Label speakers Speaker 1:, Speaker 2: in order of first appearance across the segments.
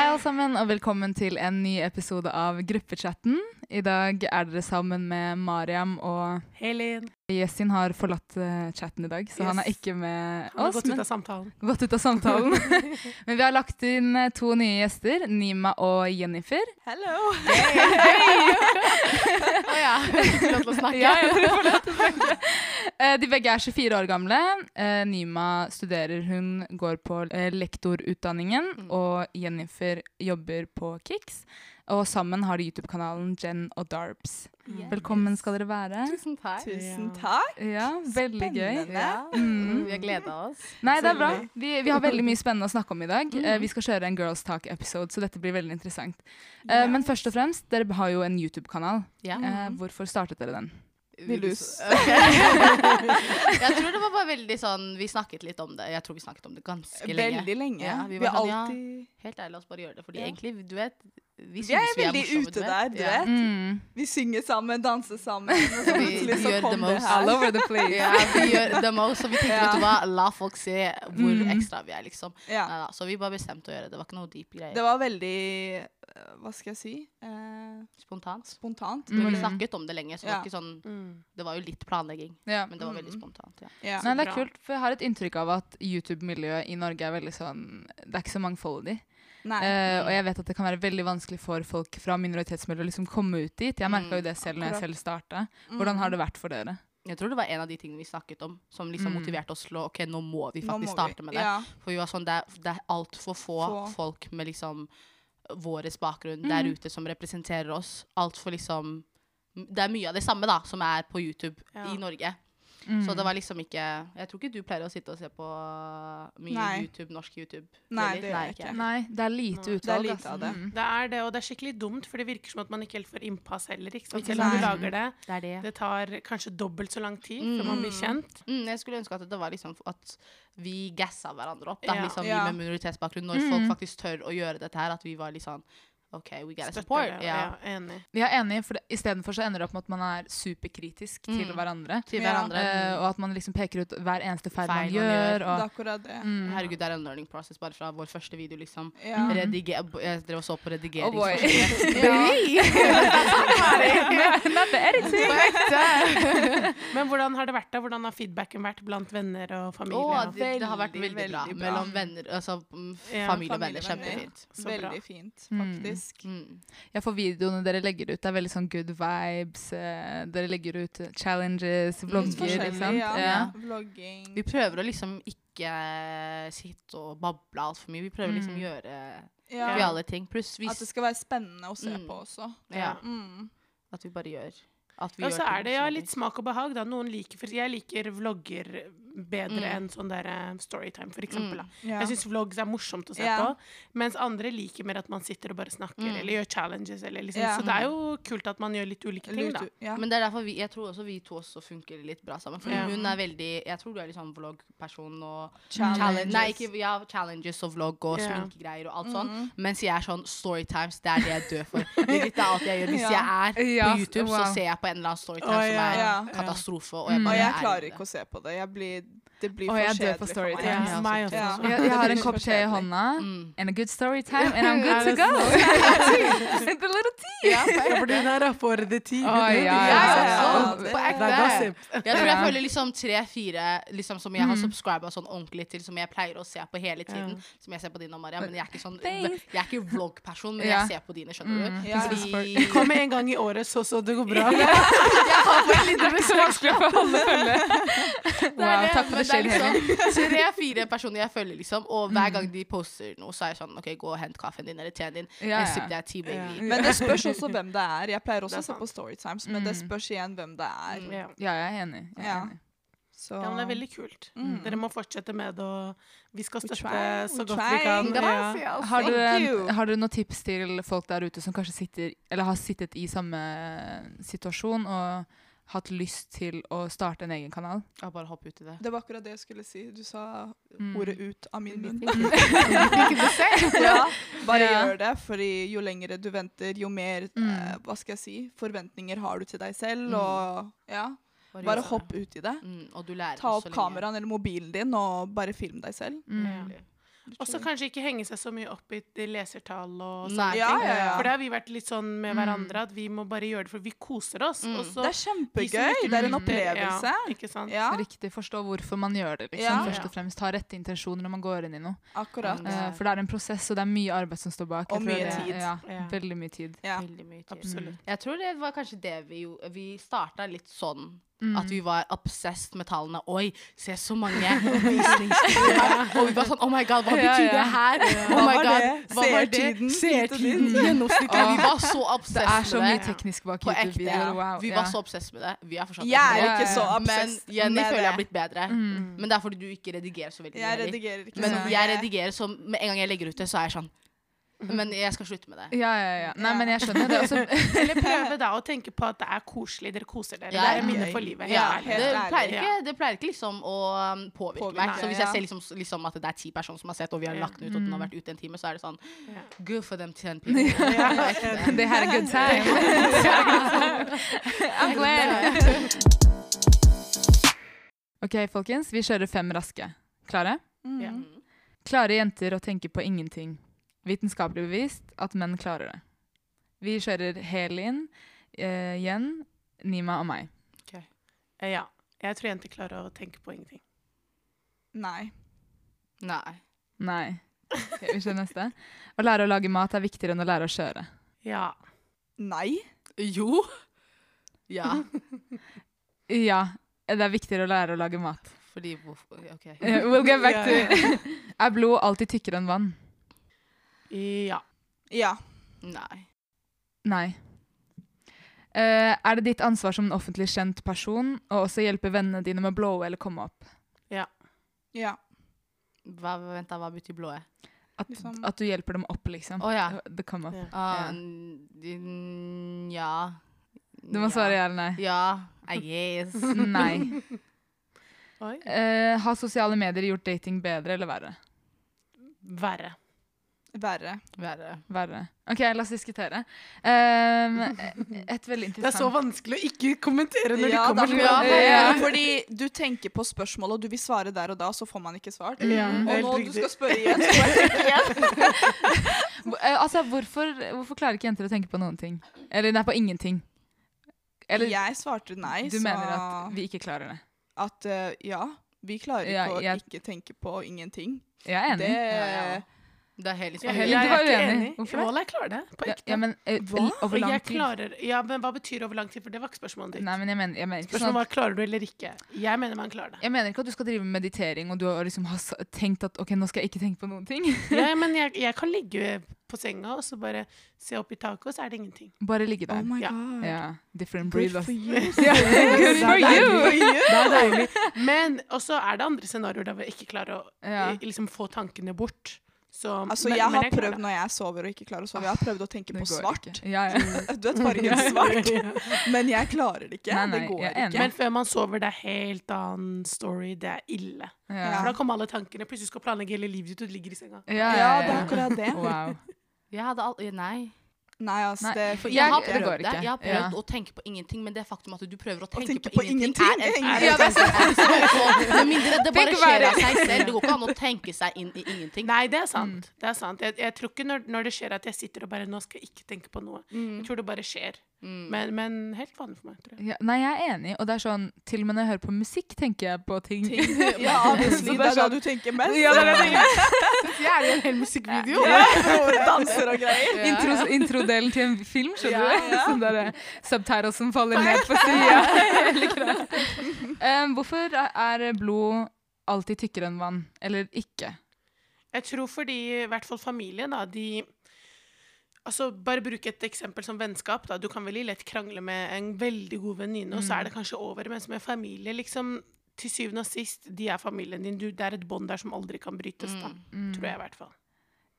Speaker 1: og velkommen til en ny episode av Gruppechatten. I dag er dere sammen med Mariam, og
Speaker 2: Helin.
Speaker 1: Jessin har forlatt eh, chatten i dag, så
Speaker 2: Yes.
Speaker 1: han er ikke med
Speaker 2: Han har
Speaker 1: oss.
Speaker 2: gått ut
Speaker 1: men,
Speaker 2: av samtalen.
Speaker 1: gått ut av samtalen. men vi har lagt inn eh, to nye gjester, Nima og Jennifer.
Speaker 3: Hello!
Speaker 2: Å ja. Lov til å snakke.
Speaker 1: Ja, ja, dere får lov til å snakke. Eh, De begge er 24 år gamle. Eh, Nima studerer, hun går på eh, lektorutdanningen,
Speaker 2: Mm.
Speaker 1: og Jennifer jobber på Kix. Og sammen har de YouTube-kanalen Jen og Darbs. Velkommen skal dere være.
Speaker 4: Tusen takk.
Speaker 3: Tusen
Speaker 2: Ja.
Speaker 3: takk.
Speaker 1: Ja, veldig gøy.
Speaker 3: Spennende.
Speaker 1: Mm.
Speaker 4: Vi har gleda oss.
Speaker 1: Nei, det er bra. Vi, vi har veldig mye spennende å snakke om i dag. Eh, vi skal kjøre en Girls Talk-episode, så dette blir veldig interessant. Eh, Men først og fremst, dere har jo en YouTube-kanal.
Speaker 4: Ja.
Speaker 1: Eh, hvorfor startet dere den?
Speaker 3: Virus.
Speaker 4: Ok. jeg tror det var bare veldig sånn Vi snakket litt om det. Jeg tror vi snakket om det ganske lenge.
Speaker 3: Veldig lenge.
Speaker 4: Ja,
Speaker 3: vi
Speaker 4: vi var
Speaker 3: har
Speaker 4: sånn, ja.
Speaker 3: alltid
Speaker 4: Helt ærlig, la oss bare gjøre det. Fordi
Speaker 3: Ja.
Speaker 4: egentlig, du vet Vi
Speaker 3: Vi er
Speaker 4: synes vi er
Speaker 3: veldig
Speaker 4: morsomme,
Speaker 3: ute der, du vet.
Speaker 1: Mm.
Speaker 3: Vi synger sammen, danser sammen. Og så
Speaker 4: Vi-
Speaker 3: plutselig
Speaker 4: vi
Speaker 3: så
Speaker 4: gjør
Speaker 3: kom
Speaker 4: the
Speaker 3: det
Speaker 4: most.
Speaker 3: her.
Speaker 1: All over the place.
Speaker 4: Ja, vi gjør the most, så vi tenkte
Speaker 3: Ja.
Speaker 4: vet du hva, la folk se hvor
Speaker 1: Mm.
Speaker 4: ekstra vi er, liksom.
Speaker 3: Ja.
Speaker 4: Neida, så vi bare bestemte å gjøre det. Det var ikke noe deep
Speaker 3: Det
Speaker 4: greier.
Speaker 3: var veldig eh, Hva skal jeg si? Eh,
Speaker 4: Spontant.
Speaker 3: spontant.
Speaker 4: Men Vi
Speaker 1: Mm.
Speaker 4: snakket om det lenge, så det
Speaker 3: Ja.
Speaker 4: var ikke sånn
Speaker 2: Mm.
Speaker 4: Det var jo litt planlegging,
Speaker 1: Ja.
Speaker 4: men det var veldig
Speaker 3: Mm.
Speaker 4: spontant. Ja.
Speaker 3: Ja.
Speaker 1: Nei, det er
Speaker 2: bra.
Speaker 1: kult, for jeg har et inntrykk av at YouTube-miljøet i Norge er veldig sånn Det er ikke så mangfoldig.
Speaker 3: Nei.
Speaker 1: Eh, og jeg vet at det kan være veldig vanskelig for folk fra minoritetsmiljøet å liksom komme ut dit. Jeg merka jo det selv når jeg selv starta. Hvordan har det vært for dere?
Speaker 4: Jeg tror det var en av de tingene vi snakket om, som liksom
Speaker 1: Mm.
Speaker 4: motiverte oss til å Ok, nå må vi
Speaker 3: Nå må
Speaker 4: faktisk
Speaker 3: vi-
Speaker 4: starte med det.
Speaker 3: Ja.
Speaker 4: For vi var sånn, det er, det er altfor få, få
Speaker 3: Få.
Speaker 4: folk med liksom våres bakgrunn der ute som representerer oss. Altfor liksom Det er mye av det samme da, som er på YouTube
Speaker 2: Ja.
Speaker 4: i Norge.
Speaker 1: Mm.
Speaker 4: Så det var liksom ikke Jeg tror ikke du pleier å sitte og se på uh, mye
Speaker 3: Nei.
Speaker 4: YouTube, norsk YouTube.
Speaker 3: Nei,
Speaker 4: heller.
Speaker 3: det gjør jeg ikke.
Speaker 1: Nei, det er lite
Speaker 2: Nei.
Speaker 1: utvalg.
Speaker 3: Det er lite
Speaker 1: altså.
Speaker 3: av det.
Speaker 1: Mm.
Speaker 2: Det er det, og det er skikkelig dumt, for det virker som at man ikke helt får innpass heller. ikke sant?
Speaker 4: Ikke
Speaker 2: Selv om du
Speaker 1: sant.
Speaker 2: lager det.
Speaker 4: Det er det.
Speaker 2: Det tar kanskje dobbelt så lang tid
Speaker 4: Mm.
Speaker 2: før man blir kjent.
Speaker 4: Mm, jeg skulle ønske at det var liksom at vi gassa hverandre opp. Da,
Speaker 2: Ja.
Speaker 4: liksom
Speaker 3: Ja.
Speaker 4: Vi med minoritetsbakgrunn, når folk
Speaker 1: Mm.
Speaker 4: faktisk tør å gjøre dette her, at vi var litt sånn OK, we gotta
Speaker 2: Støtter
Speaker 4: support.
Speaker 2: det, og ja,
Speaker 4: ja.
Speaker 2: enig.
Speaker 1: Vi er enige, for det- istedenfor så ender det opp med at man er superkritisk til
Speaker 4: Mm.
Speaker 1: hverandre.
Speaker 4: Til
Speaker 3: Ja.
Speaker 4: hverandre.
Speaker 1: eh, og at man liksom peker ut hver eneste feil, man
Speaker 4: Feil man
Speaker 1: gjør.
Speaker 3: Det er
Speaker 1: Og,
Speaker 3: akkurat det.
Speaker 1: mm.
Speaker 4: Herregud, det er en learning process bare fra vår første video, liksom.
Speaker 3: Ja.
Speaker 1: Mhm.
Speaker 4: Rediger, jeg drev og så på
Speaker 1: Oh boy.
Speaker 4: redigeringsforsøket.
Speaker 1: Not the editing.
Speaker 2: Men hvordan har det vært da? Hvordan har feedbacken vært blant venner og familie?
Speaker 4: Å,
Speaker 2: og-
Speaker 4: det, det har vært veldig,
Speaker 3: Veldig,
Speaker 4: bra.
Speaker 3: veldig bra.
Speaker 4: Mellom venner, altså mm,
Speaker 2: Ja,
Speaker 4: familie og
Speaker 3: familievenner.
Speaker 4: venner. Kjempefint.
Speaker 2: Så bra.
Speaker 3: Veldig fint,
Speaker 1: Mm.
Speaker 3: faktisk.
Speaker 4: Mm.
Speaker 1: Ja, for videoene dere legger ut, det er veldig sånn good vibes. eh, dere legger ut challenges,
Speaker 3: Litt
Speaker 1: vlogger,
Speaker 3: Mm, forskjellig,
Speaker 1: ikke sant?
Speaker 3: ja.
Speaker 1: liksom. Ja.
Speaker 3: Vlogging.
Speaker 4: Vi prøver å liksom ikke eh, sitte og bable altfor mye. Vi prøver liksom å
Speaker 1: Mm.
Speaker 4: gjøre
Speaker 3: Ja.
Speaker 4: reale ting. Pluss
Speaker 3: At det
Speaker 4: hvis
Speaker 3: skal være spennende å se
Speaker 4: Mm.
Speaker 3: på også.
Speaker 4: ja,
Speaker 3: Mm.
Speaker 4: at vi bare gjør at vi
Speaker 2: Ja,
Speaker 4: gjør
Speaker 2: så er
Speaker 4: ting
Speaker 2: det ja,
Speaker 4: forskjellig.
Speaker 2: litt smak og behag. da. Noen liker, for Jeg liker vlogger bedre
Speaker 4: Mm.
Speaker 2: enn sånn der eh, Storytime, for eksempel.
Speaker 4: Mm.
Speaker 2: Da.
Speaker 3: Ja.
Speaker 2: Jeg syns vlogs er morsomt å se
Speaker 3: Ja.
Speaker 2: på, mens andre liker mer at man sitter og bare snakker
Speaker 4: Mm.
Speaker 2: eller gjør challenges. Eller liksom.
Speaker 3: Ja.
Speaker 2: Så det er jo kult at man gjør litt ulike ting, da.
Speaker 3: Lurt, ja.
Speaker 4: Men det er derfor vi, jeg tror også vi to også funker litt bra sammen. For
Speaker 2: Ja.
Speaker 4: hun er veldig Jeg tror du er litt sånn vloggperson og
Speaker 3: Challenges.
Speaker 4: challenge, Mm. Nei, ikke ja, challenges og vlogg og
Speaker 2: Ja.
Speaker 4: sminkegreier og alt sånn.
Speaker 3: Mm.
Speaker 4: Mens jeg er sånn Storytimes, det er det jeg dør for. Legit, Det er alt jeg gjør. Hvis
Speaker 3: Ja.
Speaker 4: jeg er
Speaker 1: Ja,
Speaker 4: på YouTube,
Speaker 1: wow.
Speaker 4: så ser jeg på en eller annen Storytime
Speaker 2: Å, ja.
Speaker 4: som er
Speaker 3: Ja.
Speaker 4: katastrofe. Og jeg,
Speaker 1: Mm.
Speaker 3: Og
Speaker 4: bare
Speaker 3: jeg
Speaker 4: er i
Speaker 3: klarer
Speaker 4: det.
Speaker 3: ikke å se på det. Jeg blir, det blir
Speaker 1: Å,
Speaker 3: for
Speaker 1: jeg dør på
Speaker 3: kjedelig for meg.
Speaker 1: storytime.
Speaker 2: Ja,
Speaker 4: Ja,
Speaker 2: meg
Speaker 3: ja.
Speaker 2: også.
Speaker 1: Jeg, jeg har en
Speaker 3: Det blir
Speaker 1: kopp
Speaker 3: så
Speaker 1: te i
Speaker 3: kjedelig.
Speaker 1: hånda.
Speaker 4: Mm.
Speaker 1: And a good story time, and I'm good to
Speaker 2: det
Speaker 1: go. With a little tea.
Speaker 5: Fordi hun her er for the tea.
Speaker 1: Å, ja,
Speaker 3: Ja,
Speaker 1: ja,
Speaker 3: ja,
Speaker 1: ja.
Speaker 3: ja.
Speaker 4: Sånn, På ekte.
Speaker 5: Det er gossip.
Speaker 4: Jeg tror jeg
Speaker 1: Ja.
Speaker 4: føler liksom tre-fire liksom, som jeg har
Speaker 1: Mm.
Speaker 4: subscriba sånn ordentlig til, som jeg pleier å se på hele tiden. Som jeg ser på dine og Maria, men jeg er ikke sånn
Speaker 1: Thanks.
Speaker 4: Jeg er ikke vloggperson, men
Speaker 1: Ja.
Speaker 4: jeg ser på dine, skjønner
Speaker 1: Mm.
Speaker 4: du.
Speaker 3: Ja, ja.
Speaker 4: Fordi
Speaker 5: Kom med en gang i året, så så det går bra.
Speaker 4: jeg har vel
Speaker 1: Det blir så vanskelig å holde følge. Wow, takk for det sånn. selv, Helin.
Speaker 4: liksom Tre-fire personer jeg følger, liksom, og hver gang de poster noe, så er jeg sånn OK, gå og hent kaffen din eller teen din.
Speaker 1: Ja, ja.
Speaker 4: Jeg sipper deg tea, baby.
Speaker 3: Men det spørs også hvem det er. Jeg pleier også
Speaker 2: Det
Speaker 3: å
Speaker 2: er
Speaker 3: se på Storytimes, men det
Speaker 1: Mm.
Speaker 3: spørs igjen hvem det er.
Speaker 4: Mm.
Speaker 2: Ja.
Speaker 1: ja, jeg er enig. Jeg er
Speaker 3: Ja.
Speaker 1: enig.
Speaker 3: Så
Speaker 2: Ja, men det er veldig kult.
Speaker 3: Mm.
Speaker 2: Dere må fortsette med det, og vi skal
Speaker 3: We
Speaker 2: støtte
Speaker 3: try,
Speaker 2: så
Speaker 3: we
Speaker 2: godt vi
Speaker 3: try.
Speaker 2: kan.
Speaker 3: Gracias.
Speaker 2: Ja.
Speaker 1: Har
Speaker 3: Thank
Speaker 1: dere,
Speaker 3: you.
Speaker 1: har dere noen tips til folk der ute som kanskje sitter, eller har sittet i samme situasjon og hatt lyst til å starte en egen kanal?
Speaker 4: Ja, bare hopp ut i det.
Speaker 3: Det var akkurat det jeg skulle si. Du sa
Speaker 1: Mm.
Speaker 3: ordet ut av min munn.
Speaker 4: Mm.
Speaker 3: Ja, bare
Speaker 1: Ja.
Speaker 3: gjør det, fordi jo lengre du venter, jo mer
Speaker 1: Mm.
Speaker 3: eh, hva skal jeg si, forventninger har du til deg selv.
Speaker 4: Mm.
Speaker 3: Og ja, bare hopp ut i det.
Speaker 4: Mm, og du lærer
Speaker 3: Ta
Speaker 4: så
Speaker 3: opp
Speaker 4: lenge.
Speaker 3: kameraet eller mobilen din og bare film deg selv.
Speaker 1: Mm.
Speaker 2: Ja. Og så kanskje ikke henge seg så mye opp i de lesertall og sånne
Speaker 4: Nei.
Speaker 2: ting.
Speaker 3: Ja, ja, ja.
Speaker 2: For det har vi vært litt sånn med hverandre at vi må bare gjøre det, for vi koser oss.
Speaker 4: Mm.
Speaker 2: Og så
Speaker 3: Det er kjempegøy. Det er en opplevelse.
Speaker 2: Ja, ikke sant?
Speaker 3: Ja,
Speaker 1: Riktig. Forstå hvorfor man gjør det. liksom.
Speaker 3: Ja.
Speaker 1: Først og fremst Ha rette intensjoner når man går inn i noe.
Speaker 3: akkurat.
Speaker 4: Mm.
Speaker 1: Eh, for det er en prosess, og det er mye arbeid som står bak. Jeg
Speaker 3: Og
Speaker 1: tror
Speaker 3: mye
Speaker 1: det-
Speaker 3: tid.
Speaker 1: Ja,
Speaker 2: Ja.
Speaker 1: Veldig mye tid.
Speaker 3: Ja.
Speaker 4: Veldig mye tid.
Speaker 2: Absolutt.
Speaker 4: Jeg tror det var kanskje det vi gjorde. Vi starta litt sånn
Speaker 1: Mm.
Speaker 4: at vi var obsessed med tallene. Oi, se så mange visningstider! Og vi var sånn Oh my god, hva
Speaker 1: Ja, ja.
Speaker 4: betyr det her?
Speaker 3: Hva
Speaker 4: Oh my
Speaker 3: var
Speaker 4: god,
Speaker 3: det?
Speaker 4: hva var det?
Speaker 3: Seertiden, hit og dit.
Speaker 4: Seertiden, gjennomsnittet. Vi var så
Speaker 1: Det er så
Speaker 4: obsessed
Speaker 1: mye
Speaker 4: med det.
Speaker 1: teknisk bak
Speaker 4: På ekte.
Speaker 1: YouTube-videoer. Wow.
Speaker 4: Vi
Speaker 1: ja.
Speaker 4: var så obsessed med det. Vi er
Speaker 3: Jeg er
Speaker 4: fortsatt obsessed.
Speaker 1: Ja,
Speaker 3: ikke
Speaker 1: ja,
Speaker 3: så
Speaker 1: ja.
Speaker 4: Men
Speaker 3: obsessed
Speaker 4: Jenny
Speaker 3: med
Speaker 4: føler jeg har
Speaker 3: det.
Speaker 4: blitt bedre.
Speaker 1: Mm.
Speaker 4: Men det er fordi du ikke redigerer så veldig mye.
Speaker 3: Jeg
Speaker 4: heller.
Speaker 3: redigerer ikke
Speaker 4: Men
Speaker 3: så mye.
Speaker 4: jeg redigerer så med en gang jeg legger ut det, så er jeg sånn
Speaker 3: Mm.
Speaker 4: Men jeg skal slutte med det.
Speaker 1: Ja, ja, ja. Nei,
Speaker 3: Ja.
Speaker 1: men jeg skjønner det. Også,
Speaker 2: Eller prøve da å tenke på at det er koselig, dere koser dere.
Speaker 4: Ja,
Speaker 2: det er
Speaker 4: ja.
Speaker 2: minne for livet. Helt
Speaker 4: Ja,
Speaker 2: ærlig.
Speaker 4: det,
Speaker 3: ærlig.
Speaker 4: pleier ikke, det pleier ikke liksom å um, påvirke,
Speaker 3: Påvirke,
Speaker 4: meg. Så hvis jeg
Speaker 3: ja.
Speaker 4: ser liksom, s- liksom at det er ti personer som har sett, og vi har
Speaker 2: Ja.
Speaker 4: lagt den ut, og den har vært ute en time, så er det sånn
Speaker 2: Ja.
Speaker 4: Good for them ten people. Ja.
Speaker 1: det her er good time. I'm glad. OK, folkens. Vi kjører fem raske. Klare?
Speaker 3: Mm.
Speaker 2: Ja.
Speaker 1: Klarer jenter å tenke på ingenting? Vitenskapelig bevist at menn klarer det. Vi kjører Helin, eh, Jen, Nima og meg.
Speaker 2: Ja. Jeg tror jenter klarer å tenke på ingenting.
Speaker 3: Nei.
Speaker 4: Nei.
Speaker 1: Nei. Ok, vi kjører neste. Å lære å lage mat er viktigere enn å lære å kjøre.
Speaker 2: Ja.
Speaker 3: Nei.
Speaker 4: Jo. Ja.
Speaker 1: Ja, det er viktigere å lære å lage mat.
Speaker 4: Fordi hvorfor OK.
Speaker 1: Eh, We'll get back to Er blod alltid tykkere enn vann?
Speaker 2: Ja.
Speaker 3: Ja.
Speaker 4: Nei.
Speaker 1: Nei. Eh, er det ditt ansvar som en offentlig kjent person å også hjelpe vennene dine med å blowe eller komme opp?
Speaker 3: Ja.
Speaker 4: Hva, vent, da. Hva betyr blå?
Speaker 1: At,
Speaker 3: Liksom.
Speaker 1: at du hjelper dem opp, liksom?
Speaker 4: Å ja.
Speaker 1: The come up.
Speaker 2: Ja.
Speaker 4: Ah, n- ja.
Speaker 1: Du må
Speaker 4: Ja.
Speaker 1: svare ja eller nei.
Speaker 4: Ja. I guess.
Speaker 1: Nei.
Speaker 2: Oi.
Speaker 1: Eh, har sosiale medier gjort dating bedre eller verre?
Speaker 2: Verre.
Speaker 3: Verre.
Speaker 4: Verre.
Speaker 1: Verre. OK, la oss diskutere. Eh, et veldig
Speaker 5: Det er så
Speaker 1: interessant
Speaker 5: vanskelig å ikke kommentere når
Speaker 3: Ja,
Speaker 5: de
Speaker 3: da,
Speaker 5: kommer
Speaker 3: ja,
Speaker 1: Ja, ja.
Speaker 3: Fordi du tenker på spørsmålet, og du vil svare der og da, så får man ikke svart.
Speaker 1: Mm.
Speaker 5: Ja,
Speaker 3: Og
Speaker 5: helt
Speaker 3: nå du
Speaker 5: riktig.
Speaker 3: skal spørre igjen, så får jeg tenke igjen.
Speaker 1: Eh, Altså, hvorfor, hvorfor klarer ikke jenter å tenke på noen ting? Eller nei, på ingenting. Eller
Speaker 3: Jeg svarte nei,
Speaker 1: du
Speaker 3: så
Speaker 1: mener at vi ikke klarer det?
Speaker 3: at, eh, ja. Vi klarer ikke
Speaker 1: Ja,
Speaker 3: å
Speaker 1: jeg-
Speaker 3: ikke tenke på ingenting.
Speaker 1: Jeg er enig.
Speaker 3: Det
Speaker 4: Ja, ja. Det er helt liksom
Speaker 2: Jeg
Speaker 1: Helin,
Speaker 2: jeg
Speaker 1: du var
Speaker 2: er ikke
Speaker 1: uenig.
Speaker 2: enig.
Speaker 1: Hvorfor det?
Speaker 2: Målet jeg klarer det. På
Speaker 1: Ja,
Speaker 2: ekte.
Speaker 1: ja, men eh,
Speaker 3: Hva?
Speaker 1: over lang
Speaker 2: jeg
Speaker 1: tid.
Speaker 2: klarer, ja, men hva betyr over lang tid? For det var ikke spørsmålet ditt.
Speaker 1: Nei, men jeg mener, jeg, mener ikke sånn
Speaker 2: Spørsmålet
Speaker 1: at,
Speaker 2: var klarer du eller ikke. Jeg mener man klarer det.
Speaker 1: jeg mener ikke at du skal drive med meditering og du har liksom har sa- tenkt at ok, nå skal jeg ikke tenke på noen ting.
Speaker 2: Ja, men jeg, jeg kan ligge på senga og så bare se opp i taket, og så er det ingenting.
Speaker 1: Bare ligge
Speaker 3: Oh
Speaker 1: der.
Speaker 3: my
Speaker 2: Ja.
Speaker 3: god.
Speaker 1: ja, different
Speaker 3: Good
Speaker 1: breed.
Speaker 3: for
Speaker 1: ass.
Speaker 3: you.
Speaker 1: Ja, Good for
Speaker 2: Det er
Speaker 1: you!
Speaker 2: Det er deilig. Men også er det andre scenarioer der vi ikke klarer å
Speaker 1: Ja.
Speaker 2: eh, liksom, få tankene bort. Så,
Speaker 3: Altså,
Speaker 2: men-
Speaker 3: jeg
Speaker 2: men
Speaker 3: har
Speaker 2: klarer
Speaker 3: prøvd når jeg sover og ikke klarer å sove, jeg har prøvd å tenke
Speaker 1: Det
Speaker 3: på
Speaker 1: går
Speaker 3: svart.
Speaker 1: ikke. Ja, ja.
Speaker 3: Du vet fargen svart, men jeg klarer det ikke.
Speaker 1: Nei, nei,
Speaker 3: det går
Speaker 1: jeg er
Speaker 3: ikke.
Speaker 1: enig.
Speaker 2: Men før man sover, det er helt annen story. Det er ille.
Speaker 1: Ja.
Speaker 2: For da kommer alle tankene. Plutselig skal du planlegge hele livet ditt, og du ligger i senga.
Speaker 1: Ja,
Speaker 3: Ja, det er akkurat det.
Speaker 1: Wow.
Speaker 4: Jeg hadde al- Nei.
Speaker 3: Nei, altså,
Speaker 1: Nei,
Speaker 3: det
Speaker 4: For
Speaker 1: Jeg-
Speaker 4: jeg har
Speaker 1: det
Speaker 4: prøvd
Speaker 1: går
Speaker 4: det.
Speaker 1: ikke.
Speaker 4: Jeg har prøvd
Speaker 1: Ja.
Speaker 4: å tenke på ingenting, men det faktum at du prøver å tenke,
Speaker 3: tenke på ingenting,
Speaker 4: er
Speaker 3: er-
Speaker 4: ja, det, er så- Med mindre det bare
Speaker 1: Tenk å
Speaker 4: skjer
Speaker 1: være-
Speaker 4: av seg selv. Det går ikke an å tenke seg inn i ingenting.
Speaker 2: Nei, det er sant. Det er sant. Jeg, jeg tror ikke når, når det skjer at jeg sitter og bare Nå skal jeg ikke tenke på noe. Jeg tror det bare skjer.
Speaker 4: Mm.
Speaker 2: Men, men helt vanlig for meg, tror jeg.
Speaker 1: Ja, nei, jeg er enig. Og det er sånn, til og med når jeg hører på musikk, tenker jeg på ting.
Speaker 3: Ja,
Speaker 1: Så
Speaker 3: obviously,
Speaker 1: det er
Speaker 3: det er da
Speaker 1: sånn-
Speaker 3: du tenker mest.
Speaker 1: Ja, det er det jeg tenker.
Speaker 4: er jo en hel musikkvideo.
Speaker 3: sånn- Ja, og danser og greier.
Speaker 1: Intros, introdelen til en film, skjønner
Speaker 3: Ja,
Speaker 1: du? Sånn der eh, subtitle som faller ned på sida. um, hvorfor er blod alltid tykkere enn vann? Eller ikke?
Speaker 2: Jeg tror fordi i hvert fall familie, da, de Altså, bare bruk et eksempel som vennskap. da. Du kan veldig lett krangle med en veldig god venninne, og så er det kanskje over. Mens med familie, liksom, til syvende og sist, de er familien din. Du, det er et bånd der som aldri kan brytes, da.
Speaker 1: Mm.
Speaker 2: Tror jeg, i hvert fall.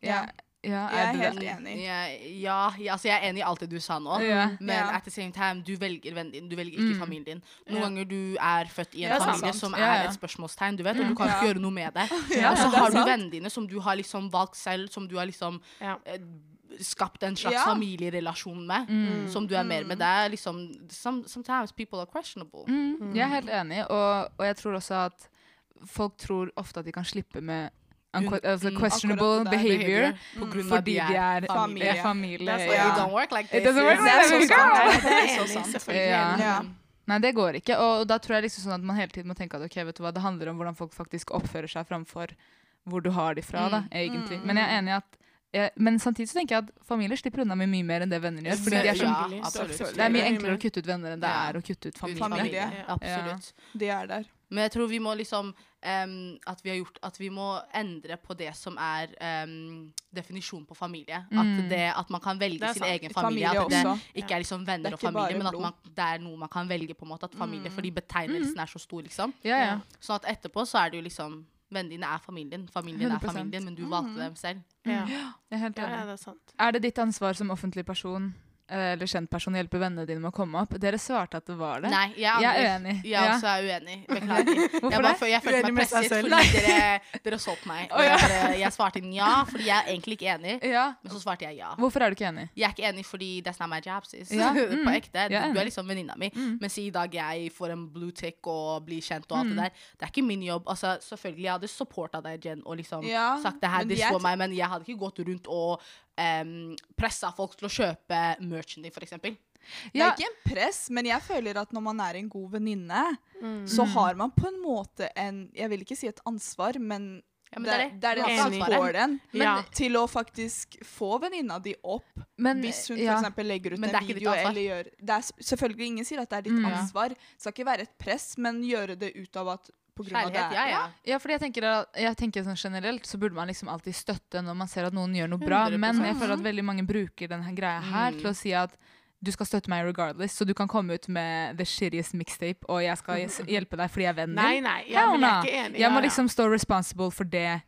Speaker 1: Ja, ja,
Speaker 3: Jeg er
Speaker 1: du
Speaker 3: helt
Speaker 1: det?
Speaker 3: enig.
Speaker 4: Ja, ja, ja, altså jeg er enig i alt det du sa nå.
Speaker 1: Ja.
Speaker 4: Men
Speaker 3: Ja.
Speaker 4: at the same time, du velger vennen din, du velger ikke
Speaker 1: Mm.
Speaker 4: familien din. Noen
Speaker 3: Ja.
Speaker 4: ganger du er født i en
Speaker 3: Ja,
Speaker 4: familie
Speaker 3: sant.
Speaker 4: som
Speaker 1: Ja, ja.
Speaker 4: er et spørsmålstegn, du vet, og du kan
Speaker 3: Ja.
Speaker 4: ikke gjøre noe med det.
Speaker 1: Ja, ja,
Speaker 4: og så
Speaker 1: det
Speaker 3: er
Speaker 4: har du
Speaker 3: sant.
Speaker 4: vennene dine som du har liksom valgt selv, som du har liksom
Speaker 2: Ja.
Speaker 4: eh, skapt en slags
Speaker 3: Ja.
Speaker 4: familierelasjon med. Som du er mer med. Det er liksom some, Sometimes people are questionable.
Speaker 1: Mm, jeg er helt enig, og, og jeg tror også at folk tror ofte at de kan slippe med Unque altså
Speaker 4: mm,
Speaker 1: questionable
Speaker 3: akkurat det der
Speaker 1: behavior
Speaker 4: på
Speaker 3: Mm.
Speaker 4: grunn av
Speaker 1: fordi de er
Speaker 3: familie.
Speaker 1: er familie.
Speaker 3: Det er så-
Speaker 1: ja.
Speaker 4: It don't work like
Speaker 1: It
Speaker 4: this.
Speaker 1: doesn't work
Speaker 4: yes.
Speaker 1: like
Speaker 4: Det er
Speaker 1: that,
Speaker 4: så
Speaker 1: vi kan.
Speaker 4: sant.
Speaker 2: Det er
Speaker 4: Det er
Speaker 2: enig,
Speaker 4: så sant.
Speaker 2: selvfølgelig.
Speaker 1: Ja.
Speaker 2: enig.
Speaker 3: Ja.
Speaker 1: Nei, det går ikke. Og da tror jeg liksom sånn at man hele tiden må tenke at ok, vet du hva, det handler om hvordan folk faktisk oppfører seg framfor hvor du har de fra, da,
Speaker 4: Mm.
Speaker 1: egentlig.
Speaker 3: Mm.
Speaker 1: Men jeg er enig i at jeg, Men samtidig så tenker jeg at familier slipper unna med mye mer enn det venner gjør. Fordi de er så,
Speaker 4: Ja,
Speaker 2: Selvfølgelig,
Speaker 4: absolutt.
Speaker 2: selvfølgelig.
Speaker 1: det er mye
Speaker 2: mye
Speaker 1: enklere
Speaker 2: mer.
Speaker 1: å kutte ut venner enn det
Speaker 4: Ja.
Speaker 1: er å kutte ut
Speaker 4: Uten
Speaker 1: familie.
Speaker 3: Familie.
Speaker 4: Absolutt.
Speaker 3: Det er der.
Speaker 4: Men jeg tror vi må liksom em, at, vi har gjort, at vi må endre på det som er em, definisjonen på familie.
Speaker 1: Mm.
Speaker 4: At, det, at man kan velge
Speaker 2: Det er
Speaker 4: sin
Speaker 2: sant.
Speaker 4: egen familie. At det
Speaker 3: også.
Speaker 4: ikke er liksom
Speaker 3: Det
Speaker 4: venner
Speaker 3: er
Speaker 4: og
Speaker 3: ikke bare
Speaker 4: familie, men at
Speaker 3: blod.
Speaker 4: man, det er noe man kan velge. på en måte At familie, Fordi betegnelsen er så stor. liksom
Speaker 1: Ja, ja.
Speaker 4: Sånn at etterpå så er det jo liksom Vennene dine er familien. Familien er
Speaker 1: 100%.
Speaker 4: familien, men du valgte dem selv.
Speaker 2: Ja.
Speaker 1: Jeg er helt
Speaker 2: Ja, ja,
Speaker 1: enig.
Speaker 2: det er sant.
Speaker 1: Er det ditt ansvar som offentlig person eh, eller kjent person å hjelpe vennene dine med å komme opp? Dere svarte at det var det.
Speaker 4: Nei, jeg,
Speaker 1: Jeg er
Speaker 4: angrer.
Speaker 1: uenig.
Speaker 4: Jeg
Speaker 1: Ja.
Speaker 4: også er uenig. Beklager. Jeg,
Speaker 1: Hvorfor
Speaker 4: bare,
Speaker 1: det?
Speaker 4: fø- jeg følte
Speaker 5: Uenig
Speaker 4: meg
Speaker 5: med seg
Speaker 4: presset
Speaker 5: selv.
Speaker 4: fordi dere, dere så på meg. Og jeg, bare, jeg svarte ja, fordi jeg er egentlig ikke enig.
Speaker 1: Ja.
Speaker 4: Men så svarte jeg ja.
Speaker 1: Hvorfor er du ikke enig?
Speaker 4: Jeg er ikke enig fordi that's not my job, sis.
Speaker 1: Ja, mm.
Speaker 4: på ekte.
Speaker 1: Jeg er
Speaker 4: Du, du er
Speaker 1: enig.
Speaker 4: liksom venninna mi.
Speaker 1: Mm.
Speaker 4: Men si i dag jeg får en blue tick og blir kjent og alt
Speaker 1: Mm.
Speaker 4: det der. Det er ikke min jobb. Altså, selvfølgelig, jeg hadde supporta deg, Jen, og liksom
Speaker 3: Ja,
Speaker 4: sagt det her,
Speaker 3: men
Speaker 4: det
Speaker 3: jeg
Speaker 4: slår
Speaker 3: tr-
Speaker 4: meg, men jeg hadde ikke gått rundt og um, pressa folk til å kjøpe merchen din, for eksempel.
Speaker 3: Det
Speaker 1: Ja,
Speaker 3: er ikke en press, men jeg føler at når man er en god venninne,
Speaker 4: Mm.
Speaker 3: så
Speaker 1: Mm.
Speaker 3: har man på en måte en Jeg vil ikke si et ansvar, men,
Speaker 4: Ja, men
Speaker 3: det,
Speaker 4: det er det.
Speaker 3: det er
Speaker 4: Du
Speaker 3: den
Speaker 4: har
Speaker 3: som
Speaker 4: ansvaret.
Speaker 3: får den.
Speaker 2: Men- Ja.
Speaker 3: Til å faktisk få venninna di opp,
Speaker 1: men,
Speaker 3: hvis hun
Speaker 1: ja.
Speaker 3: for eksempel legger ut
Speaker 4: Men det er
Speaker 3: en
Speaker 4: ikke ditt
Speaker 3: video
Speaker 4: ansvar.
Speaker 3: eller gjør Det er s- selvfølgelig ingen sier at det er ditt
Speaker 1: Mm, ja.
Speaker 3: ansvar. Det skal ikke være et press, men gjøre det ut av at på grunn av det
Speaker 4: Kjærlighet, ja, ja.
Speaker 1: Ja, fordi jeg tenker, at- jeg tenker sånn generelt så burde man liksom alltid støtte når man ser at noen gjør noe bra, men jeg
Speaker 4: 100%.
Speaker 1: føler at veldig mange bruker denne greia her
Speaker 3: Mm.
Speaker 1: til å si at du skal støtte meg regardless, så du kan komme ut med the shittiest mixtape, og jeg skal hj- hjelpe deg fordi jeg er vennen
Speaker 2: Nei,
Speaker 1: din.
Speaker 2: nei, ja, men jeg er ikke enig.
Speaker 1: Jeg må
Speaker 2: Ja, ja.
Speaker 1: liksom stå responsible for det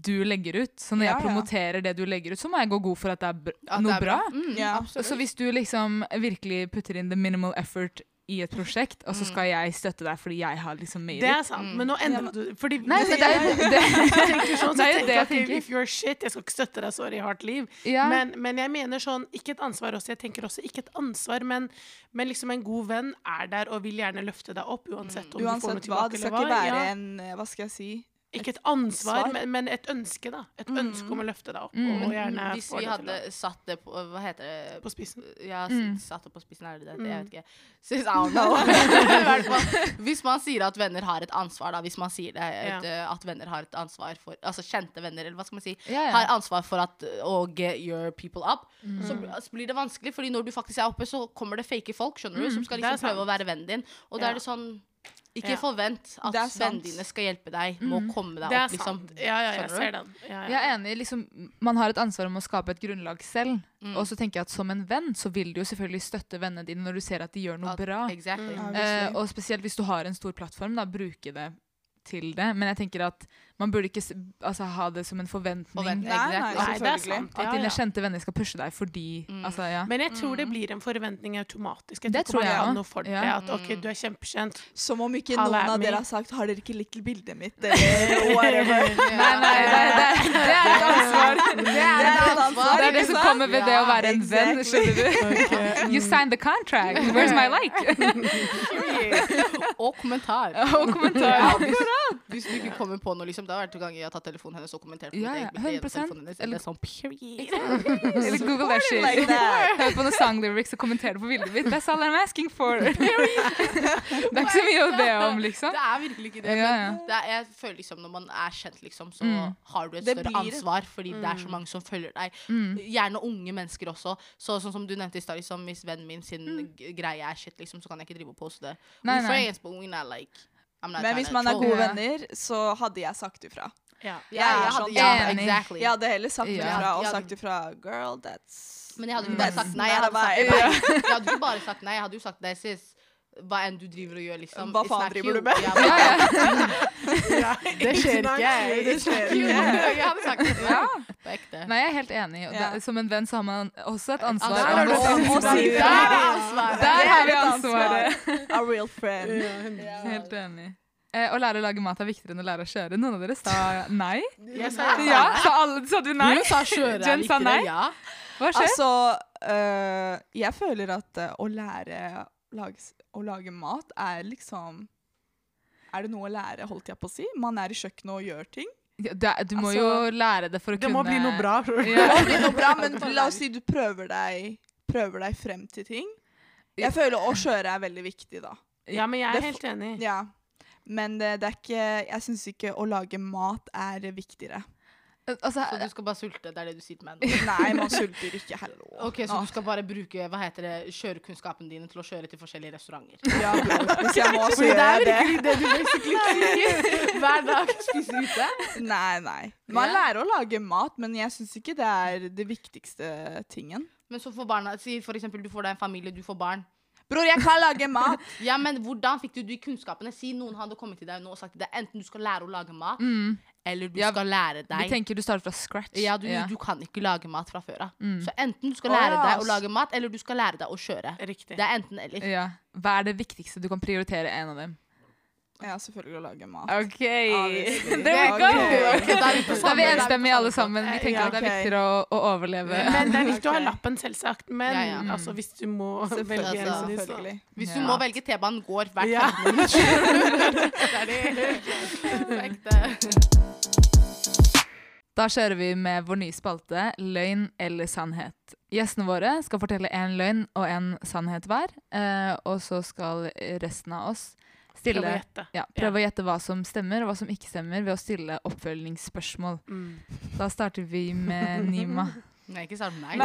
Speaker 1: du legger ut. Så når
Speaker 3: Ja,
Speaker 1: jeg
Speaker 3: ja.
Speaker 1: promoterer det du legger ut, så må jeg gå god for at det er br
Speaker 4: At det
Speaker 1: noe
Speaker 4: er
Speaker 1: bra.
Speaker 4: Mm.
Speaker 3: Ja.
Speaker 4: absolutt.
Speaker 1: Så hvis du liksom virkelig putter inn the minimal effort i et prosjekt, og så skal jeg støtte deg fordi jeg har liksom made
Speaker 2: Det
Speaker 1: it.
Speaker 2: er sant, men nå endret du Fordi
Speaker 1: Nei, men det er jo det.
Speaker 2: tenker sånn, så
Speaker 1: det er jo det
Speaker 2: tenker jeg
Speaker 1: jeg
Speaker 2: ok,
Speaker 1: tenker.
Speaker 2: If you're shit, jeg skal ikke støtte deg, sorry, hardt liv.
Speaker 1: Ja.
Speaker 2: Men, men jeg mener sånn, ikke et ansvar også. Jeg tenker også ikke et ansvar, men, men liksom en god venn er der og vil gjerne løfte deg opp, uansett om du får noe
Speaker 3: Uansett hva,
Speaker 2: tilbake
Speaker 3: det
Speaker 2: eller
Speaker 3: skal
Speaker 2: hva.
Speaker 3: ikke være
Speaker 2: Ja.
Speaker 3: en eh, Hva skal jeg si?
Speaker 2: Ikke et ansvar,
Speaker 3: svar.
Speaker 2: men, men et ønske, da. Et ønske om å løfte deg opp.
Speaker 1: Mm.
Speaker 2: Og gjerne
Speaker 4: Hvis
Speaker 2: få
Speaker 4: vi
Speaker 2: det til
Speaker 4: hadde satt det på Hva heter det?
Speaker 2: å På spissen.
Speaker 4: Ja, s-
Speaker 1: Mm.
Speaker 4: satt opp på spissen, er det det?
Speaker 2: Mm.
Speaker 4: Jeg vet ikke. Synes, I don't know. I hvert fall, hvis man sier at venner har et ansvar, da. Hvis man sier det, et, eh, at venner har et ansvar for Altså kjente venner, eller hva skal man si.
Speaker 1: Ja, ja.
Speaker 4: Har ansvar for at, å get your people up. Så bl- altså, blir det vanskelig, Fordi når du faktisk er oppe, så kommer det fake folk skjønner du, som skal
Speaker 2: Det er
Speaker 4: liksom prøve å være vennen din. Og da
Speaker 2: Ja.
Speaker 4: er det sånn Ikke
Speaker 2: Ja.
Speaker 4: forvent at
Speaker 3: Det er sant.
Speaker 4: vennene dine skal hjelpe deg med å komme deg
Speaker 2: Det
Speaker 4: opp,
Speaker 2: er
Speaker 4: liksom.
Speaker 2: sant. Ja, ja, jeg
Speaker 4: Skjønner du?
Speaker 2: ser den. Ja,
Speaker 1: Jeg
Speaker 2: ja.
Speaker 1: er enig. Liksom, man har et ansvar om å skape et grunnlag selv. Og så tenker jeg at som en venn så vil du jo selvfølgelig støtte vennene dine når du ser at de gjør noe
Speaker 4: At-
Speaker 1: bra.
Speaker 4: Exactly.
Speaker 3: Ja,
Speaker 1: Eh,
Speaker 3: obviously.
Speaker 1: og spesielt hvis du har en stor plattform, da bruke det til det. Men jeg tenker at man burde ikke s- altså, ha det som en forventning.
Speaker 4: Forventning.
Speaker 3: Nei, nei,
Speaker 4: Exactly.
Speaker 2: Nei, det er
Speaker 3: selvfølgelig.
Speaker 2: sant.
Speaker 1: At
Speaker 2: Ja,
Speaker 1: dine
Speaker 2: ja.
Speaker 1: kjente venner skal pushe deg fordi altså, ja.
Speaker 2: Men jeg tror det
Speaker 4: Mm.
Speaker 2: blir en forventning automatisk. Jeg
Speaker 1: Det tror
Speaker 2: tror ikke man
Speaker 1: jeg
Speaker 2: kan
Speaker 1: også.
Speaker 2: noe for det.
Speaker 1: Ja.
Speaker 2: At
Speaker 4: Mm.
Speaker 2: ok, du er kjempekjent.
Speaker 3: Som om ikke
Speaker 2: Alle er
Speaker 3: noen av
Speaker 2: med.
Speaker 3: dere har sagt 'har dere ikke likt bildet mitt', eller whatever.
Speaker 1: Nei, nei, det, det, det er et ansvar.
Speaker 4: Det er et ansvar.
Speaker 1: Det er det som kommer ved det å være en venn, skjønner du. You signed the contract. Where's my like?
Speaker 4: Og kommentar.
Speaker 1: Og kommentar.
Speaker 4: Ja, hvis, hvis du ikke kommer på noe, liksom, det har vært to ganger jeg har tatt telefonen hennes og kommentert på
Speaker 1: Ja,
Speaker 4: mitt
Speaker 1: ja,
Speaker 4: eget bilde gjennom
Speaker 1: 100%.
Speaker 4: telefonen hennes. Det er sånn, period.
Speaker 1: Eller Google that shit.
Speaker 3: Like that.
Speaker 1: Hør på noen sanglyrics og kommentere på bildet mitt. That's all I'm asking for. det er ikke så mye å be om, liksom.
Speaker 4: Det er virkelig ikke det.
Speaker 1: Ja, ja.
Speaker 4: Men det er, jeg føler liksom når man er kjent, liksom, så
Speaker 1: Mm.
Speaker 4: har du et
Speaker 3: Det
Speaker 4: større
Speaker 3: blir-
Speaker 4: ansvar, fordi det er så mange som følger deg.
Speaker 1: Mm.
Speaker 4: Gjerne unge mennesker også. Så, sånn som du nevnte i stad, liksom, hvis vennen min sin g- greie er shit, liksom, så kan jeg ikke drive og poste det.
Speaker 1: Nei,
Speaker 4: We
Speaker 1: nei.
Speaker 4: friends, but we're not, like, I'm not
Speaker 3: Men
Speaker 4: trying
Speaker 3: hvis
Speaker 4: to
Speaker 3: man er
Speaker 4: troll.
Speaker 3: gode
Speaker 1: Ja.
Speaker 3: venner, så hadde jeg sagt ifra.
Speaker 2: Ja.
Speaker 4: ja, jeg
Speaker 3: Jeg er
Speaker 4: hadde,
Speaker 3: sånn-
Speaker 4: ja,
Speaker 1: Enig.
Speaker 4: exactly.
Speaker 3: Jeg hadde heller sagt
Speaker 1: Ja.
Speaker 3: ifra og
Speaker 4: Ja.
Speaker 3: sagt ifra 'girl, that's
Speaker 4: Men jeg hadde ikke
Speaker 3: that's
Speaker 4: bare sagt nei. Jeg
Speaker 3: not
Speaker 4: hadde, sagt,
Speaker 3: a vibe».
Speaker 4: nei. Jeg hadde ikke bare sagt nei, jeg hadde jo sagt nei, sis. Hva enn du driver og gjør, liksom.
Speaker 3: Hva
Speaker 4: it's
Speaker 3: faen
Speaker 4: not
Speaker 3: driver
Speaker 4: you.
Speaker 3: du med?
Speaker 4: Ja,
Speaker 1: Ja,
Speaker 4: men-
Speaker 1: ja.
Speaker 4: Det
Speaker 3: It's
Speaker 4: skjer ikke.
Speaker 3: not you, det skjer
Speaker 4: Jo,
Speaker 3: ikke.
Speaker 4: Jeg hadde sagt det.
Speaker 1: Ja.
Speaker 4: På ekte.
Speaker 1: Nei, jeg er helt enig. Og
Speaker 3: Ja.
Speaker 1: det- Som en venn så har man også et ansvar.
Speaker 4: Der
Speaker 3: har
Speaker 1: om
Speaker 3: du
Speaker 1: å-
Speaker 3: et
Speaker 1: å
Speaker 3: ansvar.
Speaker 1: si
Speaker 3: Der
Speaker 1: fra.
Speaker 3: er det
Speaker 1: Der har vi
Speaker 3: et
Speaker 1: ansvaret.
Speaker 3: A real friend.
Speaker 1: Helt enig. Eh, å lære å lage mat er viktigere enn å lære å kjøre. Noen av dere sa nei.
Speaker 2: Jeg sa ja.
Speaker 1: Ja, sa alle sa du nei?
Speaker 4: Hun sa kjøre.
Speaker 1: Jen sa nei.
Speaker 4: Ja.
Speaker 1: Hva skjer?
Speaker 3: Altså, øh, jeg føler at øh, å lære lages- å lage mat er liksom Er det noe å lære, holdt jeg på å si? Man er i kjøkkenet og gjør ting.
Speaker 1: Ja, det, er- du må
Speaker 3: Altså,
Speaker 1: jo lære det for å
Speaker 5: Det
Speaker 1: kunne
Speaker 5: må bli noe bra. tror jeg.
Speaker 1: Ja.
Speaker 3: Det blir noe bra, men la oss si du prøver deg, prøver deg frem til ting. Jeg føler å kjøre er veldig viktig, da.
Speaker 2: Ja, men jeg
Speaker 3: Det
Speaker 2: er
Speaker 3: f-
Speaker 2: helt enig.
Speaker 3: Ja. Men eh, det, det er ikke Jeg syns ikke å lage mat er viktigere.
Speaker 1: Altså,
Speaker 4: Så du skal bare sulte, det er det du sier til meg nå?
Speaker 3: Nei, man sulter ikke. Hallo.
Speaker 4: Ok, Så
Speaker 3: Nå.
Speaker 4: du skal bare bruke hva heter det, kjørekunnskapen dine til å kjøre til forskjellige restauranter?
Speaker 3: Ja, bror. Hvis jeg må, så
Speaker 4: Fordi det er
Speaker 3: gjør jeg det.
Speaker 4: virkelig det du basically sier. Hver dag spiser ute.
Speaker 3: Nei, nei. Man
Speaker 4: Ja.
Speaker 3: lærer å lage mat, men jeg syns ikke det er det viktigste tingen.
Speaker 4: Men så får barna Si for eksempel du får deg en familie, du får barn.
Speaker 3: Bror, jeg kan lage mat!
Speaker 4: Ja, men hvordan fikk du de kunnskapene? Si noen hadde kommet til deg nå og sagt til deg enten du skal lære å lage mat,
Speaker 1: mm,
Speaker 4: eller du
Speaker 1: Ja,
Speaker 4: skal lære
Speaker 1: vi
Speaker 4: deg
Speaker 1: tenker du starter fra scratch.
Speaker 4: ja du, du kan ikke lage mat fra før av.
Speaker 1: Mm.
Speaker 4: Så enten du skal
Speaker 3: Å,
Speaker 4: lære
Speaker 3: ja,
Speaker 4: deg å
Speaker 3: ass.
Speaker 4: lage mat, eller du skal lære deg å kjøre.
Speaker 2: Riktig.
Speaker 4: Det er enten eller.
Speaker 1: ja. Hva er det viktigste du kan prioritere en av dem?
Speaker 3: Ja, selvfølgelig å lage mat.
Speaker 1: OK!
Speaker 3: Obviously.
Speaker 1: There we go!
Speaker 3: Ok.
Speaker 4: Ok, da er vi
Speaker 1: Da er
Speaker 4: på
Speaker 1: vi
Speaker 4: samme- da
Speaker 1: enstemmige alle
Speaker 4: på samme
Speaker 1: sammen. Vi
Speaker 2: Eh,
Speaker 1: tenker
Speaker 3: ja,
Speaker 1: at det er
Speaker 3: ok.
Speaker 1: viktigere å, å overleve.
Speaker 2: Men det er viktig å ha
Speaker 3: Ok.
Speaker 2: lappen, selvsagt. Men
Speaker 4: Ja, ja.
Speaker 2: altså, hvis du må velge
Speaker 4: Selvfølgelig,
Speaker 2: en
Speaker 4: altså.
Speaker 2: av de, så
Speaker 3: Selvfølgelig.
Speaker 4: båt. Hvis du
Speaker 1: Ja.
Speaker 4: må velge T-banen, går hvert
Speaker 5: Ja.
Speaker 4: 15 minutter. Det er det.
Speaker 1: Da kjører vi med vår nye spalte Løgn eller sannhet. Gjestene våre skal fortelle en løgn og en sannhet hver. eh, Og så skal resten av oss
Speaker 2: prøv å
Speaker 1: stille
Speaker 2: gjette.
Speaker 1: ja, prøve å gjette hva som stemmer og hva som ikke stemmer, ved å stille oppfølgingsspørsmål.
Speaker 2: Mm.
Speaker 1: Da starter vi med Nima.
Speaker 4: Nei, ikke sant. Nei.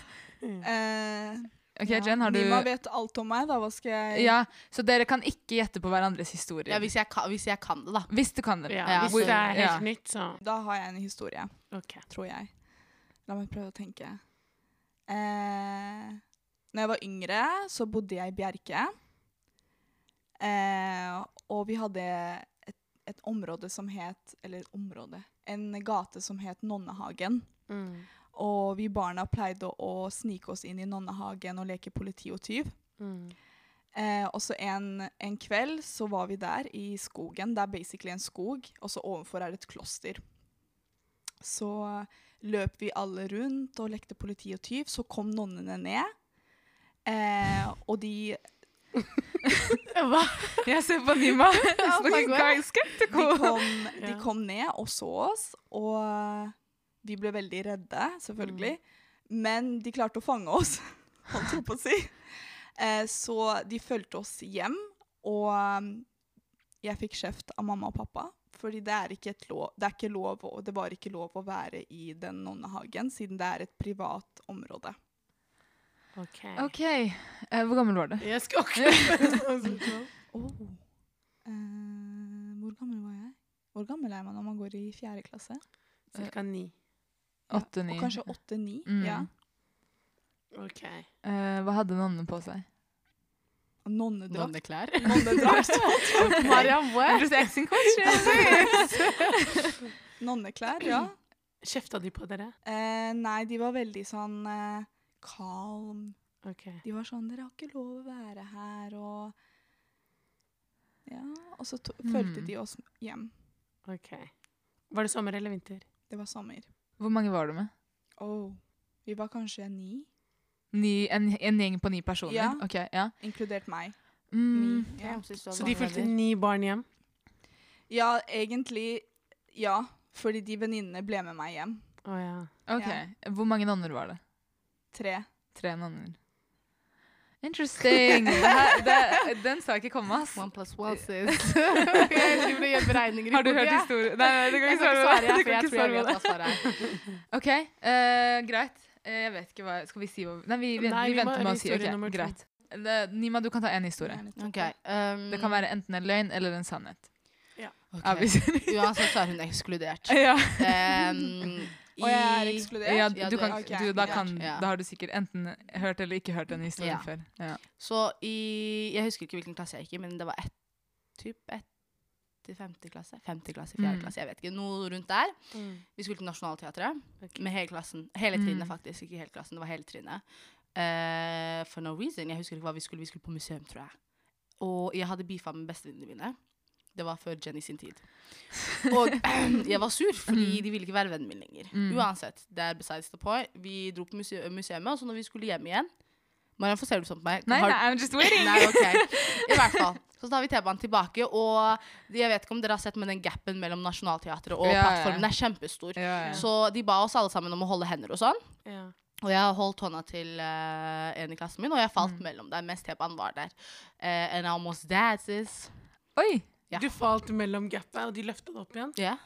Speaker 3: Eh,
Speaker 1: Ok,
Speaker 3: ja.
Speaker 1: Jen, har du
Speaker 3: Nima vet alt om meg, da. Hva skal jeg
Speaker 1: Ja, Så dere kan ikke gjette på hverandres
Speaker 4: Ja,
Speaker 1: historier.
Speaker 4: hvis, jeg kan, hvis jeg kan det, da.
Speaker 1: Hvis du kan det.
Speaker 2: Ja,
Speaker 4: Ja,
Speaker 2: hvis det er helt
Speaker 1: ja.
Speaker 2: nytt, så
Speaker 3: Da har jeg en historie,
Speaker 2: OK.
Speaker 3: tror jeg. La meg prøve å tenke. Eh, når jeg var yngre, så bodde jeg i Bjerke. Eh, og vi hadde et, et område som het Eller et område En gate som het Nonnehagen.
Speaker 2: Mm.
Speaker 3: Og vi barna pleide å snike oss inn i Nonnehagen og leke politi og tyv.
Speaker 2: Mm.
Speaker 3: Eh, og så en, en kveld så var vi der i skogen. Det er basically en skog, og så ovenfor er det et kloster. Så løp vi alle rundt og lekte politi og tyv. Så kom nonnene ned. Eh, og de,
Speaker 1: Jeg ser på Nima.
Speaker 4: Oh It's looking quite
Speaker 3: de, kom, de
Speaker 2: Ja.
Speaker 3: kom ned og så oss, og vi ble veldig redde, selvfølgelig.
Speaker 1: Mm.
Speaker 3: Men de klarte å fange oss, holdt jeg på å si. Eh, så de fulgte oss hjem, og um, jeg fikk kjeft av mamma og pappa. Fordi det er ikke, et lov, det er ikke lov, å- det var ikke lov å være i den nonnehagen, siden det er et privat område.
Speaker 2: OK.
Speaker 1: OK. eh, Hvor gammel var du?
Speaker 2: Jeg skal ikke
Speaker 1: Oh.
Speaker 3: Eh, hvor gammel var jeg? Hvor gammel er man når man går i fjerde klasse?
Speaker 2: Cirka ni.
Speaker 1: Åtte,
Speaker 3: Og
Speaker 1: ni.
Speaker 3: kanskje åtte-ni?
Speaker 1: Mm.
Speaker 3: Ja.
Speaker 2: OK.
Speaker 1: Eh, hva hadde nonnene på seg?
Speaker 3: Nonnedrakt.
Speaker 4: Nonneklær.
Speaker 3: Nonnedrakt.
Speaker 4: Mariam, what?
Speaker 1: Interesting question.
Speaker 3: Nonneklær, ja.
Speaker 2: Kjefta de på dere?
Speaker 3: Eh, nei, de var veldig sånn eh, calm.
Speaker 2: OK.
Speaker 3: De var sånn 'Dere har ikke lov å være her', og Ja. Og så to fulgte
Speaker 1: Mm.
Speaker 3: de oss hjem.
Speaker 2: ok. Var det sommer eller vinter?
Speaker 3: Det var sommer.
Speaker 1: Hvor mange var du med?
Speaker 3: Oh. Vi var kanskje ni,
Speaker 1: Ni, en, en gjeng på ni personer?
Speaker 3: Ja.
Speaker 1: Ok, ja.
Speaker 3: inkludert meg.
Speaker 1: Mm.
Speaker 3: Ni. Ja.
Speaker 2: Så de fulgte ni barn hjem?
Speaker 3: ja, egentlig Ja. Fordi de venninnene ble med meg hjem.
Speaker 2: Å ja.
Speaker 1: Ok, Hvor mange nonner var det?
Speaker 3: Tre.
Speaker 1: Tre nonner. Interesting! Det her, det, den sa jeg ikke komme, ass.
Speaker 4: One plus one, sis. Ok, jeg driver og gjør beregninger i
Speaker 1: Eh. Har du hørt
Speaker 4: hodet, jeg.
Speaker 1: historien? Nei, nei, du kan
Speaker 4: Jeg
Speaker 1: ikke
Speaker 4: skal ikke
Speaker 1: svare
Speaker 4: svare,
Speaker 1: på det. Du
Speaker 4: jeg, for
Speaker 1: kan
Speaker 4: jeg
Speaker 1: ikke
Speaker 4: tror jeg
Speaker 1: svare på
Speaker 4: vet
Speaker 1: det.
Speaker 4: hva svaret er.
Speaker 1: Ok, eh, greit. Eh, jeg vet ikke hva Skal vi si hva Nei, vi, vi,
Speaker 2: Nei,
Speaker 1: vi
Speaker 2: vi må
Speaker 1: venter med å si
Speaker 2: historie
Speaker 1: ok,
Speaker 2: nummer to.
Speaker 1: greit. Det, Nima, du kan ta én historie.
Speaker 4: Ok, um,
Speaker 1: Det kan være enten en løgn eller en sannhet.
Speaker 4: ok.
Speaker 1: Obviously.
Speaker 4: Uansett så er hun ekskludert.
Speaker 1: Ja.
Speaker 4: Um,
Speaker 3: Og jeg er
Speaker 4: i-
Speaker 3: ekskludert.
Speaker 1: Ja,
Speaker 4: Ja,
Speaker 1: du
Speaker 4: du
Speaker 1: kan,
Speaker 3: er
Speaker 1: du, da,
Speaker 3: ekskludert.
Speaker 1: kan,
Speaker 4: Ja.
Speaker 1: da har du sikkert enten hørt eller ikke hørt den historien
Speaker 4: Ja.
Speaker 1: før. Ja.
Speaker 4: Så i Jeg husker ikke hvilken klasse jeg gikk i, men det var ett typ ett til femte klasse. Femte klasse, fjerde
Speaker 1: Mm.
Speaker 4: klasse, jeg vet ikke. Noe rundt der.
Speaker 2: Mm.
Speaker 4: Vi skulle til Nationaltheatret
Speaker 2: Ok.
Speaker 4: med hele klassen. Hele
Speaker 1: Mm.
Speaker 4: trinnet, faktisk. Ikke hele klassen, det var hele trinnet. Eh, for no reason. Jeg husker ikke hva vi skulle. Vi skulle på museum, tror jeg. Og jeg hadde beefa med bestevenninnene mine. Det var før Jenny sin tid. Og jeg var sur, fordi de ville ikke være vennen min lenger.
Speaker 1: Mm.
Speaker 4: Uansett, det er besides the point. Vi dro på muse museet, og så når vi skulle hjem igjen Marianne, hvorfor ser du sånn på meg?
Speaker 1: Nei,
Speaker 4: Har-
Speaker 1: nei, I'm just waiting.
Speaker 4: Nei, ok. I hvert fall. Så tar vi T-banen tilbake, og jeg vet ikke om dere har sett, men den gapen mellom Nationaltheatret og
Speaker 1: Ja, ja.
Speaker 4: plattformen er kjempestor.
Speaker 1: Ja, ja.
Speaker 4: Så de ba oss alle sammen om å holde hender og sånn.
Speaker 2: Ja.
Speaker 4: Og jeg holdt hånda til eh, en i klassen min, og jeg falt
Speaker 1: Mm.
Speaker 4: mellom der mens T-banen var der. Eh, and I almost died, sis.
Speaker 1: Oi.
Speaker 4: Ja.
Speaker 2: Du falt mellom gapet, og de løfta det opp igjen.
Speaker 4: Ja.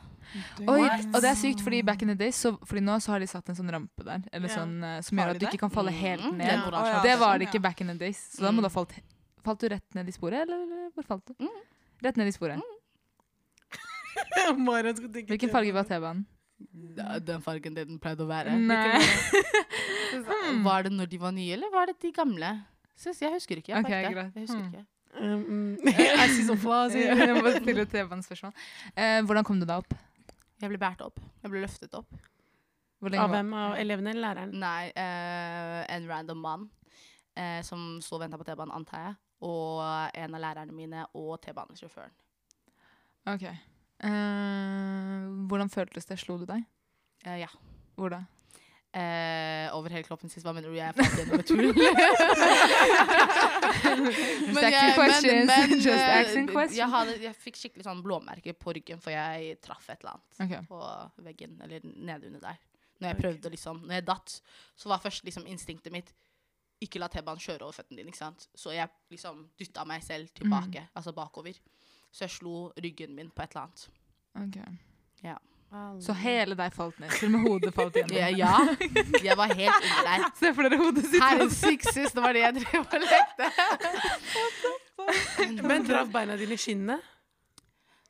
Speaker 1: Oi, og det er sykt, fordi back in the days, så, fordi nå så har de satt en sånn rampe der, eller
Speaker 2: Ja.
Speaker 1: sånn, eh, som
Speaker 3: Har
Speaker 1: gjør
Speaker 3: de
Speaker 1: at du
Speaker 3: det?
Speaker 1: ikke kan falle helt
Speaker 4: Mm,
Speaker 1: ned.
Speaker 4: den
Speaker 3: Ja,
Speaker 4: oransje
Speaker 3: å ja,
Speaker 4: rampa.
Speaker 1: Det var
Speaker 3: sånn,
Speaker 1: det ikke
Speaker 3: ja.
Speaker 1: back in the days, så da må
Speaker 4: Mm.
Speaker 1: du ha falt Falt du rett ned i sporet, eller hvor falt du?
Speaker 4: Mm.
Speaker 1: Rett ned i sporet.
Speaker 2: Maren skal tenke
Speaker 1: Hvilken
Speaker 2: til-
Speaker 1: farge var T-banen?
Speaker 4: Ja, Den fargen det den pleide å være.
Speaker 1: Nei. Mm.
Speaker 4: Var det når de var nye, eller var det de gamle? Sis, jeg husker ikke. Jeg,
Speaker 1: Ok,
Speaker 4: okay,
Speaker 1: greit.
Speaker 4: jeg husker
Speaker 1: Mm.
Speaker 4: ikke.
Speaker 2: Um, mm. I see some flaws here.
Speaker 1: Jeg må stille T-banespørsmål. Eh, hvordan kom du deg opp?
Speaker 4: Jeg ble båret opp. Jeg ble løftet opp.
Speaker 1: Hvor
Speaker 2: Av
Speaker 1: var-
Speaker 2: hvem? Av elevene eller
Speaker 1: Mm.
Speaker 2: læreren?
Speaker 4: Nei, eh, en random mann eh, som sto og venta på T-banen, antar jeg. Og en av lærerne mine og T-banesjåføren.
Speaker 1: Ok. Eh, hvordan føltes det? Slo du deg?
Speaker 4: Eh, ja.
Speaker 1: Hvor da?
Speaker 4: Eh, over hele kroppen sist. Hva mener du? Jeg falt gjennom et hull. men
Speaker 1: asking questions. Just
Speaker 4: eh,
Speaker 1: asking questions.
Speaker 4: Jeg, hadde, jeg fikk skikkelig sånn blåmerke på ryggen, for jeg traff et eller annet
Speaker 1: Ok.
Speaker 4: på veggen, eller nedunder der. Når jeg prøvde, å liksom, når jeg datt, så var først liksom instinktet mitt ikke la T-banen kjøre over føttene dine. ikke sant? Så jeg liksom dytta meg selv tilbake, altså bakover. Så jeg slo ryggen min på et eller annet.
Speaker 1: ok. Så
Speaker 2: Så
Speaker 1: hele deg falt ned? Til og med hodet falt igjennom?
Speaker 4: Ja, ja, jeg var helt under der.
Speaker 1: Se for dere hodet sitt.
Speaker 4: Herre sikses, det var det jeg drev og lekte.
Speaker 2: Men traff beina dine i skinnet?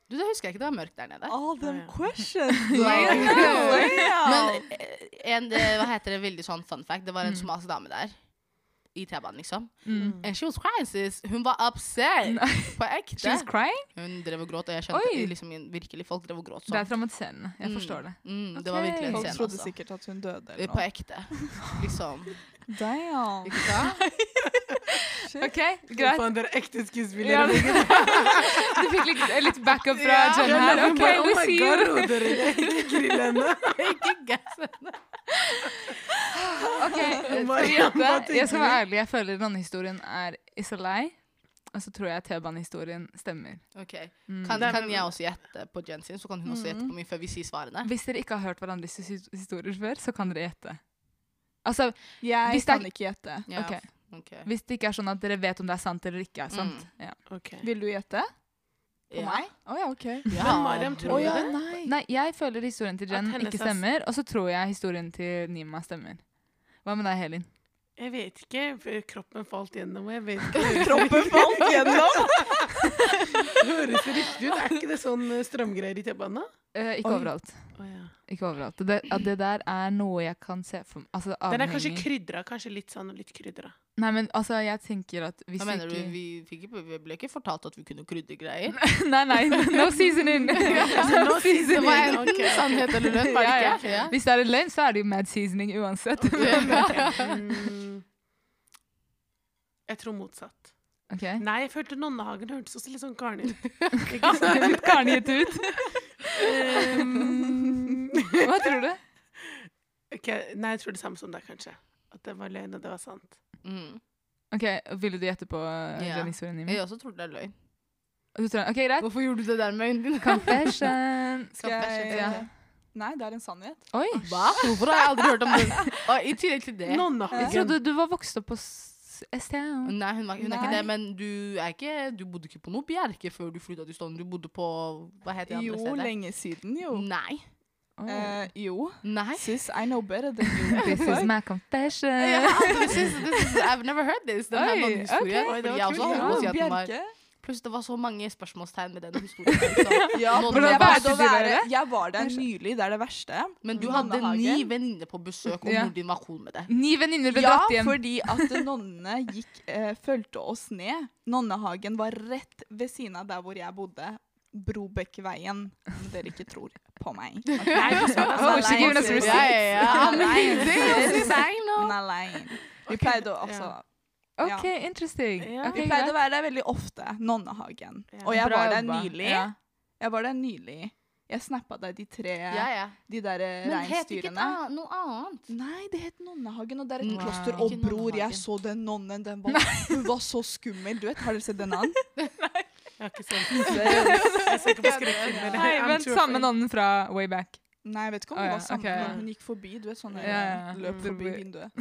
Speaker 4: Du, det husker jeg ikke, det var mørkt der nede.
Speaker 3: All them
Speaker 2: Ja, ja.
Speaker 3: questions!
Speaker 4: Wow.
Speaker 3: Wow.
Speaker 4: Men eh, en, eh, hva heter det, veldig sånn fun fact, det var en somalisk dame der. I T-banen, liksom.
Speaker 1: Mm.
Speaker 4: And she was crying, sis. Hun var upset. På
Speaker 1: She was
Speaker 4: ekte.
Speaker 1: crying?
Speaker 4: Hun drev og gråt, og jeg
Speaker 1: Oi.
Speaker 4: skjønte liksom, virkelig folk drev og gråt
Speaker 1: Det er
Speaker 4: sånn.
Speaker 1: traumatiserende. Jeg forstår det.
Speaker 4: Mm, det
Speaker 1: Ok.
Speaker 4: var virkelig en
Speaker 3: Folk
Speaker 4: scene,
Speaker 3: trodde
Speaker 4: altså.
Speaker 3: sikkert at hun døde eller
Speaker 4: På
Speaker 3: noe.
Speaker 4: ekte. Liksom.
Speaker 3: Damn.
Speaker 4: Ikke sant?
Speaker 1: OK, greit.
Speaker 2: Faen, dere er ekte skuespillere.
Speaker 1: Ja, du du fikk litt, litt backup fra
Speaker 2: Ja.
Speaker 1: Jen
Speaker 2: Ja,
Speaker 1: her.
Speaker 2: men
Speaker 1: OK,
Speaker 2: bare, oh
Speaker 1: we
Speaker 2: my
Speaker 1: see
Speaker 2: God,
Speaker 1: you.
Speaker 2: Roder, jeg er ikke grill henne.
Speaker 4: Ikke gass.
Speaker 1: Ok, skal vi
Speaker 2: Marianne,
Speaker 1: gjette?
Speaker 2: Oh hva tenker
Speaker 1: Jeg skal
Speaker 2: du?
Speaker 1: være ærlig. Jeg føler nonnehistorien er is a lie. Og så tror jeg T-banehistorien stemmer.
Speaker 4: Ok.
Speaker 1: Mm.
Speaker 4: Kan,
Speaker 2: Det er-
Speaker 4: kan jeg også gjette på Jen sin, så kan hun også gjette på min før vi sier svarene?
Speaker 1: Hvis dere ikke har hørt hverandres his- historier før, så kan dere gjette. Altså,
Speaker 3: Jeg
Speaker 1: Hvis det er-
Speaker 3: kan ikke gjette.
Speaker 4: Ja,
Speaker 1: ok.
Speaker 4: ok.
Speaker 1: Hvis det ikke er sånn at dere vet om det er sant eller ikke er sant. Ja.
Speaker 3: Vil du gjette? På
Speaker 4: Ja.
Speaker 3: meg? Å ja, OK.
Speaker 4: Ja,
Speaker 2: Men Mariam, tror
Speaker 4: bro.
Speaker 2: du
Speaker 3: ja,
Speaker 2: det?
Speaker 3: nei.
Speaker 1: Nei, jeg føler historien til
Speaker 2: At
Speaker 1: Jen
Speaker 2: hennes
Speaker 1: ikke
Speaker 2: er s-
Speaker 1: stemmer, og så tror jeg historien til Nima stemmer. Hva med deg, Helin?
Speaker 2: Jeg vet ikke. for Kroppen falt gjennom. og Jeg vet ikke.
Speaker 3: Kroppen falt gjennom!
Speaker 2: Det høres riktig ut. Er ikke det sånn eh, strømgreier i T-banen?
Speaker 1: Eh, ikke
Speaker 3: Oi.
Speaker 1: overalt.
Speaker 2: Oh, ja.
Speaker 1: Ikke overalt. Det, at det der er noe jeg kan se for meg altså,
Speaker 2: Den er kanskje
Speaker 1: avhengig-
Speaker 2: krydra. Kanskje litt sånn og litt krydra.
Speaker 1: Nei, men altså, jeg tenker at hvis
Speaker 4: Hva mener du?
Speaker 1: ikke
Speaker 4: Vi, fikk, ikke- vi ble ikke fortalt at vi kunne krydre greier.
Speaker 1: Nei, nei, no seasoning! no
Speaker 4: Det var
Speaker 1: seasoning.
Speaker 4: enten sannhet eller løgn, var det
Speaker 1: Ja,
Speaker 4: ikke? Ja.
Speaker 1: Hvis det er en løgn, så er det jo mad seasoning uansett.
Speaker 2: Mm. Jeg tror motsatt.
Speaker 1: Ok,
Speaker 2: Nei, jeg følte Nonnehagen hørtes også litt sånn Karen ut.
Speaker 1: Litt karniet ut.
Speaker 2: Um,
Speaker 1: Hva tror du?
Speaker 2: ok, Nei, jeg tror det samme som deg, kanskje. At det var løgn, og det var sant.
Speaker 4: Mm.
Speaker 1: Ok, Ville du gjette på uh,
Speaker 4: Ja.
Speaker 1: Jenny Sorenimi?
Speaker 4: Jeg også trodde det er løgn.
Speaker 1: Du tror- Ok, greit.
Speaker 4: Mm. Hvorfor gjorde du det der med øynene dine?
Speaker 1: Confession.
Speaker 3: Skal jeg
Speaker 1: Ja.
Speaker 3: Nei, det er en sannhet.
Speaker 1: Oi.
Speaker 4: Hva? Hvorfor har jeg aldri hørt om den? Og I tillegg til det
Speaker 1: Jeg
Speaker 2: Nonnehagen.
Speaker 1: trodde du var vokst opp på s- STM.
Speaker 4: Nei, hun, var, hun er ikke
Speaker 3: Nei.
Speaker 4: det, men du, er ikke, du bodde ikke på noe bjerke før du flytta til Stovner. Du bodde på Hva het det andre
Speaker 3: Jo,
Speaker 4: stedet?
Speaker 3: lenge siden, jo.
Speaker 4: Nei.
Speaker 1: Oh.
Speaker 3: Eh, jo.
Speaker 4: Nei.
Speaker 3: Sis, I know better than you.
Speaker 1: This is my confession.
Speaker 4: Ja, this is, this is, I've never heard this. Den her
Speaker 1: Oi,
Speaker 4: mannehistorien.
Speaker 1: ok.
Speaker 2: Oi, det
Speaker 4: Fordi
Speaker 2: var
Speaker 4: jeg også
Speaker 2: kult.
Speaker 4: holdt på å si at den var
Speaker 3: Bjerke.
Speaker 4: Pluss det var så mange spørsmålstegn med den historien. Liksom.
Speaker 3: Ja,
Speaker 4: Nå-
Speaker 3: men
Speaker 1: Hvordan
Speaker 3: jeg,
Speaker 1: valgte
Speaker 3: valgte å
Speaker 1: du
Speaker 3: være,
Speaker 1: dere?
Speaker 3: jeg var der nylig, det er det verste.
Speaker 4: Men du
Speaker 3: Mm.
Speaker 4: hadde ni
Speaker 3: Nonnehagen.
Speaker 4: venninner på besøk, og
Speaker 1: Ja.
Speaker 4: mor din var cool med det.
Speaker 1: Ni venninner ble
Speaker 3: Ja,
Speaker 1: dratt hjem.
Speaker 3: fordi at nonnene gikk, eh, fulgte oss ned. Nonnehagen var rett ved siden av der hvor jeg bodde. Brobekkveien, om dere ikke tror på meg.
Speaker 2: Nei, du sa det
Speaker 1: Oh,
Speaker 2: samme.
Speaker 1: she giving us
Speaker 3: Ja,
Speaker 1: receipts.
Speaker 4: Ja, ja, ja.
Speaker 3: Amazing.
Speaker 4: Amazing.
Speaker 3: Men alene. Vi pleide å altså,
Speaker 1: Ok, interesting.
Speaker 2: Ja.
Speaker 1: Ok,
Speaker 3: Vi pleide å være der veldig ofte, Nonnehagen.
Speaker 2: Ja.
Speaker 3: Og jeg
Speaker 1: Bra
Speaker 3: var der
Speaker 1: jobba.
Speaker 3: nylig.
Speaker 1: Ja.
Speaker 3: Jeg var der nylig. Jeg snappa deg de tre
Speaker 4: Ja, ja.
Speaker 3: de der eh,
Speaker 4: Men het ikke
Speaker 3: reinsdyrene.
Speaker 4: da noe annet?
Speaker 3: Nei, det het Nonnehagen, og det er et
Speaker 4: Nei.
Speaker 3: kloster.
Speaker 1: Ikke
Speaker 3: Og bror,
Speaker 4: Nonnehagen.
Speaker 3: jeg så den nonnen. Den var, hun var så skummel. Du vet, Har dere sett den annen?
Speaker 2: Jeg har ikke sett den. Jeg ser ikke på skrekkfilmer.
Speaker 1: Nei,
Speaker 2: I'm
Speaker 1: vent,
Speaker 2: too
Speaker 1: samme
Speaker 2: afraid.
Speaker 1: nonnen fra way back.
Speaker 3: Nei, jeg vet ikke om
Speaker 1: Å
Speaker 3: det
Speaker 1: ja,
Speaker 3: var sammen,
Speaker 1: ok, ja.
Speaker 3: men hun gikk forbi. Du vet, sånn
Speaker 1: Ja, ja, ja.
Speaker 3: løp
Speaker 1: Mm.
Speaker 3: forbi
Speaker 1: Forbi.
Speaker 3: vinduet.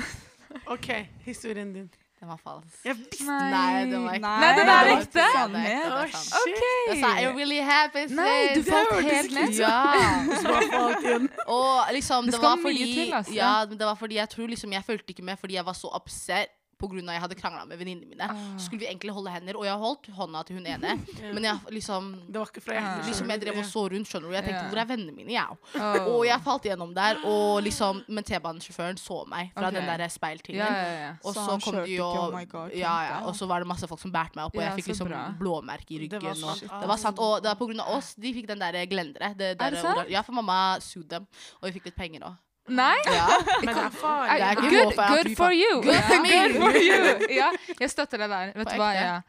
Speaker 2: OK, historien din.
Speaker 4: Den var falsk.
Speaker 2: Jeg visste
Speaker 4: Nei, det var ikke
Speaker 3: Nei,
Speaker 1: Nei, den er
Speaker 4: det var
Speaker 1: ekte.
Speaker 4: ikke
Speaker 3: Sannhet.
Speaker 4: sant, det er
Speaker 2: Å,
Speaker 4: ikke sant.
Speaker 2: shit!
Speaker 4: Jeg sa I really happy sis.
Speaker 1: Nei, du
Speaker 4: Det
Speaker 1: falt
Speaker 4: hørtes
Speaker 1: helt
Speaker 4: ikke
Speaker 1: ned.
Speaker 4: ut. Ja.
Speaker 2: Så bare falt igjen.
Speaker 4: Og liksom,
Speaker 1: Det
Speaker 4: det,
Speaker 1: skal
Speaker 4: var
Speaker 1: mye
Speaker 4: fordi
Speaker 1: til, altså.
Speaker 4: Ja, men det var fordi jeg tror liksom jeg fulgte ikke med fordi jeg var så upset pga. jeg hadde krangla med venninnene mine.
Speaker 1: Ah.
Speaker 4: Så skulle vi egentlig holde hender, og jeg holdt hånda til hun ene. Men jeg liksom
Speaker 2: Det var ikke fra hjertet.
Speaker 4: Liksom jeg drev og så rundt, skjønner du. Jeg tenkte
Speaker 1: Ja.
Speaker 4: hvor er vennene mine, jeg?
Speaker 1: Oh.
Speaker 4: Og jeg falt gjennom der, og liksom Men T-banesjåføren så meg fra
Speaker 1: Ok.
Speaker 4: den der
Speaker 1: Oh, Ja,
Speaker 4: speiltingen.
Speaker 1: ja, ja.
Speaker 4: Og
Speaker 3: Så
Speaker 4: så
Speaker 3: han
Speaker 4: kom
Speaker 3: kjørte
Speaker 4: de
Speaker 3: ikke,
Speaker 4: og
Speaker 3: oh my God,
Speaker 4: ja, ja.
Speaker 3: tenkte jeg.
Speaker 4: Og så var det masse folk som bærte meg opp, og
Speaker 1: Ja,
Speaker 4: jeg fikk
Speaker 1: så
Speaker 4: liksom
Speaker 1: bra.
Speaker 4: blåmerke i
Speaker 2: Det
Speaker 4: ryggen.
Speaker 2: var
Speaker 4: og
Speaker 2: sant.
Speaker 4: det var sant, og det var på grunn av oss. De fikk den der glendere.
Speaker 1: Er
Speaker 4: Det,
Speaker 1: det
Speaker 4: der
Speaker 1: sant?
Speaker 4: oral- Ja, for mamma sued dem, og vi fikk litt penger òg.
Speaker 1: Nei?
Speaker 4: Ja.
Speaker 2: Men det er farlig.
Speaker 4: Det er ikke
Speaker 1: Good,
Speaker 4: håp at
Speaker 1: good
Speaker 4: vi
Speaker 1: for
Speaker 4: fa-
Speaker 1: you!
Speaker 4: Good for me.
Speaker 1: Good for you! Ja, jeg støtter deg der. Vet
Speaker 4: På
Speaker 1: du hva?
Speaker 4: ekte.
Speaker 1: Ja.
Speaker 2: Ja, men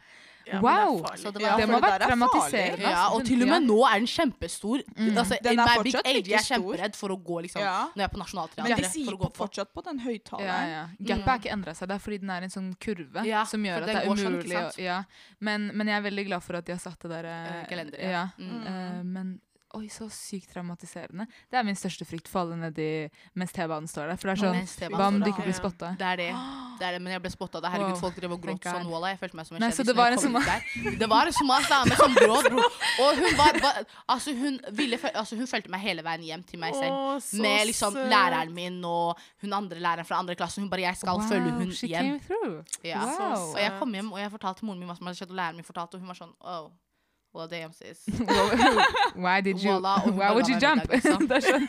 Speaker 2: det er
Speaker 1: Wow.
Speaker 2: farlig.
Speaker 4: Så det
Speaker 3: Ja,
Speaker 4: var
Speaker 1: Det må ha
Speaker 3: for det
Speaker 1: vært
Speaker 3: der er farlig.
Speaker 1: traumatiserende.
Speaker 4: Ja, og til og med nå er den kjempestor.
Speaker 1: Mm.
Speaker 4: Altså,
Speaker 3: Den
Speaker 4: in
Speaker 3: er
Speaker 4: my big
Speaker 3: fortsatt
Speaker 4: age,
Speaker 3: like
Speaker 4: Jeg er
Speaker 3: stor.
Speaker 4: kjemperedd for å gå liksom
Speaker 3: Ja.
Speaker 4: Når jeg er
Speaker 3: Men
Speaker 4: på
Speaker 3: de
Speaker 4: Nationaltheatret.
Speaker 3: sier
Speaker 4: for å
Speaker 3: på,
Speaker 4: gå
Speaker 3: fortsatt på den
Speaker 1: Ja,
Speaker 3: høyttaleren.
Speaker 1: ja. Gapet har ikke endra seg. Det er fordi den er en sånn kurve
Speaker 4: mm. Ja,
Speaker 1: som
Speaker 4: for
Speaker 1: gjør at
Speaker 4: den
Speaker 1: det er
Speaker 4: går sånn,
Speaker 1: umulig å
Speaker 4: ikke sant?
Speaker 1: ja. men, men jeg er veldig glad for at de har satt det der eh,
Speaker 4: Eh, gelenderet, ja.
Speaker 1: Ja.
Speaker 4: Mm.
Speaker 1: Eh, men oi, så sykt traumatiserende. Det er min største frykt, falle nedi mens T-banen står der. For det er sånn
Speaker 4: Mens T-banen
Speaker 1: Hva om
Speaker 4: står
Speaker 1: du
Speaker 4: der,
Speaker 1: ikke
Speaker 2: ja.
Speaker 1: blir spotta?
Speaker 4: Det er det. det er det. Men jeg ble spotta da. Herregud,
Speaker 1: Wow.
Speaker 4: folk drev og
Speaker 1: Thank
Speaker 4: gråt sånn.
Speaker 1: God.
Speaker 4: Wallah, jeg følte meg som en
Speaker 1: Nei,
Speaker 4: kjendis.
Speaker 1: så det
Speaker 4: når
Speaker 1: var
Speaker 4: jeg
Speaker 1: en
Speaker 4: kom
Speaker 1: som-
Speaker 4: ut der. Det var en somalisk dame som gråt, bro. Og hun var, var Altså, hun ville føl- Altså, hun fulgte meg hele veien hjem til meg selv.
Speaker 2: Å, så
Speaker 4: Med liksom
Speaker 2: søt.
Speaker 4: læreren min og hun andre læreren fra andre klasse. Hun bare 'Jeg skal
Speaker 1: Wow,
Speaker 4: følge hun
Speaker 1: she came
Speaker 4: hjem'.
Speaker 1: through.
Speaker 4: Ja.
Speaker 1: Wow.
Speaker 4: Og jeg kom hjem og jeg fortalte moren min hva som hadde skjedd, og læreren min fortalte, og hun var sånn oh, well, damn, sis.
Speaker 1: Why did you
Speaker 4: Voila, og hun
Speaker 1: Why
Speaker 4: bare
Speaker 1: would
Speaker 4: la
Speaker 1: you
Speaker 4: meg
Speaker 1: jump?
Speaker 4: middag, liksom.
Speaker 1: Det er sånn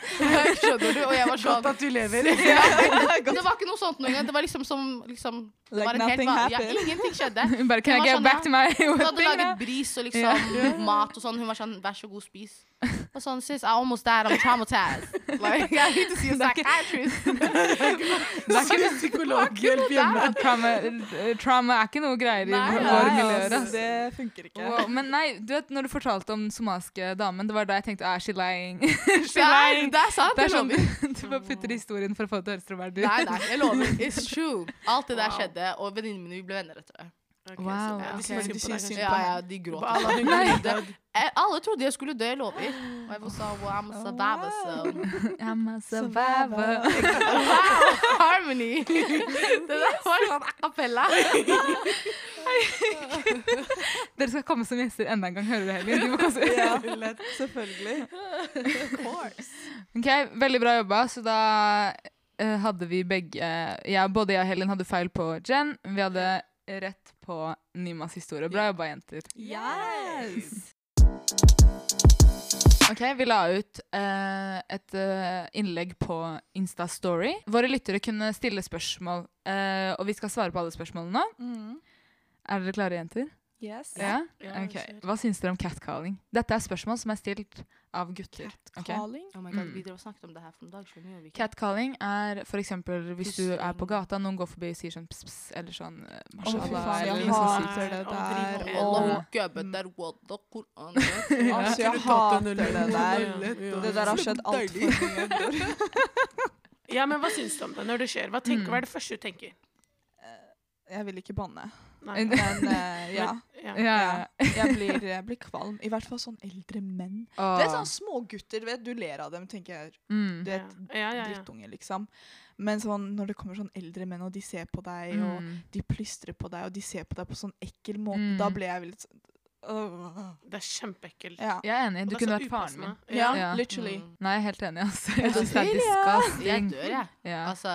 Speaker 4: Skjønner du? Og jeg var sånn
Speaker 2: Godt at du lever.
Speaker 4: Det var ikke noe sånt noe engang. Det var liksom som liksom, det
Speaker 3: Like
Speaker 4: var en helt
Speaker 3: nothing
Speaker 4: van-
Speaker 3: happened.
Speaker 4: Ja, ingenting skjedde.
Speaker 1: Hun bare Can I
Speaker 4: Det var
Speaker 1: get
Speaker 4: sånn,
Speaker 1: back
Speaker 4: ja.
Speaker 1: to my
Speaker 4: Hun hadde
Speaker 1: thing
Speaker 4: laget
Speaker 1: now?
Speaker 4: bris og liksom mat og sånn. Hun var sånn, vær så god, spis. Og sånn, sis, I almost died, I'm traumatized. Like, I need to see a psychiatrist.
Speaker 2: Det er ikke psykologhjelp hjemme.
Speaker 1: Ja, Trauma, eh, trauma er ikke noe greier i
Speaker 4: Nei,
Speaker 1: vå-
Speaker 4: nei,
Speaker 1: våre
Speaker 3: Nei,
Speaker 1: miljøer.
Speaker 3: altså,
Speaker 1: ass.
Speaker 3: det funker ikke.
Speaker 1: Wow, men nei, du vet når du fortalte om den somaliske damen, det var da jeg tenkte ah, she lying. she
Speaker 4: Ja,
Speaker 1: lying.
Speaker 4: det er sant,
Speaker 1: Det er
Speaker 4: jeg
Speaker 1: sånn,
Speaker 4: lover.
Speaker 1: du bare putter historien for å få det til å høres troverdig
Speaker 4: Nei,
Speaker 1: ut.
Speaker 4: nei, jeg lover. It's true. Alt det der skjedde, og venninnene mine vi ble venner etter det.
Speaker 2: Ok,
Speaker 1: Wow,
Speaker 2: så- ja,
Speaker 1: ok.
Speaker 2: de syns
Speaker 3: De
Speaker 2: synd på
Speaker 3: syns
Speaker 2: deg, kanskje.
Speaker 3: synd
Speaker 4: Ja, ja, de gråt.
Speaker 2: På alle dine middag.
Speaker 4: Eh, Alle trodde jeg skulle dø, jeg lover. Og jeg var sånn, well, I'm a survivor, so.
Speaker 1: I'm a survivor.
Speaker 4: Wow, harmony. Det der var sånn a cappella.
Speaker 1: Dere skal komme som gjester enda en gang, hører du, Helin? De må komme som-
Speaker 3: Ja, lett, selvfølgelig.
Speaker 1: Ok, veldig bra jobba. Så da eh, hadde vi begge ja, Både jeg og Helen hadde feil på Jen. Vi hadde rett på Nimas historie. Bra jobba, jenter.
Speaker 3: Yes!
Speaker 1: Ok, Vi la ut eh, et eh, innlegg på Insta-story. Våre lyttere kunne stille spørsmål, eh, og vi skal svare på alle spørsmålene nå.
Speaker 3: Mm.
Speaker 1: Er dere klare, jenter?
Speaker 3: Yes.
Speaker 1: Ja?
Speaker 2: Ja,
Speaker 1: Ok.
Speaker 2: kjør.
Speaker 1: Hva syns dere om catcalling? Dette er spørsmål som er stilt av gutter. ok?
Speaker 3: Calling.
Speaker 4: Oh my god, vi drev og snakket om det her for en dag, skjønner jo vi ikke.
Speaker 1: Catcalling er for eksempel hvis du
Speaker 4: Pussing.
Speaker 1: er på gata, noen går forbi og sier sånn pss, pss, eller sånn eh,
Speaker 3: Å, fy
Speaker 1: mashallah,
Speaker 3: faen,
Speaker 1: eller liksom noe
Speaker 3: jeg
Speaker 1: sånt
Speaker 2: sykt.
Speaker 3: hater det
Speaker 2: Aldri
Speaker 3: der.
Speaker 2: noe.
Speaker 4: Allah,
Speaker 1: Ja.
Speaker 3: Og,
Speaker 4: hun gøbbet der, wallah,
Speaker 3: altså,
Speaker 4: Koranen.
Speaker 3: jeg
Speaker 2: Skulle tatt
Speaker 3: hater
Speaker 2: en
Speaker 3: det
Speaker 2: øl.
Speaker 3: der.
Speaker 2: Ja.
Speaker 3: Det der har skjedd altfor mye.
Speaker 2: Ja, men hva syns du om det når det skjer? Hva, tenker, hva er det første du tenker?
Speaker 3: Jeg vil ikke banne,
Speaker 2: Nei.
Speaker 1: En-
Speaker 3: men eh, ja.
Speaker 2: Ja.
Speaker 1: Ja, ja.
Speaker 3: ja. Jeg blir, jeg blir kvalm. I hvert fall sånn eldre menn. Det er
Speaker 1: Åh.
Speaker 3: sånn smågutter, du vet, du ler av dem, tenker jeg.
Speaker 1: Mm.
Speaker 3: Du vet,
Speaker 2: Ja, ja, ja.
Speaker 3: drittunge, liksom. Men sånn, når det kommer sånn eldre menn, og de ser på deg, og
Speaker 1: Mm.
Speaker 3: de plystrer på deg, og de ser på deg på sånn ekkel måte,
Speaker 1: Mm.
Speaker 3: da ble jeg litt sånn øh.
Speaker 2: Det er kjempeekkelt.
Speaker 3: ja.
Speaker 1: Jeg er enig.
Speaker 2: Og
Speaker 1: Du
Speaker 2: det er
Speaker 1: kunne
Speaker 2: så
Speaker 1: vært faren min.
Speaker 2: upassende.
Speaker 3: ja,
Speaker 1: Ja.
Speaker 3: literally.
Speaker 1: Nei, jeg er helt enig, altså. Jeg synes det er
Speaker 3: Cecilia!
Speaker 4: Jeg
Speaker 1: disgusting.
Speaker 4: dør, jeg.
Speaker 1: Ja.
Speaker 4: Altså,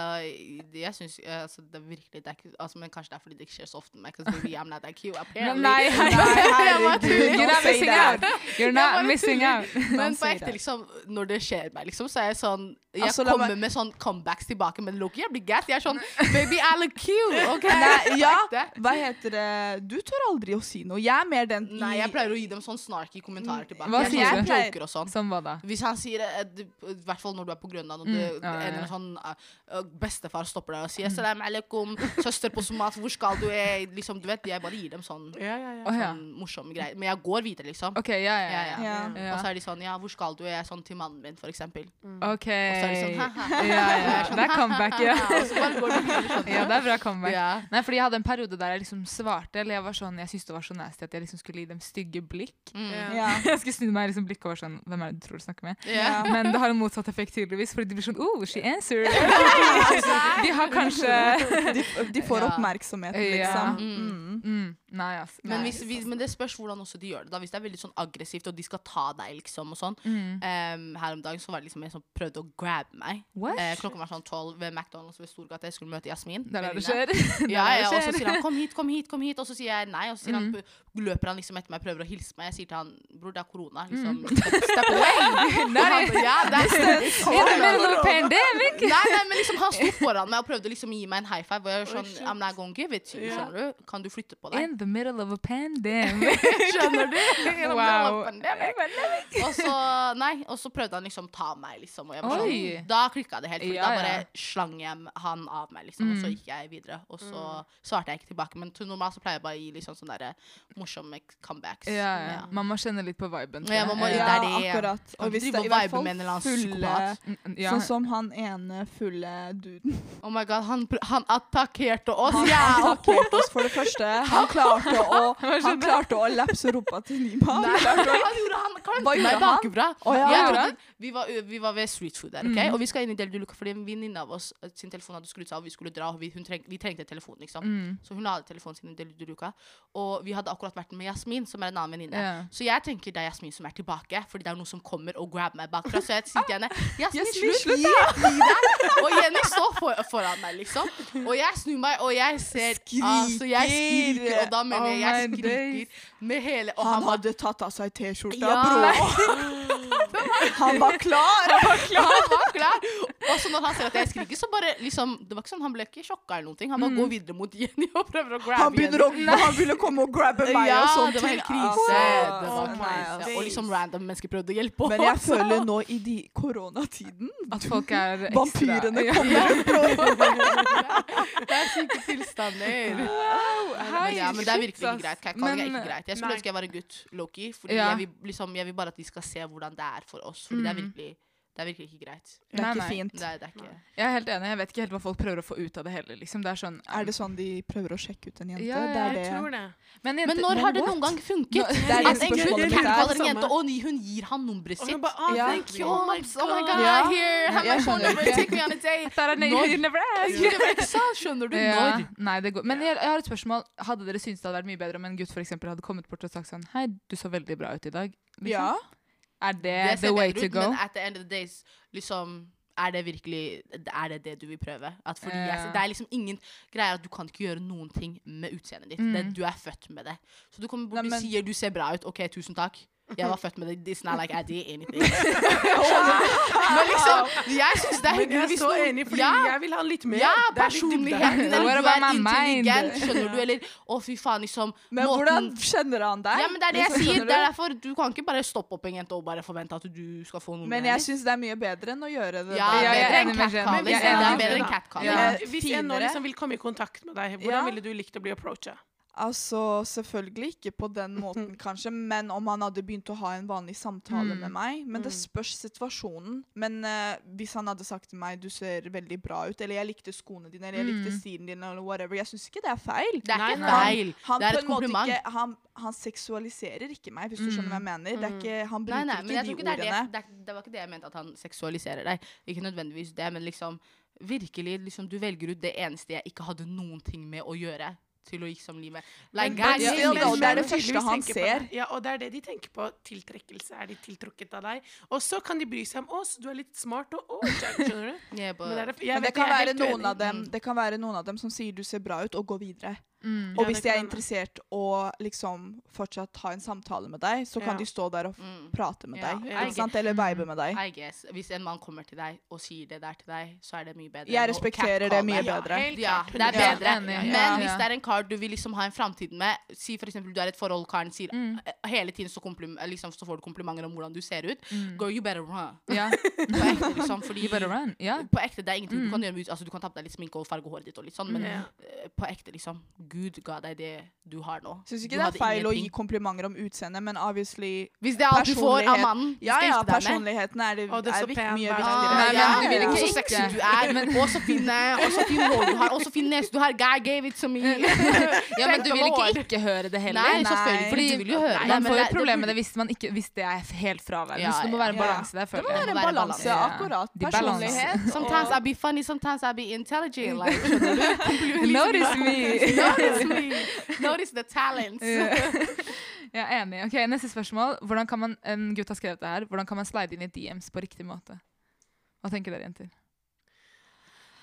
Speaker 4: jeg syns altså, det er virkelig det er ikke, altså, Men kanskje det er fordi det ikke skjer så ofte med meg. 'cause maybe I'm not that cute, apparently.
Speaker 1: Nei,
Speaker 3: Nei, herregud,
Speaker 1: You're
Speaker 3: don't
Speaker 1: not
Speaker 3: say
Speaker 1: missing
Speaker 3: that.
Speaker 1: out! You're
Speaker 4: Jeg
Speaker 1: not
Speaker 4: bare
Speaker 1: missing
Speaker 4: tuller.
Speaker 1: out!
Speaker 4: Men
Speaker 3: Don't
Speaker 4: på
Speaker 3: say
Speaker 4: ekte,
Speaker 3: that.
Speaker 4: liksom, når det skjer meg, liksom, så er jeg sånn Jeg
Speaker 3: Altså, la
Speaker 4: kommer
Speaker 3: meg-
Speaker 4: med sånn comebacks tilbake, men Loki, jeg blir gass. Jeg er sånn Baby, I look cute, OK?
Speaker 3: Nei, ja.
Speaker 4: På ekte.
Speaker 3: Hva heter det? Du tør aldri å si noe. Jeg er mer den
Speaker 4: Nei, jeg pleier å gi dem sånn snarky kommentarer tilbake.
Speaker 1: Hva
Speaker 4: jeg,
Speaker 1: sier
Speaker 4: jeg
Speaker 1: du?
Speaker 4: joker og sånn.
Speaker 1: Som hva da?
Speaker 4: Hvis han sier eh, du- I hvert fall når du er på Grønland, og det,
Speaker 1: Mm, ja, Mm. ja,
Speaker 4: det
Speaker 1: ja.
Speaker 4: ender med sånn eh, eh, Bestefar stopper deg og sier 'salam aleikum', 'søster på somat', 'hvor skal du?' eh?» Liksom, du vet, jeg bare gir dem sånn,
Speaker 2: Ja, ja, ja.
Speaker 1: Å ja.
Speaker 4: sånn morsomme greier. Men jeg går videre, liksom.
Speaker 1: OK, ja, ja.
Speaker 4: Ja,
Speaker 1: ja.
Speaker 4: ja.
Speaker 3: Ja.
Speaker 1: Ja.
Speaker 4: Og så er de sånn 'ja, hvor skal du?' Jeg er sånn til mannen min, for eksempel.
Speaker 2: Mm.
Speaker 1: OK.
Speaker 4: Og så er det sånn
Speaker 1: Ja,
Speaker 4: «Haha».
Speaker 1: ja.
Speaker 4: Jeg er sånn,
Speaker 1: Det er comeback, ja.
Speaker 4: Og så bare går du videre, skjønner
Speaker 1: Ja,
Speaker 4: du.
Speaker 1: det er bra comeback.
Speaker 4: Ja.
Speaker 1: Nei, fordi jeg hadde en periode der jeg liksom svarte, eller jeg var sånn, jeg syntes det var så nasty at jeg liksom skulle gi dem stygge blikk.
Speaker 4: Mm.
Speaker 2: Ja.
Speaker 3: Ja.
Speaker 1: Jeg skulle snu meg liksom blikket og være sånn, hvem er det du tror du snakker med?
Speaker 4: Ja.
Speaker 1: Men det har en motsatt effekt tydeligvis, fordi de blir sånn, oh, she answered. De har kanskje...
Speaker 3: De, de får
Speaker 4: Ja.
Speaker 3: oppmerksomhet,
Speaker 1: Ja.
Speaker 3: liksom.
Speaker 4: Mm.
Speaker 3: Mm.
Speaker 1: Mm, nei, ass.
Speaker 4: Men,
Speaker 1: Nei.
Speaker 4: hvis, vi, men det spørs hvordan også de gjør det. da Hvis det er veldig sånn aggressivt, og de skal ta deg, liksom, og sånn.
Speaker 1: Mm.
Speaker 4: Em, her om dagen så var det liksom en som prøvde å grabbe meg.
Speaker 1: What?
Speaker 4: Eh, klokka var sånn tolv ved McDonald's ved Storgata. Jeg skulle møte Jasmin.
Speaker 1: Det er der det
Speaker 4: venninne.
Speaker 1: skjer. Det er
Speaker 4: Ja,
Speaker 1: der det
Speaker 4: ja, og så
Speaker 1: skjer. Mm.
Speaker 4: sier han 'kom hit, kom hit', kom hit og så sier jeg nei. Og så sier han, løper han liksom etter meg, prøver å hilse meg. Jeg sier til han 'bror, det er
Speaker 1: Mm.
Speaker 4: korona'. Liksom. Step away! Og han bare, ja, det er
Speaker 1: In the middle of pandemic!
Speaker 4: Nei, nei, men liksom han sto foran meg og prøvde liksom å gi meg en high five. Og jeg var sånn, I'm not gonna give it to you,
Speaker 2: Ja.
Speaker 4: skjønner du? Kan du flytte på deg?
Speaker 1: In the middle of a pandemic.
Speaker 4: Skjønner du?
Speaker 1: Wow.
Speaker 4: Og så, nei, og så prøvde han liksom ta meg, liksom. Og jeg var
Speaker 1: Oi.
Speaker 4: sånn, da klikka det helt. Fordi
Speaker 1: Ja,
Speaker 4: da
Speaker 1: ja.
Speaker 4: bare slang jeg han av meg, liksom. Og så
Speaker 1: Mm.
Speaker 4: gikk jeg videre. Og så
Speaker 3: Mm.
Speaker 4: svarte jeg ikke tilbake. Men til normalt så pleier jeg bare å gi liksom sånne der morsomme comebacks.
Speaker 1: Ja, ja. Man må kjenne litt på viben. tror
Speaker 4: Sånn. Ja,
Speaker 1: jeg.
Speaker 4: man må-
Speaker 1: Eh,
Speaker 4: det
Speaker 3: Ja,
Speaker 4: er det.
Speaker 3: akkurat.
Speaker 4: Kan ikke
Speaker 3: Og hvis det er i
Speaker 4: drive og vibe
Speaker 3: hvert fall
Speaker 4: med en eller annen
Speaker 3: fulle
Speaker 4: psykopat.
Speaker 1: mm, ja.
Speaker 3: Sånn som han ene fulle duden.
Speaker 4: Oh my god, han, pr- han attakkerte oss!
Speaker 3: Han
Speaker 4: ja!
Speaker 3: attakkerte oss, for det første. Han klarte å, han klarte å lapse rumpa til Nima.
Speaker 4: Nei, han gjorde han kan-
Speaker 3: Hva gjorde
Speaker 4: Nei,
Speaker 3: han?
Speaker 4: bakebra.
Speaker 3: Å, ja.
Speaker 4: Jeg
Speaker 3: Gjorde Mm.
Speaker 4: trodde- vi, var, vi var ved street food der, ok? og vi skal inn i Del Duluca fordi en venninne av oss eh, sin telefon hadde skrudd seg av, og vi skulle dra, og vi, hun treng, vi trengte telefon, liksom.
Speaker 1: Mm.
Speaker 4: Så hun hadde telefonen sin i Del Duluca, og vi hadde akkurat vært med Jasmin, som er en annen venninne.
Speaker 1: Ja.
Speaker 4: Så jeg tenker det er Jasmin som er tilbake, fordi det er noen som kommer og grabber meg bakfra. Så jeg sier til henne Jasmin,
Speaker 3: Jasmin,
Speaker 4: slutt! Gi, gi deg! Og Jenny står for, foran meg, liksom. Og jeg snur meg, og jeg ser Altså, jeg skriker, og da mener
Speaker 1: Oh
Speaker 4: jeg jeg
Speaker 1: my days.
Speaker 4: skriker med hele Og
Speaker 3: Han
Speaker 4: han var
Speaker 3: hadde tatt av seg T-skjorta,
Speaker 4: Ja.
Speaker 3: bror. Han var klar!
Speaker 4: Han var klar. Og så når han ser at jeg skriker, så bare liksom Det var ikke sånn, han ble ikke sjokka eller noen ting. Han bare går videre mot Jenny og prøver å grabbe
Speaker 3: Mm. Han begynner å, han begynner å komme og grabbe meg
Speaker 4: ja,
Speaker 3: og sånn
Speaker 4: det var helt krise. Det var
Speaker 3: Altså, nei,
Speaker 4: krise.
Speaker 3: altså.
Speaker 4: Og liksom random mennesker prøvde å hjelpe oss.
Speaker 3: Men jeg føler nå i de koronatiden
Speaker 1: At folk er ekstra
Speaker 3: Vampyrene
Speaker 1: Ja.
Speaker 3: kommer.
Speaker 4: Det er syke tilstander. Men, ja, men det er virkelig ikke greit. Catcalling er
Speaker 1: Men,
Speaker 4: ikke greit. Jeg skulle
Speaker 2: nei.
Speaker 4: ønske jeg var en gutt, Loki. Fordi
Speaker 1: Ja.
Speaker 4: jeg, vil, liksom, jeg vil bare at de skal se hvordan det er for oss. Fordi det, er
Speaker 3: Mm.
Speaker 4: virkelig, det er virkelig ikke greit.
Speaker 3: Det
Speaker 1: Nei,
Speaker 3: er
Speaker 1: nei.
Speaker 3: ikke fint.
Speaker 4: Det er, det er ikke
Speaker 1: Jeg er helt enig. Jeg vet ikke helt hva folk prøver å få ut av det heller. Liksom. Det er sånn,
Speaker 3: Er det sånn de prøver å sjekke ut en jente?
Speaker 1: Ja, ja,
Speaker 3: det er
Speaker 2: Jeg
Speaker 3: det.
Speaker 2: tror det.
Speaker 1: men, jenter-
Speaker 4: Men når har det
Speaker 1: what?
Speaker 4: noen gang funket?
Speaker 3: Nå- det er liksom
Speaker 4: At en gutt
Speaker 3: spørsmålet mitt.
Speaker 2: Det er
Speaker 4: catcaller en
Speaker 2: det
Speaker 4: jente,
Speaker 2: samme.
Speaker 4: og ni- hun gir han nummeret
Speaker 2: Og
Speaker 4: sitt.
Speaker 2: hun bare, ah,
Speaker 3: Ja.
Speaker 2: thank you.
Speaker 4: Oh my, oh my god,
Speaker 3: Ja.
Speaker 4: here, have
Speaker 3: Jeg
Speaker 4: my phone
Speaker 3: skjønner
Speaker 4: number,
Speaker 3: ikke.
Speaker 4: take me on a date.
Speaker 1: Der er det-
Speaker 4: Når-
Speaker 1: you never ask.
Speaker 4: Skulle vært sånn, skjønner du?
Speaker 1: Ja,
Speaker 4: Når?
Speaker 1: nei, det går. Men jeg, jeg har et spørsmål. Hadde dere syntes det hadde vært mye bedre om en gutt for eksempel, hadde kommet bort og sagt sånn Hei, du så veldig bra ut i dag. Liksom.
Speaker 3: Ja.
Speaker 1: Er det,
Speaker 4: Det ser
Speaker 1: the way
Speaker 4: bedre
Speaker 1: to
Speaker 4: ut,
Speaker 1: go?
Speaker 4: Men at the end of the days, liksom er det virkelig er det det du vil prøve? At fordi
Speaker 1: Ja.
Speaker 4: jeg, det er liksom ingen greier at du kan ikke gjøre noen ting med utseendet ditt.
Speaker 1: Mm.
Speaker 4: Det, du er født med det. Så du kommer bort
Speaker 3: Nei,
Speaker 4: og
Speaker 3: men-
Speaker 4: sier du ser bra ut. OK, tusen takk. Jeg var født med det. It's not like I did anything. Men liksom, jeg syns det er
Speaker 2: Men
Speaker 4: hyggelig
Speaker 2: jeg er
Speaker 4: hvis
Speaker 2: så
Speaker 4: noen-
Speaker 2: enig, fordi
Speaker 4: Ja.
Speaker 2: jeg vil ha litt mer.
Speaker 4: Ja,
Speaker 2: Det er litt dybde.
Speaker 4: personligheten.
Speaker 1: dybde. What
Speaker 4: Eller du
Speaker 1: about
Speaker 4: er
Speaker 1: my mind?
Speaker 4: intelligent, skjønner du? Eller å, fy faen, liksom
Speaker 3: Men
Speaker 4: måten-
Speaker 3: hvordan kjenner han deg?
Speaker 4: Ja, men det er det jeg
Speaker 3: Liksom,
Speaker 4: sier.
Speaker 3: skjønner
Speaker 4: Det er
Speaker 3: du?
Speaker 4: derfor Du kan ikke bare stoppe opp en jente og bare forvente at du skal få noe
Speaker 3: Men jeg syns det er mye bedre enn å gjøre det
Speaker 4: Ja,
Speaker 1: Ja, jeg
Speaker 3: der.
Speaker 4: bedre
Speaker 1: er
Speaker 4: enn
Speaker 1: enig med Jen. Jeg er
Speaker 4: catcalling. Det
Speaker 1: enig
Speaker 4: er
Speaker 1: med
Speaker 4: bedre
Speaker 1: Jen.
Speaker 4: enn catcalling.
Speaker 1: Ja.
Speaker 2: Men Hvis jeg nå
Speaker 3: finere.
Speaker 2: liksom vil komme i kontakt med deg,
Speaker 3: Ja.
Speaker 2: hvordan ville du likt å bli approacha?
Speaker 3: Altså, selvfølgelig ikke på den måten, kanskje, men om han hadde begynt å ha en vanlig samtale
Speaker 1: Mm.
Speaker 3: med meg. Men det spørs situasjonen. Men eh, hvis han hadde sagt til meg 'du ser veldig bra ut', eller 'jeg likte skoene dine', eller 'jeg likte
Speaker 1: Mm.
Speaker 3: stilen din', eller whatever, jeg syns ikke det er feil.
Speaker 4: Det er
Speaker 2: Nei,
Speaker 4: ikke
Speaker 2: nei.
Speaker 4: feil.
Speaker 3: Han,
Speaker 4: Det er
Speaker 3: på
Speaker 4: et
Speaker 3: en måte
Speaker 4: kompliment.
Speaker 3: Ikke, han, han seksualiserer ikke meg, hvis du skjønner hva jeg mener. Det er ikke, han
Speaker 4: Nei,
Speaker 3: bruker
Speaker 4: nei, men jeg tror
Speaker 3: ikke
Speaker 4: ikke
Speaker 3: de
Speaker 4: det, er det.
Speaker 3: ordene.
Speaker 4: det, er- det var ikke det jeg mente, at han seksualiserer deg. Ikke nødvendigvis det, men liksom virkelig liksom, Du velger ut det eneste jeg ikke hadde noen ting med å gjøre, til å liksom livet. Like,
Speaker 2: Men-
Speaker 4: guys,
Speaker 3: men-
Speaker 4: you
Speaker 3: men-
Speaker 4: know
Speaker 3: men- det er det
Speaker 4: that-
Speaker 3: første
Speaker 2: tydeligvis
Speaker 3: han
Speaker 2: tenker på
Speaker 3: ser.
Speaker 2: Det. Ja, og det er det de tenker på. Tiltrekkelse. Er de tiltrukket av deg? Og så kan de bry seg om oss. Du er litt smart og og- skjønner du?
Speaker 4: Yeah, but-
Speaker 2: Men det, er, derfor- jeg
Speaker 3: Men det
Speaker 2: vet,
Speaker 3: kan,
Speaker 2: jeg er
Speaker 3: være
Speaker 2: helt
Speaker 3: noen
Speaker 2: uenig.
Speaker 3: av dem, det kan være noen av dem som sier 'du ser bra ut', og går videre.
Speaker 1: Mm.
Speaker 3: Og
Speaker 2: Ja, det
Speaker 3: hvis de
Speaker 2: kan
Speaker 3: er
Speaker 2: hende.
Speaker 3: interessert og liksom fortsatt ha en samtale med deg, så kan
Speaker 2: Ja.
Speaker 3: de stå der og f-
Speaker 4: Mm.
Speaker 3: prate med
Speaker 4: Ja, Mm.
Speaker 3: deg,
Speaker 2: ja.
Speaker 3: ikke sant? eller vibe med deg.
Speaker 4: I guess. Hvis en mann kommer til deg og sier det der til deg, så er det mye bedre.
Speaker 3: Jeg
Speaker 4: enn å
Speaker 3: respekterer det
Speaker 4: catcalle.
Speaker 3: mye
Speaker 2: Ja,
Speaker 3: bedre.
Speaker 2: helt
Speaker 4: Ja,
Speaker 2: klart.
Speaker 4: det er
Speaker 3: Ja,
Speaker 4: bedre.
Speaker 1: enig.
Speaker 3: Ja.
Speaker 4: Men hvis det er en kar du vil liksom ha en framtid med Si for eksempel du er et forhold, karen sier
Speaker 1: Mm.
Speaker 4: eh, Hele tiden så, komplim- eh, liksom, så får du komplimenter om hvordan du ser ut.
Speaker 1: Mm.
Speaker 4: Girl, you better run.
Speaker 1: Ja.
Speaker 4: På ekte, liksom, fordi
Speaker 1: You better run. Ja.
Speaker 4: På ekte, det er ingenting
Speaker 1: Mm.
Speaker 4: du kan gjøre med ut- Altså, du kan ta på deg litt sminke og farge håret ditt og litt sånn, men
Speaker 2: Ja.
Speaker 4: eh, på ekte, liksom. Gud ga deg det du har nå.
Speaker 3: Syns
Speaker 4: Du
Speaker 3: ikke det
Speaker 4: hadde
Speaker 3: er feil å gi
Speaker 4: ingenting.
Speaker 3: komplimenter om utseendet, men obviously
Speaker 4: Hvis det er alt du får av
Speaker 3: personlighet.
Speaker 4: mannen, du
Speaker 3: Ja,
Speaker 4: skal
Speaker 3: ja,
Speaker 4: gifte deg med. Ah,
Speaker 3: personligheten er, det,
Speaker 2: Å, du er
Speaker 3: er
Speaker 2: så
Speaker 3: vik-
Speaker 2: pen,
Speaker 3: mye
Speaker 2: da.
Speaker 3: viktigere.
Speaker 1: Nei, men
Speaker 4: Ja,
Speaker 1: du vil
Speaker 4: ja.
Speaker 1: ikke
Speaker 4: Så
Speaker 1: ikke.
Speaker 4: sexy du er,
Speaker 1: Men-
Speaker 4: og så fin eh, og så fin hår du har, og så fin nese du har. God gave it to me.
Speaker 1: ja, men du vil
Speaker 4: Femte år.
Speaker 1: ikke ikke høre det heller.
Speaker 4: Nei,
Speaker 3: nei.
Speaker 4: selvfølgelig. Fordi du vil jo høre det,
Speaker 1: man
Speaker 4: men
Speaker 1: får jo
Speaker 4: det- det
Speaker 1: problem
Speaker 4: burde-
Speaker 1: med det hvis, man ikke, hvis det er helt fraværende.
Speaker 4: Ja,
Speaker 1: så det må
Speaker 4: ja.
Speaker 1: være en
Speaker 3: Ja.
Speaker 1: balance der, føler
Speaker 3: Det
Speaker 1: jeg.
Speaker 3: er en
Speaker 4: være
Speaker 3: balanse,
Speaker 1: balanse.
Speaker 3: akkurat.
Speaker 1: De balanser.
Speaker 3: Personlighet.
Speaker 4: Sometimes
Speaker 3: og-
Speaker 4: I'll be funny, sometimes I'll be intelligent. Like,
Speaker 1: Notice me!
Speaker 4: notice me. Notice the talents.
Speaker 1: Jeg er enig. Ok, Neste spørsmål. Hvordan kan man en gutt har skrevet det her, hvordan kan man slide inn i DMs på riktig måte? Hva tenker dere, jenter?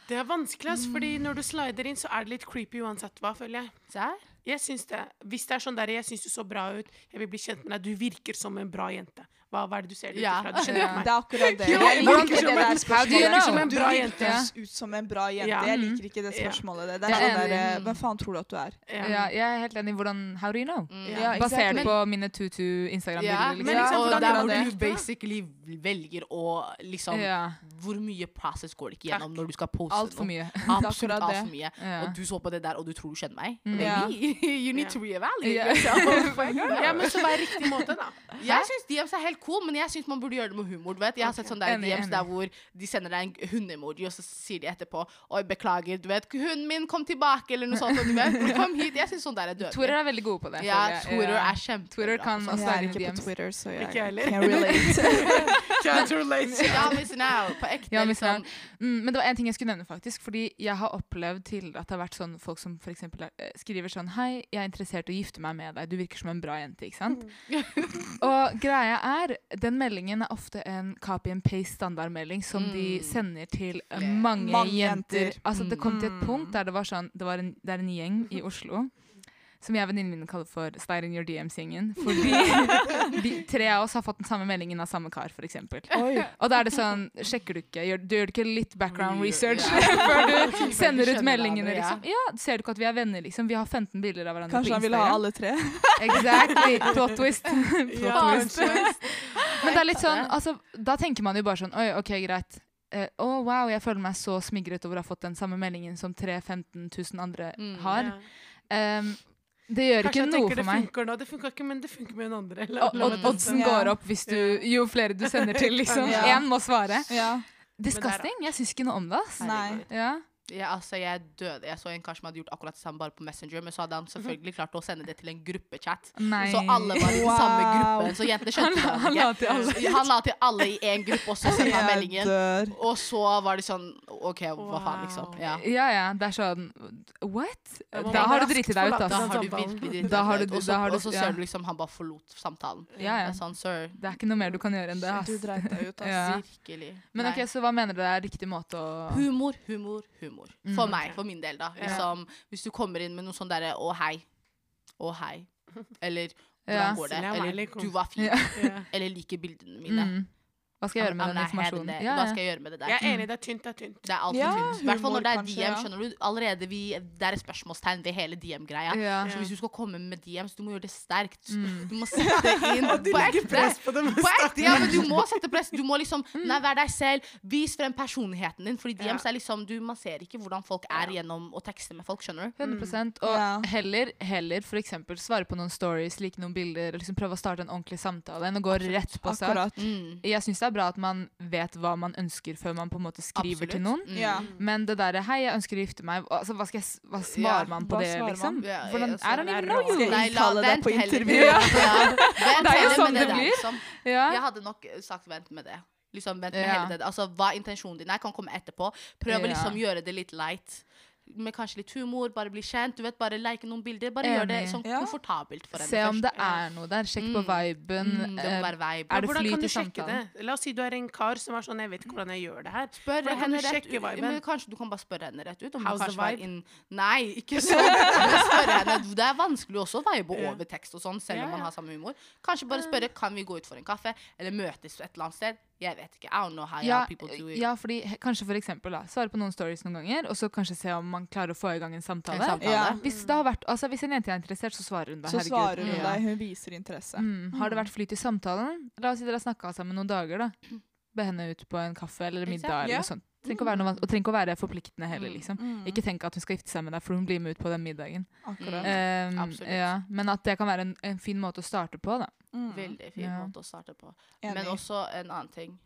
Speaker 2: Det er vanskelig, ass, fordi når du slider inn, så er det litt creepy uansett hva, føler jeg.
Speaker 4: Der.
Speaker 2: Jeg syns det. Hvis det er sånn der 'jeg syns du så bra ut', 'jeg vil bli kjent med deg', 'du virker som en bra jente'. Hva, hva er det du ser det
Speaker 4: Ja.
Speaker 2: ut ifra? Du skjønner
Speaker 1: Ja.
Speaker 2: ikke
Speaker 3: Det
Speaker 2: meg.
Speaker 3: er akkurat det.
Speaker 2: Ja, du
Speaker 3: Jeg liker
Speaker 2: virker
Speaker 3: ikke
Speaker 2: som
Speaker 3: det
Speaker 2: en-
Speaker 3: der
Speaker 1: How do you
Speaker 3: spørsmålet.
Speaker 1: know?
Speaker 2: som en
Speaker 3: Du
Speaker 2: bra
Speaker 3: virker
Speaker 1: jente.
Speaker 3: ut som en bra jente.
Speaker 2: Ja.
Speaker 3: Jeg liker ikke det
Speaker 2: Ja.
Speaker 3: spørsmålet. Det
Speaker 2: Jeg
Speaker 3: er
Speaker 2: er
Speaker 3: sånn der
Speaker 1: enig.
Speaker 3: Hvem faen tror du at du er?
Speaker 1: Ja.
Speaker 2: Ja.
Speaker 1: jeg er helt enig. Hvordan How do you know?
Speaker 4: Mm.
Speaker 2: Ja,
Speaker 1: Basert
Speaker 3: exactly.
Speaker 1: på mine tutu Instagram-bilder.
Speaker 4: Ja,
Speaker 1: Liksom.
Speaker 2: men liksom, hvordan
Speaker 4: og sånn der
Speaker 2: gjør
Speaker 4: hvor
Speaker 2: man
Speaker 4: du
Speaker 2: det?
Speaker 4: basically velger å liksom
Speaker 1: ja.
Speaker 4: Hvor mye process går det ikke gjennom når du skal poste
Speaker 1: Altfor mye.
Speaker 4: noe?
Speaker 3: Det er
Speaker 4: Absolutt
Speaker 3: akkurat
Speaker 4: altfor mye.
Speaker 1: Ja.
Speaker 4: Og du så på det der, og du tror du kjenner meg?
Speaker 1: Mm.
Speaker 3: Ja.
Speaker 4: Maybe. You need
Speaker 2: Ja.
Speaker 4: to reevaluate
Speaker 1: Ja.
Speaker 4: yourself.
Speaker 2: Ja, men så vær riktig måte, da.
Speaker 4: Jeg syns DMs er helt cool, men jeg synes man burde gjøre det med humor. Du vet. Jeg har sett sånne der
Speaker 1: Enig,
Speaker 4: DMs
Speaker 1: enig.
Speaker 4: der hvor de sender deg en hundeemoji, og så sier de etterpå Oi, beklager, du vet, hunden min kom tilbake, eller noe sånt. og Du vet. Kom hit. Jeg syns sånn der er
Speaker 1: Twitter
Speaker 4: dødelig.
Speaker 1: er veldig gode på det.
Speaker 4: Ja,
Speaker 1: føler jeg.
Speaker 4: Twitter
Speaker 1: Ja.
Speaker 4: er altså. kjempebra.
Speaker 1: Twitter kan
Speaker 4: på sånt.
Speaker 1: også
Speaker 3: Jeg er
Speaker 1: være
Speaker 3: ikke på
Speaker 1: DMs.
Speaker 3: Twitter, så jeg
Speaker 2: Ikke jeg heller.
Speaker 3: can relate.
Speaker 2: Can't relate.
Speaker 4: Ja, missing out. På ekte.
Speaker 1: Ja, missing
Speaker 4: liksom.
Speaker 1: out. Mm, men det var en ting jeg skulle nevne, faktisk. Fordi jeg har opplevd tidligere at det har vært sånn folk som for eksempel eh, skriver sånn Hei, jeg er interessert i å gifte meg med deg. Du virker som en bra jente, ikke sant? Og greia er, den meldingen er ofte en copy and paste-standardmelding som de
Speaker 4: Mm.
Speaker 1: sender til eh,
Speaker 4: Flere.
Speaker 1: mange,
Speaker 3: Mange
Speaker 1: jenter.
Speaker 3: jenter.
Speaker 1: Altså, det kom til et
Speaker 2: Mm.
Speaker 1: punkt der det var sånn Det, var en, det er en gjeng i Oslo. Som jeg og venninnen min kaller for Slide in your DMs-gjengen. Fordi de tre av oss har fått den samme meldingen av samme kar, f.eks.
Speaker 3: Oi.
Speaker 1: Og da er det sånn, sjekker du ikke, gjør, du gjør ikke litt background
Speaker 4: Re-
Speaker 1: research
Speaker 4: ja.
Speaker 1: før
Speaker 4: Før
Speaker 1: du
Speaker 4: du
Speaker 1: sender ut
Speaker 4: skjønner
Speaker 1: meldingene,
Speaker 4: hverandre, ja.
Speaker 1: liksom. Ja, ser du ikke at vi er venner, liksom? Vi har 15 bilder av hverandre
Speaker 3: Kanskje han
Speaker 1: på
Speaker 3: ville ha
Speaker 1: Instagram.
Speaker 3: alle tre?
Speaker 1: Exactly. Plot twist. Plot
Speaker 2: Ja,
Speaker 1: twist. Men det er litt sånn, altså, da tenker man jo bare sånn, oi, ok, greit. Eh, Å, wow, jeg føler meg så smigret over å ha fått den samme meldingen som 3 15 000 andre
Speaker 4: Mm,
Speaker 1: har.
Speaker 2: Ja.
Speaker 1: Em, det gjør
Speaker 2: Kanskje
Speaker 1: ikke
Speaker 2: jeg
Speaker 1: noe
Speaker 2: tenker
Speaker 1: for
Speaker 2: det
Speaker 1: meg.
Speaker 2: funker nå. Det funka ikke, men det funker med en andre. La-
Speaker 1: Og,
Speaker 2: la meg
Speaker 1: og,
Speaker 2: danse.
Speaker 1: oddsen
Speaker 3: Ja.
Speaker 1: går opp hvis du, jo flere du sender til, liksom.
Speaker 3: Ja.
Speaker 1: Én må svare.
Speaker 3: Ja.
Speaker 1: Disgusting. Jeg syns ikke noe om det, ass.
Speaker 3: Nei.
Speaker 1: Ja.
Speaker 4: Ja, altså, jeg døde. Jeg så en kar som hadde gjort akkurat det samme bare på Messenger, men så hadde han selvfølgelig klart å sende det til en gruppechat.
Speaker 1: Mhm. Nei.
Speaker 4: Så alle var i den samme
Speaker 3: Wow.
Speaker 4: gruppen. Så jentene skjønte
Speaker 1: la- han la til alle.
Speaker 4: hverandre. Han la til alle i én gruppe, og så sendte han
Speaker 3: Jeg
Speaker 4: meldingen.
Speaker 3: dør.
Speaker 4: Og så var det sånn OK, hva faen, liksom.
Speaker 2: Wow.
Speaker 4: Ja.
Speaker 1: Ja, ja. Det er sånn What?
Speaker 2: Da må
Speaker 1: Da
Speaker 2: man
Speaker 1: har du
Speaker 2: raskt
Speaker 1: driti deg ut,
Speaker 2: forlate
Speaker 1: altså.
Speaker 4: Da
Speaker 2: den
Speaker 4: har du
Speaker 2: samtalen.
Speaker 4: virkelig dritt
Speaker 1: Da har
Speaker 4: deg ut.
Speaker 1: du-
Speaker 4: Og
Speaker 1: da har
Speaker 4: så-
Speaker 1: du-
Speaker 4: og så
Speaker 1: ja.
Speaker 4: ser du liksom han bare forlot samtalen.
Speaker 1: Ja,
Speaker 4: Det
Speaker 1: ja.
Speaker 4: er sånn, sir.
Speaker 1: Det er ikke noe mer du kan gjøre enn det.
Speaker 3: Du
Speaker 1: Ass.
Speaker 3: dreit deg ut,
Speaker 1: Ja.
Speaker 3: ass.
Speaker 4: Virkelig.
Speaker 1: Men
Speaker 4: Nei.
Speaker 1: ok, Så hva mener dere er riktig måte å
Speaker 4: Humor, humor, humor. For
Speaker 1: Mm.
Speaker 4: meg, for min del, da.
Speaker 2: Ja.
Speaker 4: Liksom, hvis du kommer inn med noe sånn derre 'å, hei', 'å, hei', eller 'hvordan
Speaker 1: Ja.
Speaker 4: går det',
Speaker 2: Salam
Speaker 4: eller
Speaker 2: alaikum.
Speaker 4: 'du var fin',
Speaker 1: Ja.
Speaker 2: Ja.
Speaker 4: eller 'liker bildene mine'.
Speaker 1: mm. Hva skal jeg gjøre med den
Speaker 4: I'm not having
Speaker 1: informasjonen?
Speaker 4: it.
Speaker 1: Ja,
Speaker 4: Hva
Speaker 1: ja.
Speaker 4: skal jeg gjøre med det der?
Speaker 2: Jeg er enig, det er tynt, det er tynt.
Speaker 4: Det er altfor
Speaker 3: Ja,
Speaker 4: tynt. I hvert fall
Speaker 3: humor
Speaker 4: når det er
Speaker 3: kanskje,
Speaker 4: DM.
Speaker 3: ja.
Speaker 4: skjønner du? Allerede vi, Det er et spørsmålstegn ved hele DM-greia.
Speaker 1: Ja.
Speaker 4: Så hvis du skal komme med DMs, du må gjøre det sterkt.
Speaker 1: Mm.
Speaker 4: Du må sette inn på ekte.
Speaker 2: på det
Speaker 4: På ekte, ja, men du må sette press. Du må liksom
Speaker 1: Mm.
Speaker 4: nei, være deg selv. Vis frem personligheten din. Fordi DMs er liksom du, Man ser ikke hvordan folk er gjennom å tekste med folk. Skjønner du?
Speaker 1: 100 Og
Speaker 3: Ja.
Speaker 1: heller, heller for eksempel svare på noen stories, like noen bilder, liksom prøve å starte en ordentlig samtale enn å gå rett på sak.
Speaker 3: Akkurat.
Speaker 4: Mm.
Speaker 1: Jeg syns det er bra at man vet hva man ønsker før man på en måte skriver til noen.
Speaker 4: Absolutt. Mm.
Speaker 3: Ja.
Speaker 1: Men det derre 'hei, jeg ønsker å gifte meg', altså, hva, skal jeg, s- hva
Speaker 4: Ja,
Speaker 1: svarer man på
Speaker 3: hva
Speaker 1: det,
Speaker 3: svarer
Speaker 1: liksom?
Speaker 3: man?
Speaker 4: Ja, ja,
Speaker 1: Hvordan,
Speaker 4: ja,
Speaker 1: I don't
Speaker 4: sånn
Speaker 1: even
Speaker 4: er
Speaker 1: know
Speaker 4: det
Speaker 1: you!
Speaker 3: Skal
Speaker 4: Nei, la-
Speaker 3: uttale deg
Speaker 4: vent
Speaker 3: på
Speaker 4: heller med
Speaker 3: intervju.
Speaker 4: det.
Speaker 3: Ja.
Speaker 4: Ja, vent
Speaker 1: Det er jo
Speaker 4: heller med
Speaker 1: sånn det
Speaker 4: der,
Speaker 1: blir.
Speaker 4: liksom.
Speaker 1: Ja.
Speaker 4: Jeg hadde nok eh, sagt vent med det. Liksom vent med
Speaker 1: Ja.
Speaker 4: hele det. Altså, Hva intensjonen din er, kan komme etterpå. Prøv
Speaker 1: Ja.
Speaker 4: å liksom gjøre det litt light. med kanskje litt humor, bare bli kjent. Du vet, Bare like noen bilder. Bare gjør det
Speaker 1: Enig.
Speaker 4: sånn
Speaker 3: Ja.
Speaker 4: komfortabelt for henne
Speaker 1: Se om
Speaker 4: først.
Speaker 1: det er noe der. Sjekk på
Speaker 4: Mm.
Speaker 1: viben.
Speaker 4: Mm, det
Speaker 1: eh,
Speaker 4: må være vibe.
Speaker 1: er det
Speaker 2: hvordan
Speaker 1: flyt
Speaker 2: kan
Speaker 1: i
Speaker 2: du sjekke
Speaker 1: samtalen?
Speaker 2: det? La oss si du er en kar som er sånn 'Jeg vet ikke hvordan jeg gjør det her'.
Speaker 4: Spør
Speaker 2: Hvordan kan
Speaker 4: henne
Speaker 2: du
Speaker 4: rett
Speaker 2: sjekke
Speaker 4: ut-
Speaker 2: viben?
Speaker 4: Men kanskje du kan bare spørre henne rett ut. Om
Speaker 2: How's
Speaker 4: How's
Speaker 2: the
Speaker 4: the vibe?
Speaker 2: vibe?
Speaker 4: Inn... Nei, ikke sånn. Spørre henne. Det er vanskelig også å vibe
Speaker 2: Ja.
Speaker 4: over tekst og sånn, selv
Speaker 2: Ja,
Speaker 4: om man
Speaker 2: ja.
Speaker 4: har samme humor. Kanskje bare spørre kan vi gå ut for en kaffe, eller møtes et eller annet sted. Jeg vet ikke. I don't know how
Speaker 1: Ja,
Speaker 4: people do it.
Speaker 1: ja, fordi he- kanskje for eksempel da, svare på noen stories noen ganger, og så kanskje se om man klarer å få i gang en samtale.
Speaker 4: En samtale. Mm.
Speaker 3: Ja.
Speaker 1: Hvis, det har vært, altså, hvis en jente er interessert, så svarer hun da.
Speaker 3: Så
Speaker 1: herregud.
Speaker 3: svarer hun
Speaker 1: Ja.
Speaker 3: deg, hun viser interesse.
Speaker 1: Mm. Har det vært flyt i samtalen? La oss si dere har snakka sammen noen dager, da. Be henne ut på en kaffe eller middag
Speaker 4: Exakt,
Speaker 1: eller
Speaker 3: ja.
Speaker 1: noe sånt. Trenger ikke å være noe, vans- og trenger ikke å være forpliktende heller,
Speaker 4: Mm.
Speaker 1: liksom.
Speaker 3: Mm,
Speaker 1: Ikke tenk at hun skal gifte seg med deg, for hun blir med ut på den middagen.
Speaker 3: Akkurat.
Speaker 1: Ehm,
Speaker 4: Absolutt.
Speaker 1: ja. Men at det kan være en, en fin måte å starte på, da.
Speaker 3: Mm,
Speaker 4: Veldig fin
Speaker 1: Ja.
Speaker 4: måte å starte på.
Speaker 3: enig.
Speaker 4: Men også en annen ting.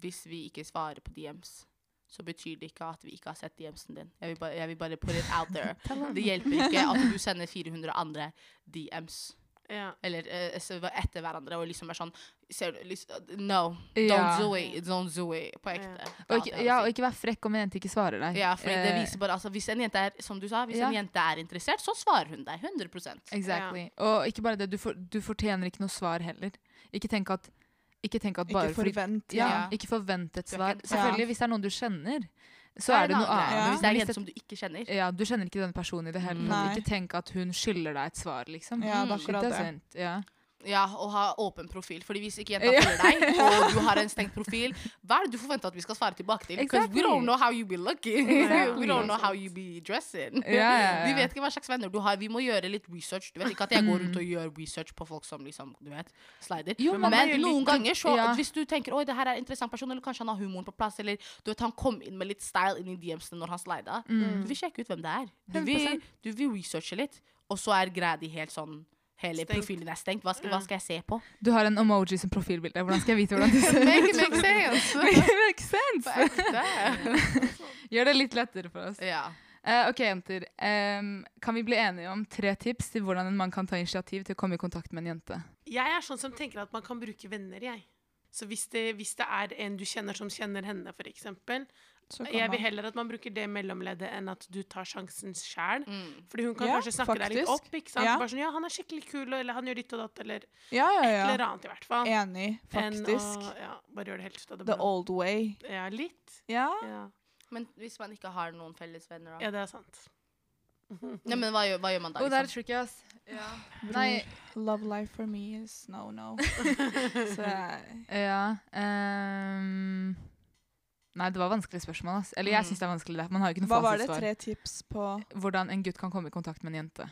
Speaker 4: Hvis vi ikke svarer på DMs, så betyr det ikke at vi ikke har sett DMs-en din. Jeg vil, bare, jeg vil bare put it out there. Det hjelper ikke at du sender 400 andre DMs.
Speaker 2: Ja.
Speaker 4: Eller eh, så var etter hverandre og liksom er sånn ser, du, liksom, No,
Speaker 1: Ja.
Speaker 4: don't do it. Don't do it. På ekte.
Speaker 1: Og ikke, ja, og ikke være frekk om en jente ikke svarer deg.
Speaker 4: ja, for det
Speaker 1: Eh,
Speaker 4: viser bare altså, Hvis en jente er som du sa, hvis en
Speaker 1: ja.
Speaker 4: jente er interessert, så svarer hun deg 100
Speaker 1: Exactly. Og ikke bare det, du, for, du fortjener ikke noe svar heller. Ikke tenk at, ikke tenk at bare
Speaker 3: Ikke forvent.
Speaker 1: ja,
Speaker 4: Ja.
Speaker 1: Ikke forvent et
Speaker 4: Du er
Speaker 1: svar.
Speaker 4: ikke-
Speaker 1: Selvfølgelig, hvis det er noen du kjenner, så er det noe annet.
Speaker 4: Men
Speaker 1: Men
Speaker 4: Hvis det er en
Speaker 1: hvis
Speaker 4: jente som du ikke kjenner
Speaker 1: Ja, du kjenner ikke den personen i det hele tatt.
Speaker 3: Nei.
Speaker 1: Ikke tenk at hun skylder deg et svar, liksom.
Speaker 3: Ja, det er
Speaker 4: Mm,
Speaker 1: Shit,
Speaker 3: akkurat
Speaker 1: det er
Speaker 3: det.
Speaker 1: sant. Ja.
Speaker 4: Ja, og ha åpen profil. Fordi hvis ikke jenta
Speaker 1: Ja.
Speaker 4: følger deg, og du har en stengt profil, hva er det du forventer at vi skal svare tilbake til? Because
Speaker 1: Exactly.
Speaker 4: we don't know how you be looking.
Speaker 1: Exactly.
Speaker 4: We don't know how you be dressing.
Speaker 1: Ja, ja, ja.
Speaker 4: Vi vet ikke hva slags venner du har. Vi må gjøre litt research. Du vet ikke at jeg går rundt og gjør research på folk som liksom, du vet, slider.
Speaker 1: Mm. Jo,
Speaker 4: men
Speaker 1: men man må gjøre
Speaker 4: noen
Speaker 1: litt-
Speaker 4: ganger, så
Speaker 1: Ja.
Speaker 4: hvis du tenker oi, det her er en interessant person, eller kanskje han har humoren på plass, eller du vet, han kom inn med litt style inn i DMs-ene når han slida,
Speaker 1: Mm.
Speaker 4: du vil sjekke ut hvem det er. Du vil,
Speaker 1: 100%.
Speaker 4: du vil researche litt, og så er greia di helt sånn Hele
Speaker 2: Stengt.
Speaker 4: profilen er stengt. Mm. Hva skal, hva skal jeg se på?
Speaker 1: Du har en emoji som profilbilde. Hvordan skal jeg vite hvordan du ser
Speaker 4: Make
Speaker 1: ut?
Speaker 4: it make
Speaker 1: Make
Speaker 4: sense!
Speaker 1: sense!
Speaker 4: På ekte.
Speaker 1: Gjør det litt lettere for oss.
Speaker 4: Ja.
Speaker 1: Eh, ok, jenter. Em, kan vi bli enige om tre tips til hvordan en mann kan ta initiativ til å komme i kontakt med en jente?
Speaker 2: Jeg er sånn som tenker at man kan bruke venner, jeg. Så hvis det, hvis det er en du kjenner som kjenner henne, for eksempel
Speaker 3: Så kan
Speaker 2: Jeg vil
Speaker 3: man-
Speaker 2: heller at man bruker det mellomleddet enn at du tar sjansen sjæl.
Speaker 4: Mm.
Speaker 2: Fordi hun kan
Speaker 3: Ja,
Speaker 2: kanskje snakke deg litt
Speaker 3: faktisk.
Speaker 2: opp. ikke sant?
Speaker 3: Ja.
Speaker 2: Bare sånn, ja, 'Han er skikkelig kul', eller 'han gjør ditt og datt', eller
Speaker 3: Ja, ja,
Speaker 2: et eller
Speaker 3: ja.
Speaker 2: annet, i hvert fall.
Speaker 3: Enig,
Speaker 2: Enn
Speaker 3: faktisk.
Speaker 2: å ja, bare gjøre det helt ut av det
Speaker 3: The
Speaker 2: blå.
Speaker 3: old way.
Speaker 2: Ja, litt.
Speaker 3: Ja.
Speaker 2: Ja,
Speaker 4: Men hvis man ikke har noen felles venner, da?
Speaker 2: ja det er sant.
Speaker 4: Ja, men hva gjør, hva gjør man da? Liksom?
Speaker 1: tricky, ass. Nei.
Speaker 3: Nei. Love life for me is no, no. Så jeg-
Speaker 1: Ja em, Nei, det var vanskelige spørsmål. ass. Eller jeg
Speaker 4: Mm.
Speaker 1: syns det er vanskelig. det. Man har jo ikke noe
Speaker 3: Hva var det?
Speaker 1: fasitsvar.
Speaker 3: Tre tips på
Speaker 1: Hvordan en gutt kan komme i kontakt med en jente.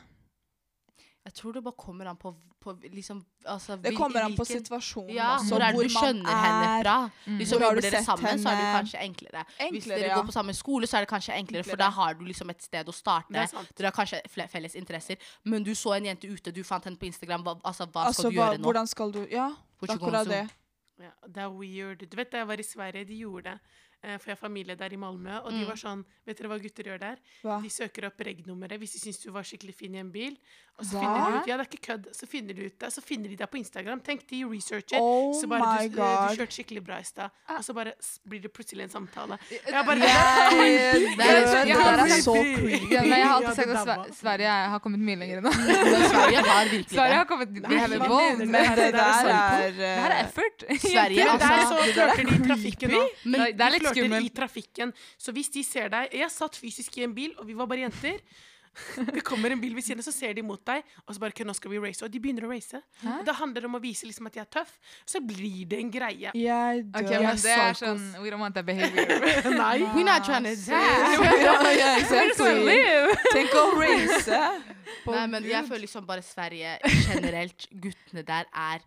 Speaker 4: Jeg tror det bare kommer an på, på liksom, altså,
Speaker 3: Det
Speaker 4: hvil-
Speaker 3: kommer an på
Speaker 4: hvilken-
Speaker 3: situasjonen altså,
Speaker 4: Ja,
Speaker 3: også.
Speaker 4: hvor er det du skjønner henne fra? Hvis
Speaker 1: Mm.
Speaker 3: Hvor har
Speaker 4: jobber
Speaker 3: du
Speaker 4: dere
Speaker 3: sett
Speaker 4: sammen, så er det jo
Speaker 3: henne?
Speaker 4: kanskje enklere. Hvis
Speaker 3: Enklere,
Speaker 4: dere
Speaker 3: ja.
Speaker 4: går på samme skole, så er det kanskje enklere, for
Speaker 3: Enklere.
Speaker 4: da har du liksom et sted å starte.
Speaker 2: Det er sant.
Speaker 4: Dere har kanskje fle- felles interesser, men du så en jente ute, du fant henne på Instagram. Hva, altså, hva
Speaker 3: Altså,
Speaker 4: skal du
Speaker 3: hva,
Speaker 4: gjøre nå?
Speaker 3: hvordan skal du Ja, det
Speaker 4: What
Speaker 3: er
Speaker 4: you gonna
Speaker 3: akkurat
Speaker 4: do?
Speaker 3: det.
Speaker 2: Ja, det er weird. Du vet da jeg var i Sverige, de gjorde det. Eh, For jeg har familie der i Malmö, og de
Speaker 4: Mm.
Speaker 2: var sånn Vet dere hva gutter gjør der?
Speaker 3: Hva?
Speaker 2: De søker opp reg-nummeret hvis de syns du var skikkelig fin i en bil. Og så
Speaker 3: Hva?
Speaker 2: finner de ut Ja, det er ikke kødd. Så finner de ut det, så finner de deg på Instagram. Tenk, de researcher.
Speaker 3: Oh
Speaker 2: så bare du,
Speaker 3: my
Speaker 2: du
Speaker 3: god. Ah.
Speaker 2: kjørte skikkelig bra i stad, og så bare s- blir det plutselig en samtale. Og
Speaker 1: Ja,
Speaker 2: jeg bare
Speaker 1: det
Speaker 4: Det er-
Speaker 1: er-
Speaker 4: det
Speaker 1: det
Speaker 4: der
Speaker 1: er
Speaker 4: er
Speaker 1: så-
Speaker 3: så creepy.
Speaker 1: Ja, men jeg har alltid
Speaker 2: Ja, det
Speaker 1: sagt at
Speaker 2: der var-
Speaker 1: Sve- Sverige er- har kommet mye lenger enn oss.
Speaker 4: Men Sverige har virkelig
Speaker 1: Sverige
Speaker 4: det.
Speaker 1: har kommet
Speaker 2: Nei,
Speaker 1: We have
Speaker 2: hva
Speaker 1: evolved.
Speaker 2: mener du?
Speaker 1: Men
Speaker 3: Men det der er
Speaker 1: Det her er
Speaker 3: eh,
Speaker 1: effort.
Speaker 4: Sverige,
Speaker 2: Men der
Speaker 4: altså,
Speaker 2: så
Speaker 3: det der er
Speaker 2: flørter de i trafikken òg.
Speaker 1: Det er- det er
Speaker 2: De
Speaker 1: litt
Speaker 2: flørter i
Speaker 1: skummelt.
Speaker 2: trafikken. Så hvis de ser deg Jeg satt fysisk i en bil, og vi var bare jenter. Det kommer en bil ved siden av, så ser de mot deg, og så bare «Ok, 'Nå skal vi race', og de begynner å race.
Speaker 1: Hæ?
Speaker 2: Det handler om å vise liksom at jeg er tøff. Så blir det en greie.
Speaker 3: Jeg dør.
Speaker 1: Ok, men det er
Speaker 3: Psykos.
Speaker 1: sånn We don't want that behavior.
Speaker 2: Nei.
Speaker 4: We're not trying to
Speaker 3: Ja, ja,
Speaker 1: We're just gonna
Speaker 3: exactly.
Speaker 1: live.
Speaker 3: Tenk å race.
Speaker 4: Nei, men jeg føler liksom bare Sverige generelt, guttene der er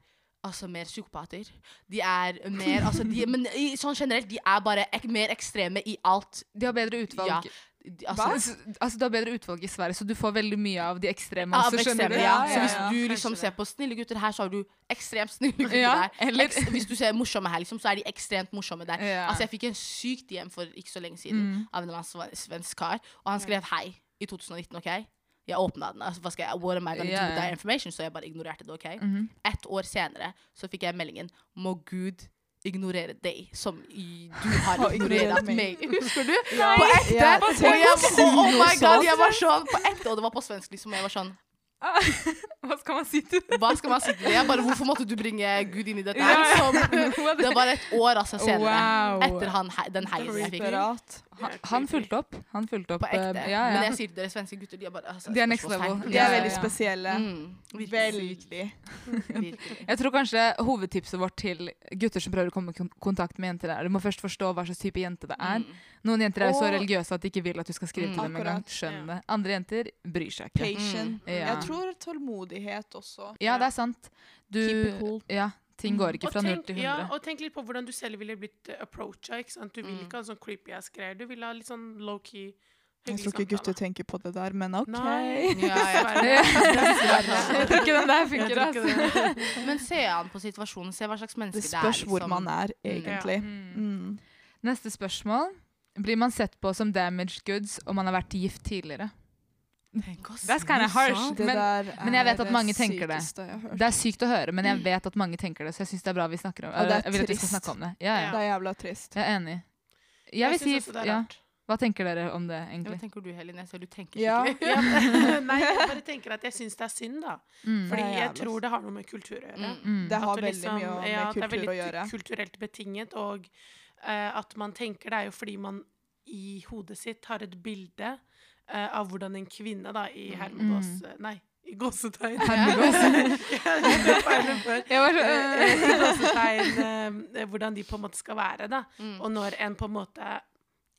Speaker 4: altså mer psykopater. De er mer altså de, Men i, sånn generelt, de er bare ek, mer ekstreme i alt.
Speaker 1: De har bedre utvalg.
Speaker 4: Ja, De, altså,
Speaker 1: Altså, altså, du har bedre utvalg i Sverige, så du får veldig mye av de ekstreme
Speaker 4: Av
Speaker 1: også, skjønner du?
Speaker 4: ekstreme,
Speaker 3: det?
Speaker 4: ja.
Speaker 3: Ja, ja,
Speaker 4: Så hvis
Speaker 3: ja.
Speaker 4: du
Speaker 2: Kanskje
Speaker 4: liksom
Speaker 2: det.
Speaker 4: ser på snille gutter her, så har du ekstremt snille gutter
Speaker 1: Ja,
Speaker 4: der.
Speaker 1: eller-
Speaker 4: Eks- hvis du ser morsomme her, liksom, så er de ekstremt morsomme der.
Speaker 1: Ja. Mm.
Speaker 4: Altså, jeg fikk en sykt hjem for ikke så lenge siden av en eller annen sve- svensk kar, og han skrev hei i 2019, OK? Jeg åpna den. Altså, hva skal jeg, what am I gonna
Speaker 1: Ja, ja.
Speaker 4: do with that
Speaker 1: Mm-hmm.
Speaker 4: information? Så jeg bare ignorerte det, OK? Ett år senere så fikk jeg meldingen Må Gud ignorere deg, som i, du har
Speaker 3: Har ignorert
Speaker 4: ignorert
Speaker 3: meg.
Speaker 4: meg. Husker du?
Speaker 3: Ja.
Speaker 4: På ekte.
Speaker 5: Ja,
Speaker 4: og
Speaker 5: tenk
Speaker 4: jeg,
Speaker 5: å si
Speaker 4: oh, oh my
Speaker 5: noe
Speaker 4: god,
Speaker 5: sånt.
Speaker 4: jeg var sånn på ekte, og det var på svensk, liksom. og Jeg var sånn
Speaker 1: Hva skal man si til det?
Speaker 4: Hva skal man si til det? Jeg bare, Hvorfor måtte du bringe Gud inn i dette?
Speaker 1: Ja,
Speaker 4: her?
Speaker 1: ja.
Speaker 4: Som,
Speaker 1: What the-
Speaker 4: det var et år altså senere.
Speaker 1: Wow.
Speaker 4: Etter han, he- den heisen jeg fikk.
Speaker 3: Desperat.
Speaker 1: Han, han fulgte opp. Han fulgte opp
Speaker 4: På ekte.
Speaker 1: eh, Ja,
Speaker 4: Men
Speaker 1: ja.
Speaker 4: jeg sier til dere svenske gutter, de er bare altså,
Speaker 1: De er next level.
Speaker 4: spørsmålstegn.
Speaker 3: De
Speaker 1: Ja,
Speaker 3: er
Speaker 1: ja,
Speaker 3: veldig
Speaker 1: ja.
Speaker 3: spesielle.
Speaker 4: Mm, virkelig.
Speaker 3: Veldig.
Speaker 4: Virkelig.
Speaker 1: Jeg tror kanskje hovedtipset vårt til gutter som prøver å komme i kon- kontakt med jenter, er du må først forstå hva slags type jente det er.
Speaker 4: Mm.
Speaker 1: Noen jenter er jo så
Speaker 3: Og-
Speaker 1: religiøse at de ikke vil at du skal skrive
Speaker 4: Mm.
Speaker 1: til dem engang.
Speaker 3: Akkurat,
Speaker 1: Skjønn
Speaker 2: ja.
Speaker 1: det. Andre jenter bryr seg ikke.
Speaker 3: Patient.
Speaker 1: Mm. Ja.
Speaker 3: Jeg tror tålmodighet også.
Speaker 1: Ja, det er sant. Du
Speaker 3: Keep it cool.
Speaker 1: Ja, ting går ikke
Speaker 2: Og
Speaker 1: fra null
Speaker 2: tenk,
Speaker 1: til
Speaker 2: ja,
Speaker 1: hundre. Mm.
Speaker 2: og tenk litt på hvordan du selv ville blitt eh, approacha. ikke sant? Du vil ikke ha sånn creepy ass-greier. Du vil ha litt sånn low-key
Speaker 3: Jeg tror ikke gutter tenker på det der, men OK.
Speaker 2: Nei.
Speaker 4: Ja, jeg tror-
Speaker 1: Jeg tror ikke den der funker,
Speaker 2: tror
Speaker 1: altså.
Speaker 2: ikke det.
Speaker 4: Men se an på situasjonen, se hva slags menneske
Speaker 3: Det
Speaker 4: det,
Speaker 3: spørs
Speaker 4: er. liksom.
Speaker 3: hvor man er, egentlig.
Speaker 1: Mm.
Speaker 3: Mm.
Speaker 1: Neste spørsmål. Blir man sett på som damaged goods om man har vært gift tidligere?
Speaker 4: Tenk sånn. oss,
Speaker 1: That's kinda harsh.
Speaker 3: Det
Speaker 1: Men-
Speaker 3: der
Speaker 1: men jeg vet at
Speaker 3: er
Speaker 1: mange tenker det.
Speaker 3: sykeste jeg har hørt.
Speaker 1: Det er sykt å høre, men jeg vet at mange tenker det, så jeg syns det er bra vi snakker om eh,
Speaker 3: Og det er
Speaker 1: jeg vil at vi skal
Speaker 3: trist.
Speaker 1: snakke om det. Ja, ja.
Speaker 3: Det er jævla trist.
Speaker 1: Jeg er enig. Jeg vil
Speaker 2: synes
Speaker 1: si
Speaker 2: også det er
Speaker 1: ja.
Speaker 2: rart.
Speaker 1: Hva tenker dere om det,
Speaker 4: Hva
Speaker 1: egentlig?
Speaker 4: tenker du, Helene? Jeg ser du tenker
Speaker 3: Ja.
Speaker 4: skikkelig.
Speaker 2: Ja, men- Nei, jeg bare tenker at jeg syns det er synd, da.
Speaker 1: Mm.
Speaker 2: Fordi
Speaker 3: Det er
Speaker 2: jeg
Speaker 3: jævlig.
Speaker 2: tror det har noe med kultur å gjøre.
Speaker 4: Mm.
Speaker 1: Mm.
Speaker 3: Det
Speaker 2: At
Speaker 3: har
Speaker 2: du
Speaker 3: veldig
Speaker 2: liksom-
Speaker 3: mye med
Speaker 2: ja,
Speaker 3: kultur
Speaker 2: Det
Speaker 3: å
Speaker 2: er
Speaker 3: gjøre.
Speaker 2: veldig kulturelt betinget, og eh, at man tenker det er jo fordi man i hodet sitt har et bilde eh, av hvordan en kvinne, da, i hermegås... Nei, i gåsetegn. Hermegås.
Speaker 1: Jeg var så,
Speaker 2: Eh, i gåsetegn, eh, hvordan de på en måte skal være. da.
Speaker 4: Mm.
Speaker 2: Og når en på en måte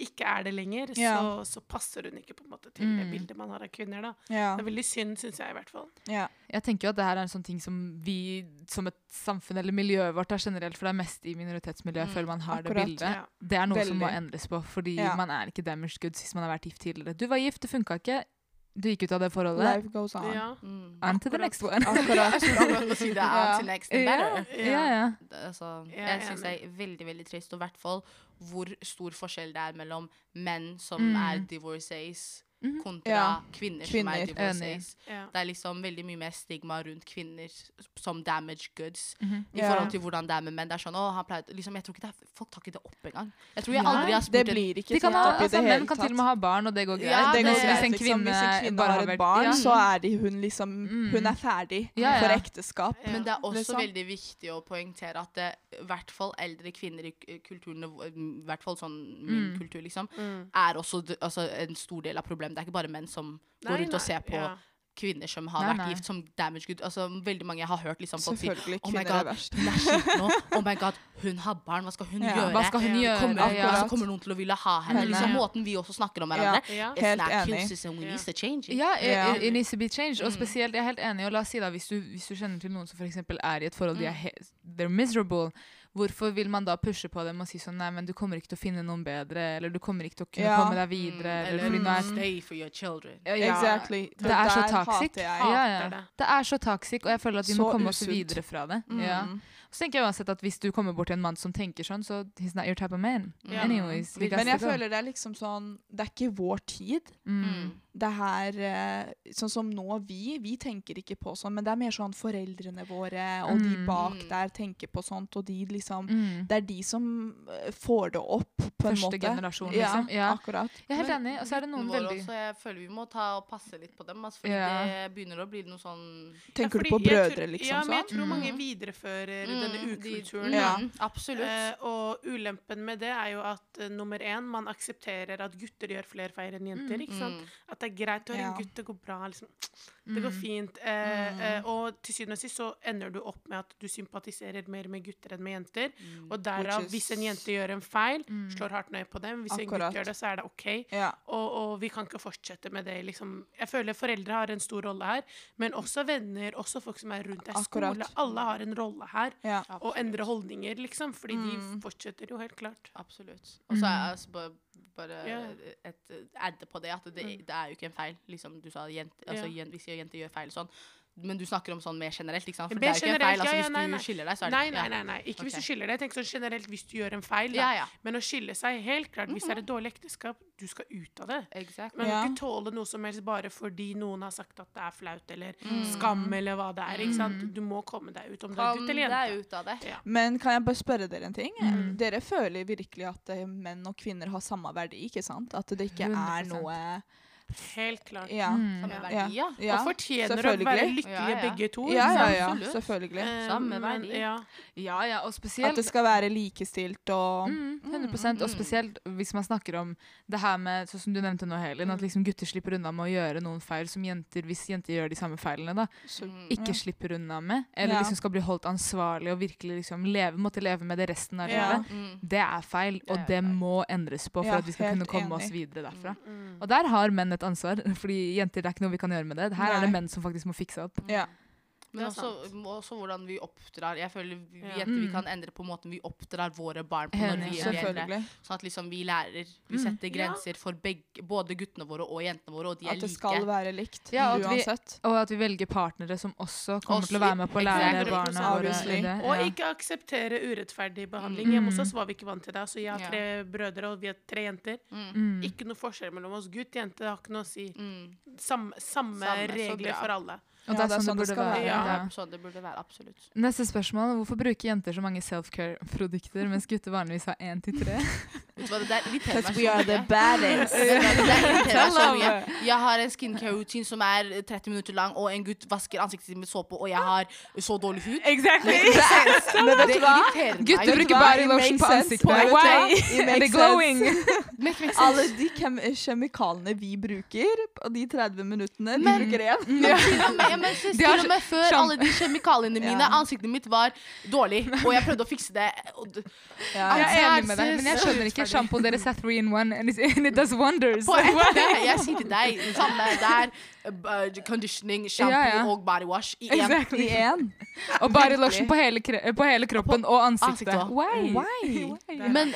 Speaker 2: ikke er det lenger,
Speaker 3: Ja.
Speaker 2: så, så passer hun ikke på en måte til det
Speaker 1: Mm.
Speaker 2: bildet man har av kvinner. da.
Speaker 3: Ja,
Speaker 2: Det er veldig synd, syns jeg i hvert fall.
Speaker 3: ja.
Speaker 1: jeg tenker jo at det her er en sånn ting som vi som et samfunn eller miljøet vårt er generelt, for det er mest i minoritetsmiljøet
Speaker 4: Mm,
Speaker 1: føler man har det
Speaker 3: akkurat,
Speaker 1: bildet.
Speaker 2: ja.
Speaker 1: Det er noe som må
Speaker 3: Veldig.
Speaker 1: endres på, fordi
Speaker 3: Ja.
Speaker 1: man er ikke damaged goods hvis man har vært gift tidligere. Du var gift, det funka ikke. Du gikk ut av det forholdet.
Speaker 3: Life goes on.
Speaker 2: Ja.
Speaker 4: Mm.
Speaker 1: On to the
Speaker 2: akkurat.
Speaker 1: next one.
Speaker 4: Jeg
Speaker 3: Akkurat.
Speaker 4: skulle akkurat til å si det.
Speaker 3: Ja.
Speaker 4: on to next and better.
Speaker 1: Ja, ja.
Speaker 4: Det- Altså,
Speaker 2: Jeg er
Speaker 4: jeg syns det
Speaker 2: enig.
Speaker 4: er veldig veldig trist, og i hvert fall hvor stor forskjell det er mellom menn som
Speaker 1: Mm.
Speaker 4: er divorcees,
Speaker 1: Mhm.
Speaker 4: kontra
Speaker 3: Ja.
Speaker 4: kvinner, som
Speaker 3: Kvinner.
Speaker 4: er
Speaker 3: Enig.
Speaker 4: divorcees.
Speaker 2: Ja.
Speaker 4: Det er liksom veldig mye mer stigma rundt kvinner s- som damage goods.
Speaker 1: Mhm.
Speaker 4: I
Speaker 3: Ja.
Speaker 4: forhold til hvordan det er med menn. Det er sånn, å, han pleide, liksom, jeg tror ikke det er, Folk tar ikke det opp engang. Jeg tror jeg
Speaker 3: Nei,
Speaker 4: aldri har
Speaker 3: det
Speaker 4: spurt en
Speaker 3: blir ikke
Speaker 1: De kan
Speaker 3: tatt
Speaker 1: ha,
Speaker 3: opp i
Speaker 1: altså,
Speaker 3: det
Speaker 1: menn
Speaker 3: hele
Speaker 1: kan
Speaker 3: tatt.
Speaker 1: til og med ha barn, og det går greit.
Speaker 4: Ja,
Speaker 3: det går
Speaker 4: men
Speaker 1: Men
Speaker 3: greit,
Speaker 1: hvis en
Speaker 3: liksom.
Speaker 1: kvinne,
Speaker 3: Hvis en kvinne
Speaker 1: bare
Speaker 3: har et
Speaker 1: vært-
Speaker 3: barn,
Speaker 1: ja.
Speaker 3: så er de, hun liksom
Speaker 1: Mm.
Speaker 3: Hun er ferdig
Speaker 1: Ja,
Speaker 3: for
Speaker 1: ja.
Speaker 3: ekteskap.
Speaker 2: Ja.
Speaker 4: Men det er også
Speaker 3: Liksom.
Speaker 4: veldig viktig å poengtere at det, i hvert fall eldre kvinner i k- kulturen, i hvert fall sånn min
Speaker 1: Mm.
Speaker 4: kultur, liksom,
Speaker 2: Mm.
Speaker 4: er også d- altså, en stor del av problemet. Det er ikke bare menn som
Speaker 2: Nei,
Speaker 4: går rundt
Speaker 2: nei,
Speaker 4: og ser på
Speaker 2: ja.
Speaker 4: kvinner som har
Speaker 1: Nei,
Speaker 4: vært
Speaker 1: nei.
Speaker 4: gift, som damage good. Altså, veldig mange jeg har hørt liksom, folk si
Speaker 3: Selvfølgelig.
Speaker 4: Oh my
Speaker 3: Kvinner
Speaker 4: God.
Speaker 3: er verst.
Speaker 4: hun er sliten nå. Oh my god, hun har barn. Hva skal hun
Speaker 3: Ja.
Speaker 4: gjøre?
Speaker 1: Hva skal hun
Speaker 2: Det
Speaker 1: gjøre?
Speaker 4: kommer,
Speaker 3: Akkurat.
Speaker 4: altså, kommer noen til å ville ha henne?
Speaker 3: Henne.
Speaker 4: Liksom,
Speaker 1: Ja.
Speaker 4: måten vi også snakker om hverandre.
Speaker 2: Ja.
Speaker 4: It's
Speaker 3: Helt
Speaker 4: not
Speaker 3: enig.
Speaker 4: excuses and we
Speaker 2: Ja.
Speaker 4: need to change it.
Speaker 1: Ja, it,
Speaker 3: Ja.
Speaker 1: it- it needs to be changed. Og
Speaker 4: Mm.
Speaker 1: spesielt, jeg er helt enig, og la oss si da, hvis du, hvis du kjenner til noen som for eksempel er i et
Speaker 3: Mm.
Speaker 1: forhold de er he they're miserable, hvorfor vil man da pushe på dem og si sånn, nei, men du kommer ikke til å finne noen bedre, eller du kommer ikke til å kunne
Speaker 3: Ja.
Speaker 1: komme deg videre,
Speaker 4: Mm,
Speaker 1: eller fordi nå er...
Speaker 4: stay for your children.
Speaker 1: Ja, ja.
Speaker 3: Exactly.
Speaker 1: Det er så
Speaker 3: der
Speaker 1: toxic.
Speaker 3: hater jeg.
Speaker 1: Ja,
Speaker 2: Hater
Speaker 1: ja.
Speaker 2: det.
Speaker 1: Det er så toxic, og jeg føler at vi må
Speaker 3: Så
Speaker 1: komme oss
Speaker 3: usunt.
Speaker 1: videre fra det.
Speaker 4: Mm.
Speaker 1: Ja. Så tenker jeg uansett at hvis du kommer bort til en mann som tenker sånn, så he's not your type of man.
Speaker 4: Ja.
Speaker 1: Anyways, we
Speaker 4: Men
Speaker 1: got
Speaker 3: Men
Speaker 1: to
Speaker 3: jeg
Speaker 1: go.
Speaker 3: føler det er liksom sånn Det er ikke vår tid.
Speaker 1: Mm.
Speaker 4: Mm.
Speaker 3: Det her eh, Sånn som nå, vi vi tenker ikke på sånn, men det er mer sånn foreldrene våre og de
Speaker 1: Mm.
Speaker 3: bak
Speaker 4: Mm.
Speaker 3: der tenker på sånt, og de liksom
Speaker 1: Mm.
Speaker 3: Det er de som eh, får det opp, på en
Speaker 1: Første
Speaker 3: måte.
Speaker 1: generasjon, liksom. Ja.
Speaker 3: akkurat.
Speaker 1: Jeg er helt
Speaker 4: Men
Speaker 1: enig, og så er det noen
Speaker 4: guttene våre
Speaker 1: veldig...
Speaker 4: Også, jeg føler vi må ta og passe litt på dem, altså, fordi
Speaker 1: Ja.
Speaker 4: det begynner å bli noe sånn
Speaker 3: Tenker
Speaker 2: fordi
Speaker 3: du på
Speaker 2: jeg tror-
Speaker 3: brødre, liksom?
Speaker 2: Ja, men jeg
Speaker 3: sånn?
Speaker 2: tror
Speaker 1: Mm.
Speaker 2: mange viderefører denne
Speaker 4: Mm, de-
Speaker 2: ukulturen.
Speaker 4: mm,
Speaker 2: da.
Speaker 3: Ja.
Speaker 4: Absolutt. Mm,
Speaker 2: Eh, og ulempen med det er jo at eh, nummer én, man aksepterer at gutter gjør flere feil enn jenter. ikke sant?
Speaker 4: Mm.
Speaker 2: At det er greit å høre
Speaker 3: Ja.
Speaker 2: en gutt, det går bra. liksom. Det går
Speaker 1: Mm.
Speaker 2: fint. Eh,
Speaker 4: Mm.
Speaker 2: eh, og til syvende og sist så ender du opp med at du sympatiserer mer med gutter enn med jenter.
Speaker 4: Mm.
Speaker 2: Og derav,
Speaker 3: Which is-
Speaker 2: hvis en jente gjør en feil,
Speaker 1: Mm.
Speaker 2: slår hardt ned på dem. Hvis en
Speaker 3: Akkurat.
Speaker 2: gutt gjør det, så er det OK.
Speaker 3: sånn? Ja.
Speaker 2: Og, og vi kan ikke fortsette med det. Liksom. Jeg føler foreldre har en stor rolle her, men også venner, også folk som er rundt deg,
Speaker 3: Akkurat.
Speaker 2: skole. Alle har en rolle her.
Speaker 3: ja.
Speaker 2: Å endre holdninger, liksom. Fordi
Speaker 3: Mm.
Speaker 2: de fortsetter jo helt klart.
Speaker 4: Absolutt. Og
Speaker 1: Mm.
Speaker 4: så er jeg altså bare, bare
Speaker 2: Ja. Mm.
Speaker 4: et adde på det, at det, det er jo ikke en feil. Liksom du sa, jente, altså,
Speaker 2: Ja.
Speaker 4: jen- hvis jenter gjør feil sånn, Men du snakker om sånn mer generelt, ikke sant? For
Speaker 2: Mer
Speaker 4: det er jo ikke en
Speaker 2: generelt,
Speaker 4: feil. Altså,
Speaker 2: ja, ja,
Speaker 4: hvis
Speaker 2: nei, nei.
Speaker 4: du skiller deg, så er det
Speaker 2: Nei, nei, nei. nei. Ikke hvis
Speaker 4: Ok.
Speaker 2: du skiller deg. Tenk sånn generelt hvis du gjør en feil. Da.
Speaker 4: Ja, ja.
Speaker 2: Men å skille seg, helt klart, hvis det er et dårlig ekteskap, du skal ut av det.
Speaker 4: Exakt.
Speaker 2: Man kan
Speaker 3: Ja.
Speaker 2: ikke tåle noe som helst bare fordi noen har sagt at det er flaut, eller skam, eller hva det er. ikke sant? Du må komme deg ut, om du er
Speaker 4: Kom
Speaker 2: gutt eller
Speaker 4: deg
Speaker 2: jente.
Speaker 4: ut av det.
Speaker 2: Ja.
Speaker 3: Men kan jeg bare spørre dere en ting? Dere føler virkelig at eh, menn og kvinner har samme verdi, ikke sant? At det ikke er
Speaker 4: 100%.
Speaker 3: noe
Speaker 2: Helt klart.
Speaker 3: Ja.
Speaker 4: Samme
Speaker 2: Ja.
Speaker 4: verdi, ja.
Speaker 3: ja.
Speaker 2: Og fortjener å være
Speaker 3: selvfølgelig.
Speaker 2: lykkelige
Speaker 4: Ja, ja.
Speaker 2: begge to.
Speaker 3: Ja, ja, ja.
Speaker 4: Absolutt.
Speaker 3: Selvfølgelig.
Speaker 2: Eh,
Speaker 4: Samme
Speaker 2: men-
Speaker 4: verdi.
Speaker 2: Ja.
Speaker 1: Ja, ja, og
Speaker 3: At
Speaker 1: spesielt
Speaker 3: det skal være likestilt og
Speaker 1: Mm, 100 Og spesielt hvis man snakker om det her med sånn som du nevnte nå, Helin,
Speaker 3: Mm.
Speaker 1: at liksom gutter slipper unna med å gjøre noen feil som jenter, hvis jenter gjør de samme feilene, da,
Speaker 3: Så-
Speaker 4: Mm,
Speaker 1: ikke slipper unna med. Eller
Speaker 3: Ja.
Speaker 1: liksom skal bli holdt ansvarlig og virkelig liksom leve, måtte leve med det resten av
Speaker 3: Ja.
Speaker 1: livet.
Speaker 4: Mm.
Speaker 1: Det er feil,
Speaker 4: er
Speaker 1: og det
Speaker 4: feil.
Speaker 1: må endres på for
Speaker 3: Ja,
Speaker 1: at vi skal
Speaker 3: helt
Speaker 1: kunne komme
Speaker 3: enig.
Speaker 1: oss videre derfra.
Speaker 2: Mm.
Speaker 1: Og der har menn et ansvar, fordi jenter det er ikke noe vi kan gjøre med det. Her er
Speaker 3: Nei.
Speaker 1: det menn som faktisk må fikse opp.
Speaker 3: Ja.
Speaker 4: Men
Speaker 2: Det er
Speaker 4: også, også hvordan vi oppdrar. Jeg føler vi
Speaker 2: Ja.
Speaker 4: jenter vi
Speaker 1: Mm.
Speaker 4: kan endre på måten vi oppdrar våre barn på
Speaker 1: Helt
Speaker 4: når vi er eldre.
Speaker 3: Selvfølgelig.
Speaker 4: Sånn at liksom vi lærer, vi
Speaker 1: Mm.
Speaker 4: setter
Speaker 2: Ja.
Speaker 4: grenser for begge, både guttene våre og jentene våre, og de er
Speaker 3: At det
Speaker 4: like.
Speaker 3: skal være likt
Speaker 1: Ja, at vi-
Speaker 3: uansett.
Speaker 1: Og at vi velger partnere som også kommer til å
Speaker 4: Også-
Speaker 1: være med på å lære
Speaker 4: Exactly.
Speaker 1: barna våre
Speaker 3: Obviously.
Speaker 1: det.
Speaker 2: Og
Speaker 1: Ja.
Speaker 2: ikke akseptere urettferdig behandling. Hjemme hos oss var vi ikke vant til det. Så jeg har
Speaker 4: Ja.
Speaker 2: tre brødre, og vi er tre jenter.
Speaker 1: Mm.
Speaker 2: Ikke noe forskjell mellom oss. Gutt, jente, det har ikke noe å si.
Speaker 4: Mm.
Speaker 2: Samme, samme,
Speaker 4: Samme, så
Speaker 2: regler
Speaker 4: bra.
Speaker 2: for alle.
Speaker 1: Og det er sånn det burde
Speaker 3: skal
Speaker 1: være.
Speaker 4: Ja.
Speaker 2: Ja.
Speaker 4: Det
Speaker 1: Ja.
Speaker 4: er sånn det burde være, absolutt.
Speaker 1: Neste spørsmål. Hvorfor bruker jenter så mange self-care-produkter, mens gutter vanligvis har én til tre?
Speaker 4: Vet du hva, det der irriterer meg
Speaker 3: Because
Speaker 4: så
Speaker 3: we are
Speaker 4: mye.
Speaker 3: the baddest.
Speaker 4: Det der irriterer meg så
Speaker 3: Tell
Speaker 4: mye.
Speaker 3: them.
Speaker 4: Jeg har en skincare routine som er 30 minutter lang, og en gutt vasker ansiktet sitt med såpe, og jeg har så dårlig hud.
Speaker 3: Exactly. Men vet du hva?
Speaker 1: Gutter
Speaker 3: Vet du
Speaker 1: bruker
Speaker 3: hva?
Speaker 1: bare
Speaker 3: It
Speaker 1: lotion
Speaker 3: makes
Speaker 1: på
Speaker 3: sense.
Speaker 1: ansiktet.
Speaker 3: Vet du hva? It
Speaker 1: Eller
Speaker 3: makes
Speaker 1: glowing.
Speaker 3: sense.
Speaker 4: Make make
Speaker 3: Alle de kem kjemikaliene vi bruker på de 30 minuttene, de
Speaker 4: Men-
Speaker 3: bruker én.
Speaker 4: Til og med, ja, men se,
Speaker 1: har
Speaker 4: til og med før
Speaker 1: sjamp-
Speaker 4: alle de kjemikaliene mine,
Speaker 3: Ja.
Speaker 4: ansiktet mitt var dårlig, og jeg prøvde å fikse det. Og d-
Speaker 1: Jeg
Speaker 3: Ja.
Speaker 1: er enig med deg, men jeg skjønner ikke. Sjampo deres er three in one, and it's- and it does wonders.
Speaker 4: på ekte, jeg sier til deg, det samme der, eh, conditioning, shampoo
Speaker 1: Ja, ja.
Speaker 4: og body wash i én.
Speaker 3: I
Speaker 1: Exactly.
Speaker 3: én.
Speaker 1: Og bare lotion på hele, kre på hele kroppen og ansiktet.
Speaker 4: ansiktet også.
Speaker 1: Why?
Speaker 3: Why?
Speaker 4: Men,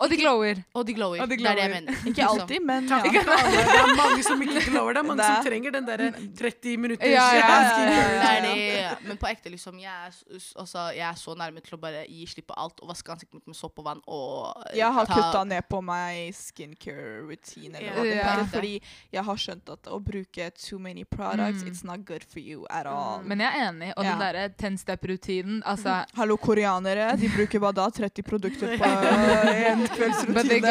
Speaker 1: Og de glower.
Speaker 4: og de glower.
Speaker 1: Og de
Speaker 4: Det er det jeg
Speaker 1: glower.
Speaker 4: mener. liksom.
Speaker 3: Ikke
Speaker 1: Liksom.
Speaker 3: alltid, men ja.
Speaker 2: Alle, det er mange som ikke lover. Det er mange
Speaker 3: Det-
Speaker 2: som trenger den derre 30 minutter
Speaker 1: Ja, ja, ja, ja,
Speaker 2: skincare.
Speaker 4: Det er det. Men på ekte, liksom, jeg er, s- altså, jeg er så nærme til å bare gi slipp på alt og vaske ansiktet mitt med såpe og vann og eh,
Speaker 3: Jeg har
Speaker 4: ta-
Speaker 3: kutta ned på meg skincare routine. Eller hva det
Speaker 1: Ja.
Speaker 3: heter, fordi jeg har skjønt at å bruke too many products,
Speaker 1: Mm.
Speaker 3: it's not good for you at all.
Speaker 1: Men jeg er enig. Og den
Speaker 3: Ja.
Speaker 1: derre ten step-rutinen, altså
Speaker 3: Hallo, koreanere. De bruker hva da? 30 produkter på en kveldsrutine?
Speaker 1: But they glow.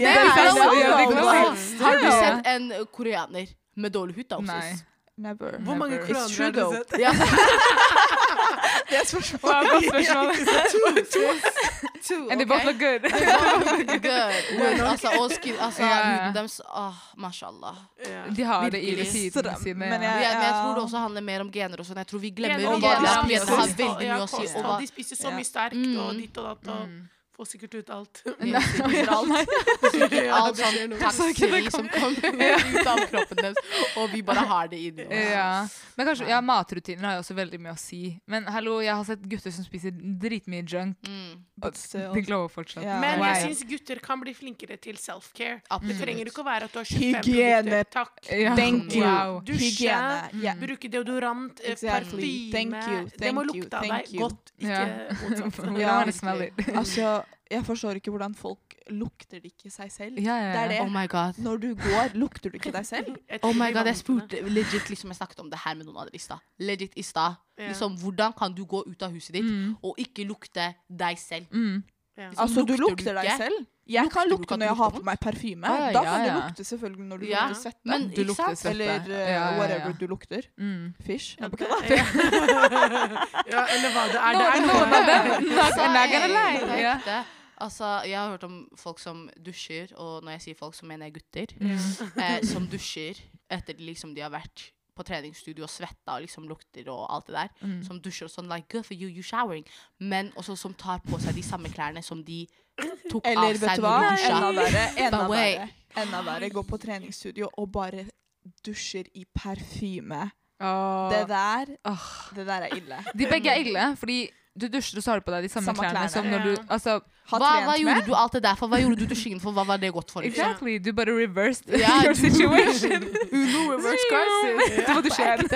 Speaker 3: Yeah,
Speaker 4: they
Speaker 3: I
Speaker 4: glow.
Speaker 3: know.
Speaker 4: Yeah, they glow.
Speaker 1: glow.
Speaker 4: Har du sett en koreaner med dårlig hud, da?
Speaker 1: Nei.
Speaker 4: Osis?
Speaker 3: Never.
Speaker 2: Hvor mange
Speaker 1: Never.
Speaker 3: It's true,
Speaker 2: kroner har
Speaker 3: though.
Speaker 2: du sett?
Speaker 4: Ja.
Speaker 3: Det er spørsmålet.
Speaker 1: Godt spørsmål.
Speaker 4: Two,
Speaker 1: And they both look good.
Speaker 4: Good. Men altså, og skin, altså
Speaker 1: Ja, ja.
Speaker 4: huden deres ah, Mashallah.
Speaker 2: Ja.
Speaker 1: De har det i
Speaker 4: Virkelig.
Speaker 1: sidene
Speaker 3: Stram,
Speaker 1: sine.
Speaker 3: men
Speaker 1: ja.
Speaker 4: Men jeg, men jeg
Speaker 3: ja.
Speaker 4: tror det også handler mer om gener og sånn. Jeg tror vi glemmer
Speaker 2: Gener og
Speaker 4: gener.
Speaker 3: hva de
Speaker 4: Gener
Speaker 2: sånn
Speaker 4: har
Speaker 3: spiser.
Speaker 4: veldig mye å si. Og hva
Speaker 2: De spiser så
Speaker 3: Ja.
Speaker 2: mye sterkt, og
Speaker 4: Mm.
Speaker 2: ditt og datt, og får sikkert ut alt.
Speaker 4: alt, alt sånn taxfree som kommer ut av kroppen deres, og vi bare har det inni oss.
Speaker 1: Ja. Men kanskje, ja, matrutiner har jo også veldig mye å si. Men hallo, jeg har sett gutter som spiser dritmye junk.
Speaker 4: Mm.
Speaker 3: But still.
Speaker 1: De glower fortsatt.
Speaker 3: Ja.
Speaker 2: Men jeg
Speaker 1: Wow.
Speaker 2: syns gutter kan bli flinkere til self-care. Det
Speaker 4: Absolutt.
Speaker 2: trenger ikke å være at du har 25
Speaker 3: Hygiene.
Speaker 2: produkter. Takk.
Speaker 1: Ja.
Speaker 3: Thank you.
Speaker 1: Wow.
Speaker 2: Dusje.
Speaker 3: Hygiene. Yeah.
Speaker 2: Bruke deodorant, eh,
Speaker 3: Exactly.
Speaker 2: parfyme.
Speaker 3: Thank you,
Speaker 2: det må
Speaker 3: thank you,
Speaker 2: lukte av
Speaker 3: thank
Speaker 2: deg
Speaker 3: you.
Speaker 2: godt, ikke
Speaker 1: Ja.
Speaker 2: motsatt.
Speaker 1: We
Speaker 3: Ja,
Speaker 1: don't wanna smell it.
Speaker 3: Altså, jeg forstår ikke hvordan folk lukter det ikke seg selv.
Speaker 1: Ja, ja,
Speaker 3: Det er
Speaker 1: ja.
Speaker 3: det.
Speaker 4: Oh my god.
Speaker 3: Når du går, lukter du ikke deg selv?
Speaker 2: Jeg
Speaker 4: Oh my
Speaker 2: tror
Speaker 4: god,
Speaker 2: de
Speaker 4: jeg spurte legit liksom jeg snakket om det her med noen andre i stad. Legit i stad.
Speaker 2: Ja.
Speaker 4: Liksom, hvordan kan du gå ut av huset ditt
Speaker 1: Mm.
Speaker 4: og ikke lukte deg selv?
Speaker 1: Mm.
Speaker 2: vant det. Ja.
Speaker 3: Altså, du
Speaker 4: lukter du
Speaker 3: lukter deg
Speaker 4: ikke?
Speaker 3: selv. Jeg kan
Speaker 4: Lukter du ikke
Speaker 3: lukte når
Speaker 4: at du
Speaker 3: jeg har
Speaker 4: lukter
Speaker 3: på meg parfyme.
Speaker 1: Ah, ja,
Speaker 3: Da kan du
Speaker 1: ja.
Speaker 3: lukte selvfølgelig når du
Speaker 4: Ja,
Speaker 3: lukter svette.
Speaker 4: men
Speaker 1: Du
Speaker 4: ikke
Speaker 1: lukter
Speaker 4: sant?
Speaker 1: svette.
Speaker 3: Eller eh,
Speaker 1: Ja, ja, ja.
Speaker 3: whatever du lukter.
Speaker 1: Mm.
Speaker 3: Fish. Jeg bare kødder.
Speaker 2: Ja. ja, eller hva det er. Det er noe
Speaker 1: av dem. Not,
Speaker 4: Altså,
Speaker 1: I'm not gonna
Speaker 4: jeg-
Speaker 1: lie.
Speaker 4: på
Speaker 1: Ja.
Speaker 4: ekte. Altså, jeg har hørt om folk som dusjer, og når jeg sier folk, så mener jeg gutter, eh, som dusjer etter liksom de har vært på treningsstudio og svetta og liksom lukter og alt det der.
Speaker 1: Mm,
Speaker 3: Mm.
Speaker 4: Som dusjer og sånn like, good for you, you showering. Men også som tar på seg de samme klærne som de tok av
Speaker 3: Eller vet
Speaker 4: seg
Speaker 3: du hva?
Speaker 4: når de
Speaker 3: Enda
Speaker 4: dusja.
Speaker 3: verre. Enda
Speaker 4: But wait.
Speaker 3: verre. Enda verre. Gå på treningsstudio og bare dusjer i parfyme.
Speaker 1: Åh.
Speaker 3: Det der,
Speaker 1: Åh.
Speaker 3: det der er ille.
Speaker 1: De begge er ille, fordi du dusjer, og så har du på deg de samme,
Speaker 3: Samme
Speaker 1: klærne,
Speaker 3: klærne,
Speaker 1: som når
Speaker 2: ja.
Speaker 1: du Altså,
Speaker 3: Ha
Speaker 4: Hva, hva
Speaker 3: trent
Speaker 4: gjorde
Speaker 3: med.
Speaker 4: du alt det der for? Hva gjorde du dusjingen for? Hva var det godt for? liksom?
Speaker 1: exactly. Du bare reversed
Speaker 4: Ja,
Speaker 1: your
Speaker 4: du-
Speaker 1: situation.
Speaker 4: Uno reverse crisis.
Speaker 1: du må dusje igjen.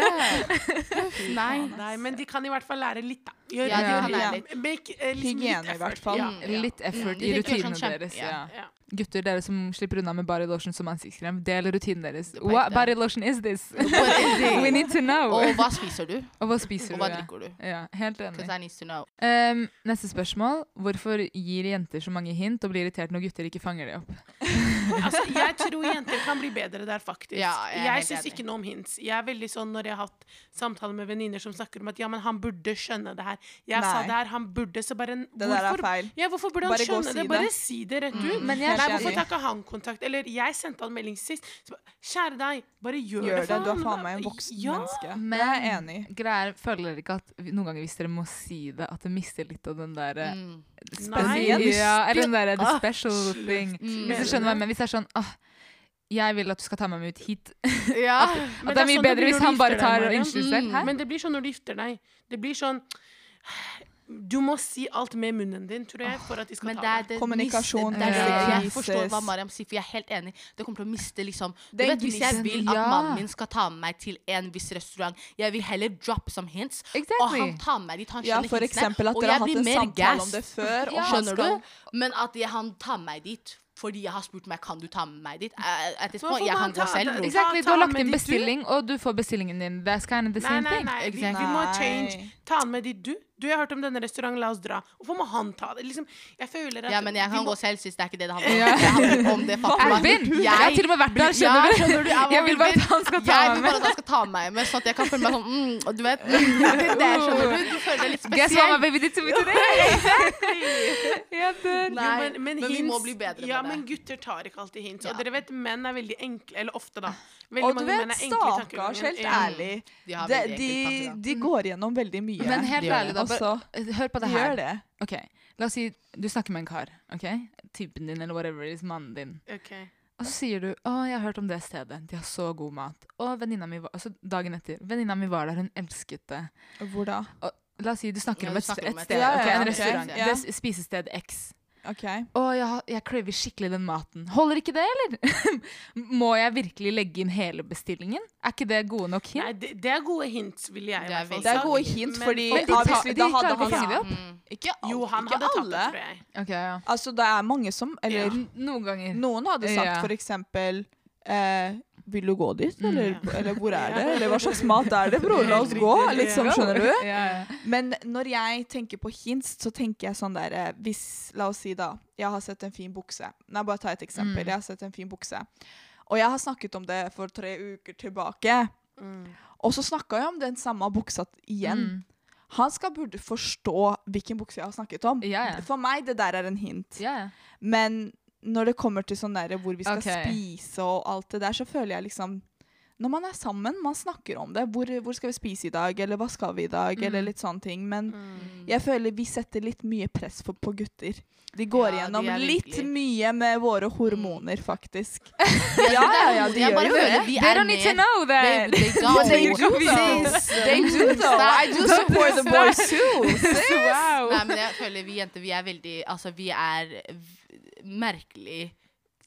Speaker 4: Nei.
Speaker 2: Nei, men de kan i hvert fall lære litt, da. Gjør,
Speaker 4: Ja,
Speaker 1: de kan
Speaker 3: lære
Speaker 2: litt. Make, eh, liksom litt
Speaker 3: Hygiene, i
Speaker 2: effort.
Speaker 3: hvert fall.
Speaker 2: Ja.
Speaker 4: Mm.
Speaker 1: Litt effort
Speaker 4: Mm,
Speaker 1: i
Speaker 4: de fikk gjort
Speaker 1: rutinene
Speaker 4: sånn kjempe-
Speaker 1: deres.
Speaker 4: ja.
Speaker 1: Ja.
Speaker 2: Ja.
Speaker 1: Gutter, dere som slipper unna med body lotion som ansiktskrem, del rutinen deres.
Speaker 4: Det er på
Speaker 1: What
Speaker 4: ekte.
Speaker 1: body lotion is this?
Speaker 4: What is it?
Speaker 1: We need to know.
Speaker 4: Og hva spiser du?
Speaker 1: Og hva spiser
Speaker 4: Og
Speaker 1: du?
Speaker 4: hva
Speaker 1: ja?
Speaker 4: drikker du?
Speaker 1: Ja, helt enig.
Speaker 4: Because I need to know.
Speaker 1: Ehm, neste spørsmål. Hvorfor gir jenter så mange hint og blir irritert når gutter ikke fanger det opp?
Speaker 2: Altså, jeg tror jenter kan bli bedre der, faktisk.
Speaker 4: Ja, jeg er
Speaker 2: jeg
Speaker 4: helt
Speaker 2: syns
Speaker 4: enig.
Speaker 2: ikke noe om hints. Jeg er veldig sånn når jeg har hatt samtaler med venninner som snakker om at ja, men han burde skjønne det her. Jeg sa
Speaker 3: Nei.
Speaker 2: det her, han burde, så bare
Speaker 3: Det der er
Speaker 2: hvorfor,
Speaker 3: feil.
Speaker 2: ja, hvorfor burde han
Speaker 3: Bare gå
Speaker 2: skjønne
Speaker 3: og si
Speaker 2: det?
Speaker 3: det.
Speaker 2: Bare si det rett ut.
Speaker 4: Mm.
Speaker 1: Men jeg-
Speaker 2: Nei,
Speaker 3: Helt
Speaker 2: hvorfor
Speaker 3: enig.
Speaker 2: tar ikke han kontakt? Eller jeg sendte han melding sist. Så, ba- Kjære deg, bare gjør,
Speaker 3: Gjør det.
Speaker 2: for
Speaker 3: Du er
Speaker 2: han.
Speaker 3: faen meg en voksen
Speaker 2: ja.
Speaker 3: menneske.
Speaker 1: Men-
Speaker 3: Det er jeg enig i.
Speaker 1: Greier, føler dere ikke at vi- noen ganger hvis dere må si det, at det mister litt av den eh, derre
Speaker 4: Mm.
Speaker 2: Nei,
Speaker 1: Spesielt. Ja, eller den der the special thing.
Speaker 4: Mm.
Speaker 1: Hvis du skjønner hva jeg mener. Hvis det er sånn åh, jeg vil at du skal ta meg med ut hit.
Speaker 4: Ja.
Speaker 2: Men
Speaker 1: At det er mye
Speaker 2: sånn
Speaker 1: bedre
Speaker 2: blir
Speaker 1: hvis
Speaker 2: når du
Speaker 1: han bare
Speaker 2: gifter deg,
Speaker 1: tar
Speaker 2: Mariam.
Speaker 1: unnskyld selv.
Speaker 4: Mm.
Speaker 1: Hæ?
Speaker 2: Men det blir sånn når du gifter deg. Det blir sånn Du må si alt med munnen din, tror jeg, for at de skal
Speaker 4: Men det
Speaker 2: ta
Speaker 4: er det
Speaker 3: Kommunikasjon,
Speaker 4: miste- det er det.
Speaker 1: ja.
Speaker 4: Jeg forstår hva
Speaker 3: Jesus.
Speaker 4: Mariam sier, for jeg er helt enig. Det kommer til å miste liksom Du
Speaker 3: Den
Speaker 4: vet, Hvis jeg
Speaker 1: gnisten,
Speaker 4: vil at
Speaker 1: ja.
Speaker 4: mannen min skal ta med meg til en viss restaurant, jeg vil heller drop some hints. Og
Speaker 1: Exactly.
Speaker 4: han tar med meg dit, han
Speaker 3: Ja,
Speaker 4: skjønner
Speaker 3: for eksempel
Speaker 4: hintsene,
Speaker 3: at
Speaker 4: og
Speaker 3: dere
Speaker 4: jeg
Speaker 3: har hatt
Speaker 4: blir
Speaker 3: en
Speaker 4: mer
Speaker 3: samtale om det
Speaker 4: gassed.
Speaker 3: før. Og han
Speaker 4: Skjønner
Speaker 3: skal,
Speaker 4: du? Men at jeg, han tar meg dit fordi jeg har spurt meg kan du ta med meg dit. Eh, at this
Speaker 2: Hvorfor
Speaker 4: point, jeg
Speaker 2: må han
Speaker 4: kan gå
Speaker 2: ta
Speaker 4: selv,
Speaker 2: det?
Speaker 4: bror.
Speaker 2: Ikke sant?
Speaker 1: Exactly,
Speaker 2: Ta-
Speaker 1: du har
Speaker 2: ta
Speaker 1: lagt
Speaker 2: med
Speaker 1: inn
Speaker 2: ditt du.
Speaker 1: bestilling, og du får bestillingen din. That's kind of the
Speaker 2: Nei,
Speaker 1: same
Speaker 2: nei,
Speaker 1: thing.
Speaker 2: nei. Vi,
Speaker 4: Exactly.
Speaker 2: vi må
Speaker 3: Nei.
Speaker 2: change. Ta han med dit du. Du, jeg har hørt om denne restauranten, la oss dra. Hvorfor må han ta det? Liksom, jeg føler at
Speaker 4: Ja, men jeg
Speaker 2: vi
Speaker 4: kan
Speaker 2: må-
Speaker 4: gå selv, syns det er ikke det det handler om. Det handler om det faktum
Speaker 1: I've
Speaker 4: at
Speaker 1: been! Jeg har til og med vært der, skjønner
Speaker 4: Ja,
Speaker 1: du?
Speaker 4: skjønner du? Jeg,
Speaker 1: Jeg vil bare at han skal ta
Speaker 4: jeg
Speaker 1: meg
Speaker 4: vil
Speaker 1: med.
Speaker 4: bare at han skal ta meg med, sånn at jeg kan føle meg sånn mm, og Du vet, mm, det der, skjønner du? Du føler deg litt
Speaker 1: Guess what my
Speaker 4: spesiell.
Speaker 1: baby did to me today? Jeg dør.
Speaker 4: Nei,
Speaker 2: Jo,
Speaker 4: men, vi
Speaker 2: hints-
Speaker 4: må bli bedre
Speaker 2: ja,
Speaker 4: på det.
Speaker 2: men gutter tar ikke alltid hints.
Speaker 4: Ja.
Speaker 2: Og dere vet, menn er veldig enkle, eller ofte, da. Veldig
Speaker 3: og du
Speaker 2: mange menn
Speaker 3: vet,
Speaker 2: er enkle i
Speaker 3: stakkars,
Speaker 2: tankegangen.
Speaker 3: helt
Speaker 2: Ja.
Speaker 3: ærlig
Speaker 4: De har
Speaker 3: de,
Speaker 4: veldig
Speaker 3: de,
Speaker 4: enkelt tankegang.
Speaker 3: de går gjennom veldig mye. Altså,
Speaker 1: Men helt
Speaker 4: Det gjør
Speaker 1: ærlig, da.
Speaker 3: og
Speaker 1: Bare,
Speaker 3: så
Speaker 1: hør på det her.
Speaker 3: gjør det.
Speaker 1: Ok, La oss si du snakker med en kar. ok? Typen din eller whatever. Liksom mannen din.
Speaker 2: Ok.
Speaker 1: Og så sier du 'Å, jeg har hørt om det stedet. De har så god mat.' Og venninna mi var, altså dagen etter. Venninna mi var der, hun elsket det.
Speaker 3: Hvor da?
Speaker 1: La oss si du snakker
Speaker 4: Ja,
Speaker 1: om
Speaker 4: du
Speaker 1: et,
Speaker 4: snakker
Speaker 1: st- et
Speaker 4: om et
Speaker 1: sted.
Speaker 3: sted. Ja,
Speaker 1: ok, en
Speaker 3: ja, ok,
Speaker 1: restaurant.
Speaker 3: ja.
Speaker 1: Det er s- spisested X.
Speaker 3: OK.
Speaker 1: Å, jeg, har- jeg craver skikkelig den maten. Holder ikke det, eller? Må jeg virkelig legge inn hele bestillingen? Er ikke det gode nok hint?
Speaker 2: Nei, det, det er gode hints, vil jeg i
Speaker 4: Det er
Speaker 2: hvert fall
Speaker 4: veldig-
Speaker 3: Det er
Speaker 2: sagt.
Speaker 3: gode hint,
Speaker 2: Men-
Speaker 3: fordi
Speaker 1: Men de tar-
Speaker 3: obviously,
Speaker 1: de
Speaker 3: da
Speaker 1: klarer ikke
Speaker 3: hadde
Speaker 1: å
Speaker 3: han
Speaker 1: fange det opp.
Speaker 4: Mm.
Speaker 3: Altså, Ikke alle.
Speaker 2: Jo, han
Speaker 3: ikke
Speaker 2: hadde tatt
Speaker 3: alle.
Speaker 2: det, tror jeg.
Speaker 1: Ok, ja.
Speaker 3: Altså, det er mange som Eller
Speaker 1: N- Noen ganger.
Speaker 3: noen hadde sagt
Speaker 1: Ja.
Speaker 3: for eksempel eh, vil du gå dit,
Speaker 1: Mm.
Speaker 3: eller, eller hvor er det? Eller hva slags mat er det, bror? La oss
Speaker 2: Helt
Speaker 3: gå,
Speaker 2: riktig, ja.
Speaker 3: liksom, skjønner du?
Speaker 1: Ja, ja.
Speaker 3: Men når jeg tenker på hints, så tenker jeg sånn der eh, Hvis, la oss si da, jeg har sett en fin bukse. Nei, bare ta et eksempel.
Speaker 1: Mm.
Speaker 3: Jeg har sett en fin bukse. Og jeg har snakket om det for tre uker tilbake.
Speaker 2: Mm.
Speaker 3: Og så snakka jeg om den samme buksa t- igjen.
Speaker 1: Mm.
Speaker 3: Han skal burde forstå hvilken bukse jeg har snakket om.
Speaker 1: Ja, ja.
Speaker 3: For meg, det der er en hint.
Speaker 1: Ja, ja.
Speaker 3: Men når det kommer til sånn der hvor vi skal
Speaker 1: Ok.
Speaker 3: spise og alt det der, så føler jeg liksom Når man er sammen, man snakker om det. Hvor, hvor skal vi spise i dag? Eller hva skal vi i dag?
Speaker 1: Mm.
Speaker 3: Eller litt sånne ting. Men
Speaker 2: mm.
Speaker 3: jeg føler vi setter litt mye press på, på gutter. De går
Speaker 4: Ja, de
Speaker 3: gjennom
Speaker 4: er
Speaker 3: litt
Speaker 4: virkelig-
Speaker 3: mye med
Speaker 1: Mm.
Speaker 3: våre hormoner, faktisk.
Speaker 4: Jeg
Speaker 3: Ja,
Speaker 4: synes det er
Speaker 3: ja, ja,
Speaker 4: noe-
Speaker 3: de
Speaker 4: jeg
Speaker 3: gjør
Speaker 4: bare
Speaker 3: jo
Speaker 4: føler
Speaker 3: det.
Speaker 4: vi
Speaker 1: They
Speaker 4: er
Speaker 1: don't need to
Speaker 4: mer-
Speaker 1: know
Speaker 4: They,
Speaker 1: that.
Speaker 4: they
Speaker 3: But they
Speaker 4: don't.
Speaker 3: do though.
Speaker 4: Sis.
Speaker 3: They do though. I do support the boys too.
Speaker 1: Wow.
Speaker 4: Nei, men jeg føler vi jenter, vi er veldig Altså, vi er v- merkelig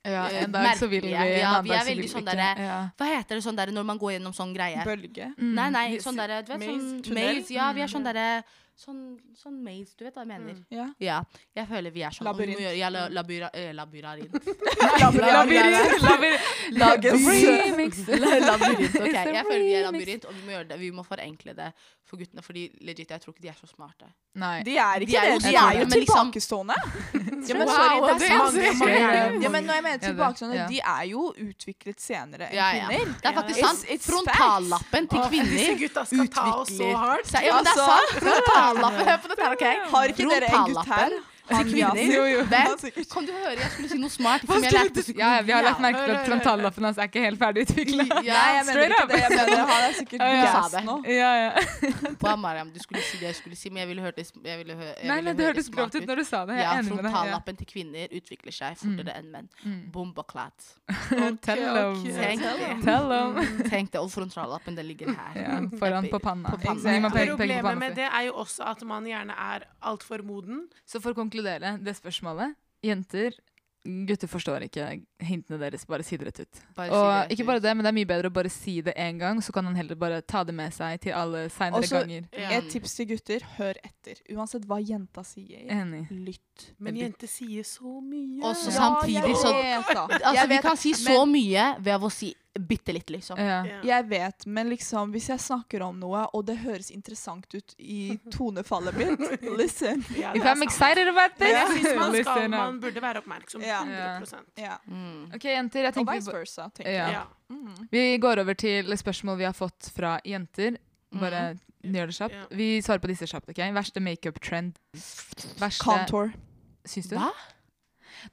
Speaker 1: Ja,
Speaker 4: Eh,
Speaker 1: en dag så vil vi,
Speaker 4: merkelige.
Speaker 1: en
Speaker 4: Ja,
Speaker 1: annen
Speaker 4: vi er
Speaker 1: dag så
Speaker 4: veldig
Speaker 1: vil vi
Speaker 4: sånn
Speaker 1: ikke.
Speaker 4: derre-
Speaker 1: ja.
Speaker 4: Hva heter det sånn der når man går gjennom sånn greie?
Speaker 3: Bølge.
Speaker 1: Mm.
Speaker 4: Nei, nei,
Speaker 1: Vi-
Speaker 4: sånn derre du vet,
Speaker 2: Maze,
Speaker 4: sånn
Speaker 2: tunnel?
Speaker 4: maze. Ja, vi er sånn derre sånn, sånn maze, du vet hva jeg mener.
Speaker 3: Ja.
Speaker 4: Ja. Jeg føler vi er sånn. og vi må
Speaker 3: Labyrint.
Speaker 4: gjøre- Ja, la, labyra, eh, labyrarint.
Speaker 1: Labyrint! labyrint.
Speaker 3: Lages.
Speaker 1: Remix.
Speaker 4: labyrint, ok.
Speaker 1: It's a
Speaker 4: Jeg føler vi er
Speaker 1: remix.
Speaker 4: labyrint, og vi må, gjøre det. vi må forenkle det for guttene. Fordi legit, jeg tror ikke de er så smarte.
Speaker 1: Nei.
Speaker 3: De er ikke
Speaker 4: De er jo
Speaker 3: det. De
Speaker 4: smarte,
Speaker 3: er jo
Speaker 4: men liksom-
Speaker 3: tilbakestående.
Speaker 4: Ja,
Speaker 3: men
Speaker 4: sorry,
Speaker 3: sorry,
Speaker 4: det
Speaker 3: det
Speaker 4: er
Speaker 3: er
Speaker 4: sant.
Speaker 2: Mange, mange er det.
Speaker 3: Ja, men når jeg mener
Speaker 1: Ja, det-
Speaker 3: tilbakestående,
Speaker 1: ja.
Speaker 3: de er jo utviklet senere enn
Speaker 4: Ja, ja.
Speaker 3: kvinner.
Speaker 4: Det er faktisk
Speaker 3: Ja.
Speaker 4: sant.
Speaker 3: It's- it's
Speaker 4: Frontallappen
Speaker 2: Disse
Speaker 4: til kvinner
Speaker 2: gutta skal ta oss så
Speaker 4: utvikler
Speaker 2: hardt.
Speaker 4: seg. Ja, men det er
Speaker 3: Altså,
Speaker 4: sant. Frontallappen. Hør på dette her, OK?
Speaker 3: Har ikke dere en gutt her? Han Yasin.
Speaker 1: Jo, jo.
Speaker 3: Han
Speaker 4: Vent,
Speaker 3: sikkert-
Speaker 4: kan du høre? Jeg skulle si noe smart. Som jeg lærte på
Speaker 1: Ja, ja, vi har lagt merke til
Speaker 2: Hør,
Speaker 1: at
Speaker 2: hør, hør.
Speaker 1: frontallappen hans er ikke helt ferdigutvikla.
Speaker 4: psykologi. Ja,
Speaker 3: Nei, jeg mener
Speaker 1: straight
Speaker 3: ikke
Speaker 1: up.
Speaker 3: det. Jeg mener han er sikkert
Speaker 1: Ja, ja.
Speaker 3: gass
Speaker 4: Sa det.
Speaker 3: nå.
Speaker 1: Ja, ja.
Speaker 4: på Mariam, du skulle si det jeg skulle si, men jeg ville hørt det, jeg ville hø jeg
Speaker 1: Nei,
Speaker 4: ville
Speaker 1: nei, det
Speaker 4: høre
Speaker 1: hørtes
Speaker 4: smart
Speaker 1: grovt ut når du sa det. Jeg
Speaker 4: Ja,
Speaker 1: er enig med deg. Ja.
Speaker 4: frontallappen til kvinner utvikler seg fortere enn menn.
Speaker 1: Mm. eh,
Speaker 4: Bombaklat.
Speaker 1: Tell
Speaker 2: ok. Mm.
Speaker 1: them.
Speaker 4: Tenk det.
Speaker 1: Tell them.
Speaker 4: Tenk det, og frontallappen den ligger her.
Speaker 1: Ja, foran på panna.
Speaker 4: På panna.
Speaker 1: Gi meg peke- peke på
Speaker 2: Problemet
Speaker 1: panna
Speaker 2: med
Speaker 1: si.
Speaker 2: det er jo også at man gjerne er altfor moden.
Speaker 1: Så for å konkludere det spørsmålet. Jenter, gutter forstår ikke hintene deres. Bare si det rett ut.
Speaker 4: Bare si det
Speaker 1: Og
Speaker 4: rett
Speaker 1: ikke
Speaker 4: ut.
Speaker 1: bare det, men det er mye bedre å bare si det én gang, så kan han heller bare ta det med seg til alle seinere
Speaker 3: Også-
Speaker 1: ganger.
Speaker 2: Ja.
Speaker 3: Et tips til gutter, hør etter. Uansett hva jenta sier,
Speaker 1: Enig.
Speaker 3: lytt.
Speaker 2: Men jenter sier så mye.
Speaker 4: Og så
Speaker 3: Ja,
Speaker 4: samtidig
Speaker 3: jeg
Speaker 4: så
Speaker 3: vet da.
Speaker 4: Altså,
Speaker 3: Jeg
Speaker 4: vi
Speaker 3: vet,
Speaker 4: kan si så mye ved å si bitte litt, liksom.
Speaker 1: Ja.
Speaker 2: Ja.
Speaker 3: Jeg vet, men liksom, hvis jeg snakker om noe, og det høres interessant ut i tonefallet mitt Listen.
Speaker 2: Ja, det
Speaker 1: If
Speaker 2: er
Speaker 1: I'm
Speaker 2: sant.
Speaker 1: excited about this,
Speaker 2: Men jeg synes man, skal,
Speaker 1: listen
Speaker 2: man
Speaker 1: up.
Speaker 2: burde være oppmerksom.
Speaker 3: Ja.
Speaker 2: 100
Speaker 3: Ja.
Speaker 4: Mm.
Speaker 1: Ok, jenter, jeg
Speaker 3: Og
Speaker 1: tenker vi
Speaker 3: vice
Speaker 1: ba-
Speaker 3: versa, tenker
Speaker 1: Ja.
Speaker 3: jeg.
Speaker 2: Ja.
Speaker 3: Mm.
Speaker 1: Vi går over til spørsmål vi har fått fra jenter. Bare gjør det
Speaker 2: Ja.
Speaker 1: kjapt. Vi svarer på disse kjapt. ok? Verste makeup-trend. Verste
Speaker 3: Contour.
Speaker 1: Syns du?
Speaker 4: Hva?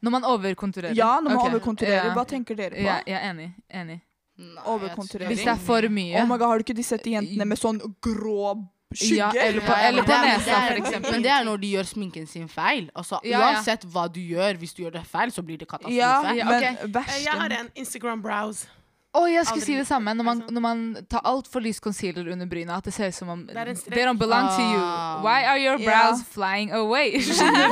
Speaker 1: Når man overkonturerer.
Speaker 3: Ja, når man
Speaker 1: Ok.
Speaker 3: overkontrollerer.
Speaker 1: Ja.
Speaker 3: Hva tenker dere på?
Speaker 1: Ja, jeg er enig. enig.
Speaker 4: Nei,
Speaker 3: Overkonturering.
Speaker 1: Hvis det er for mye.
Speaker 3: Oh my god, Har du ikke de sett de jentene med sånn grå skygge?
Speaker 1: Ja, eller på,
Speaker 4: Ja, men
Speaker 1: eller
Speaker 4: det
Speaker 1: på
Speaker 4: er- men det
Speaker 1: nesa,
Speaker 4: er-
Speaker 1: for eksempel.
Speaker 4: Men det er når de gjør sminken sin feil. Altså,
Speaker 1: Ja, ja.
Speaker 4: Uansett hva du gjør, hvis du gjør det feil, så blir det katastrofe.
Speaker 3: Ja,
Speaker 1: Ja,
Speaker 3: men
Speaker 1: ok.
Speaker 2: Eh,
Speaker 3: verst
Speaker 2: Jeg har en Instagram browse.
Speaker 1: Å, jeg skulle
Speaker 2: Aldri
Speaker 1: si det
Speaker 2: likt
Speaker 1: samme. Når man,
Speaker 4: sånn-
Speaker 2: det, altså.
Speaker 1: når man tar altfor lys concealer under bryna, at det ser ut som om
Speaker 2: Det er en strek.
Speaker 1: They don't belong to you.
Speaker 4: Ah.
Speaker 1: Why are your
Speaker 3: Ja.
Speaker 1: brows flying away? Skjønner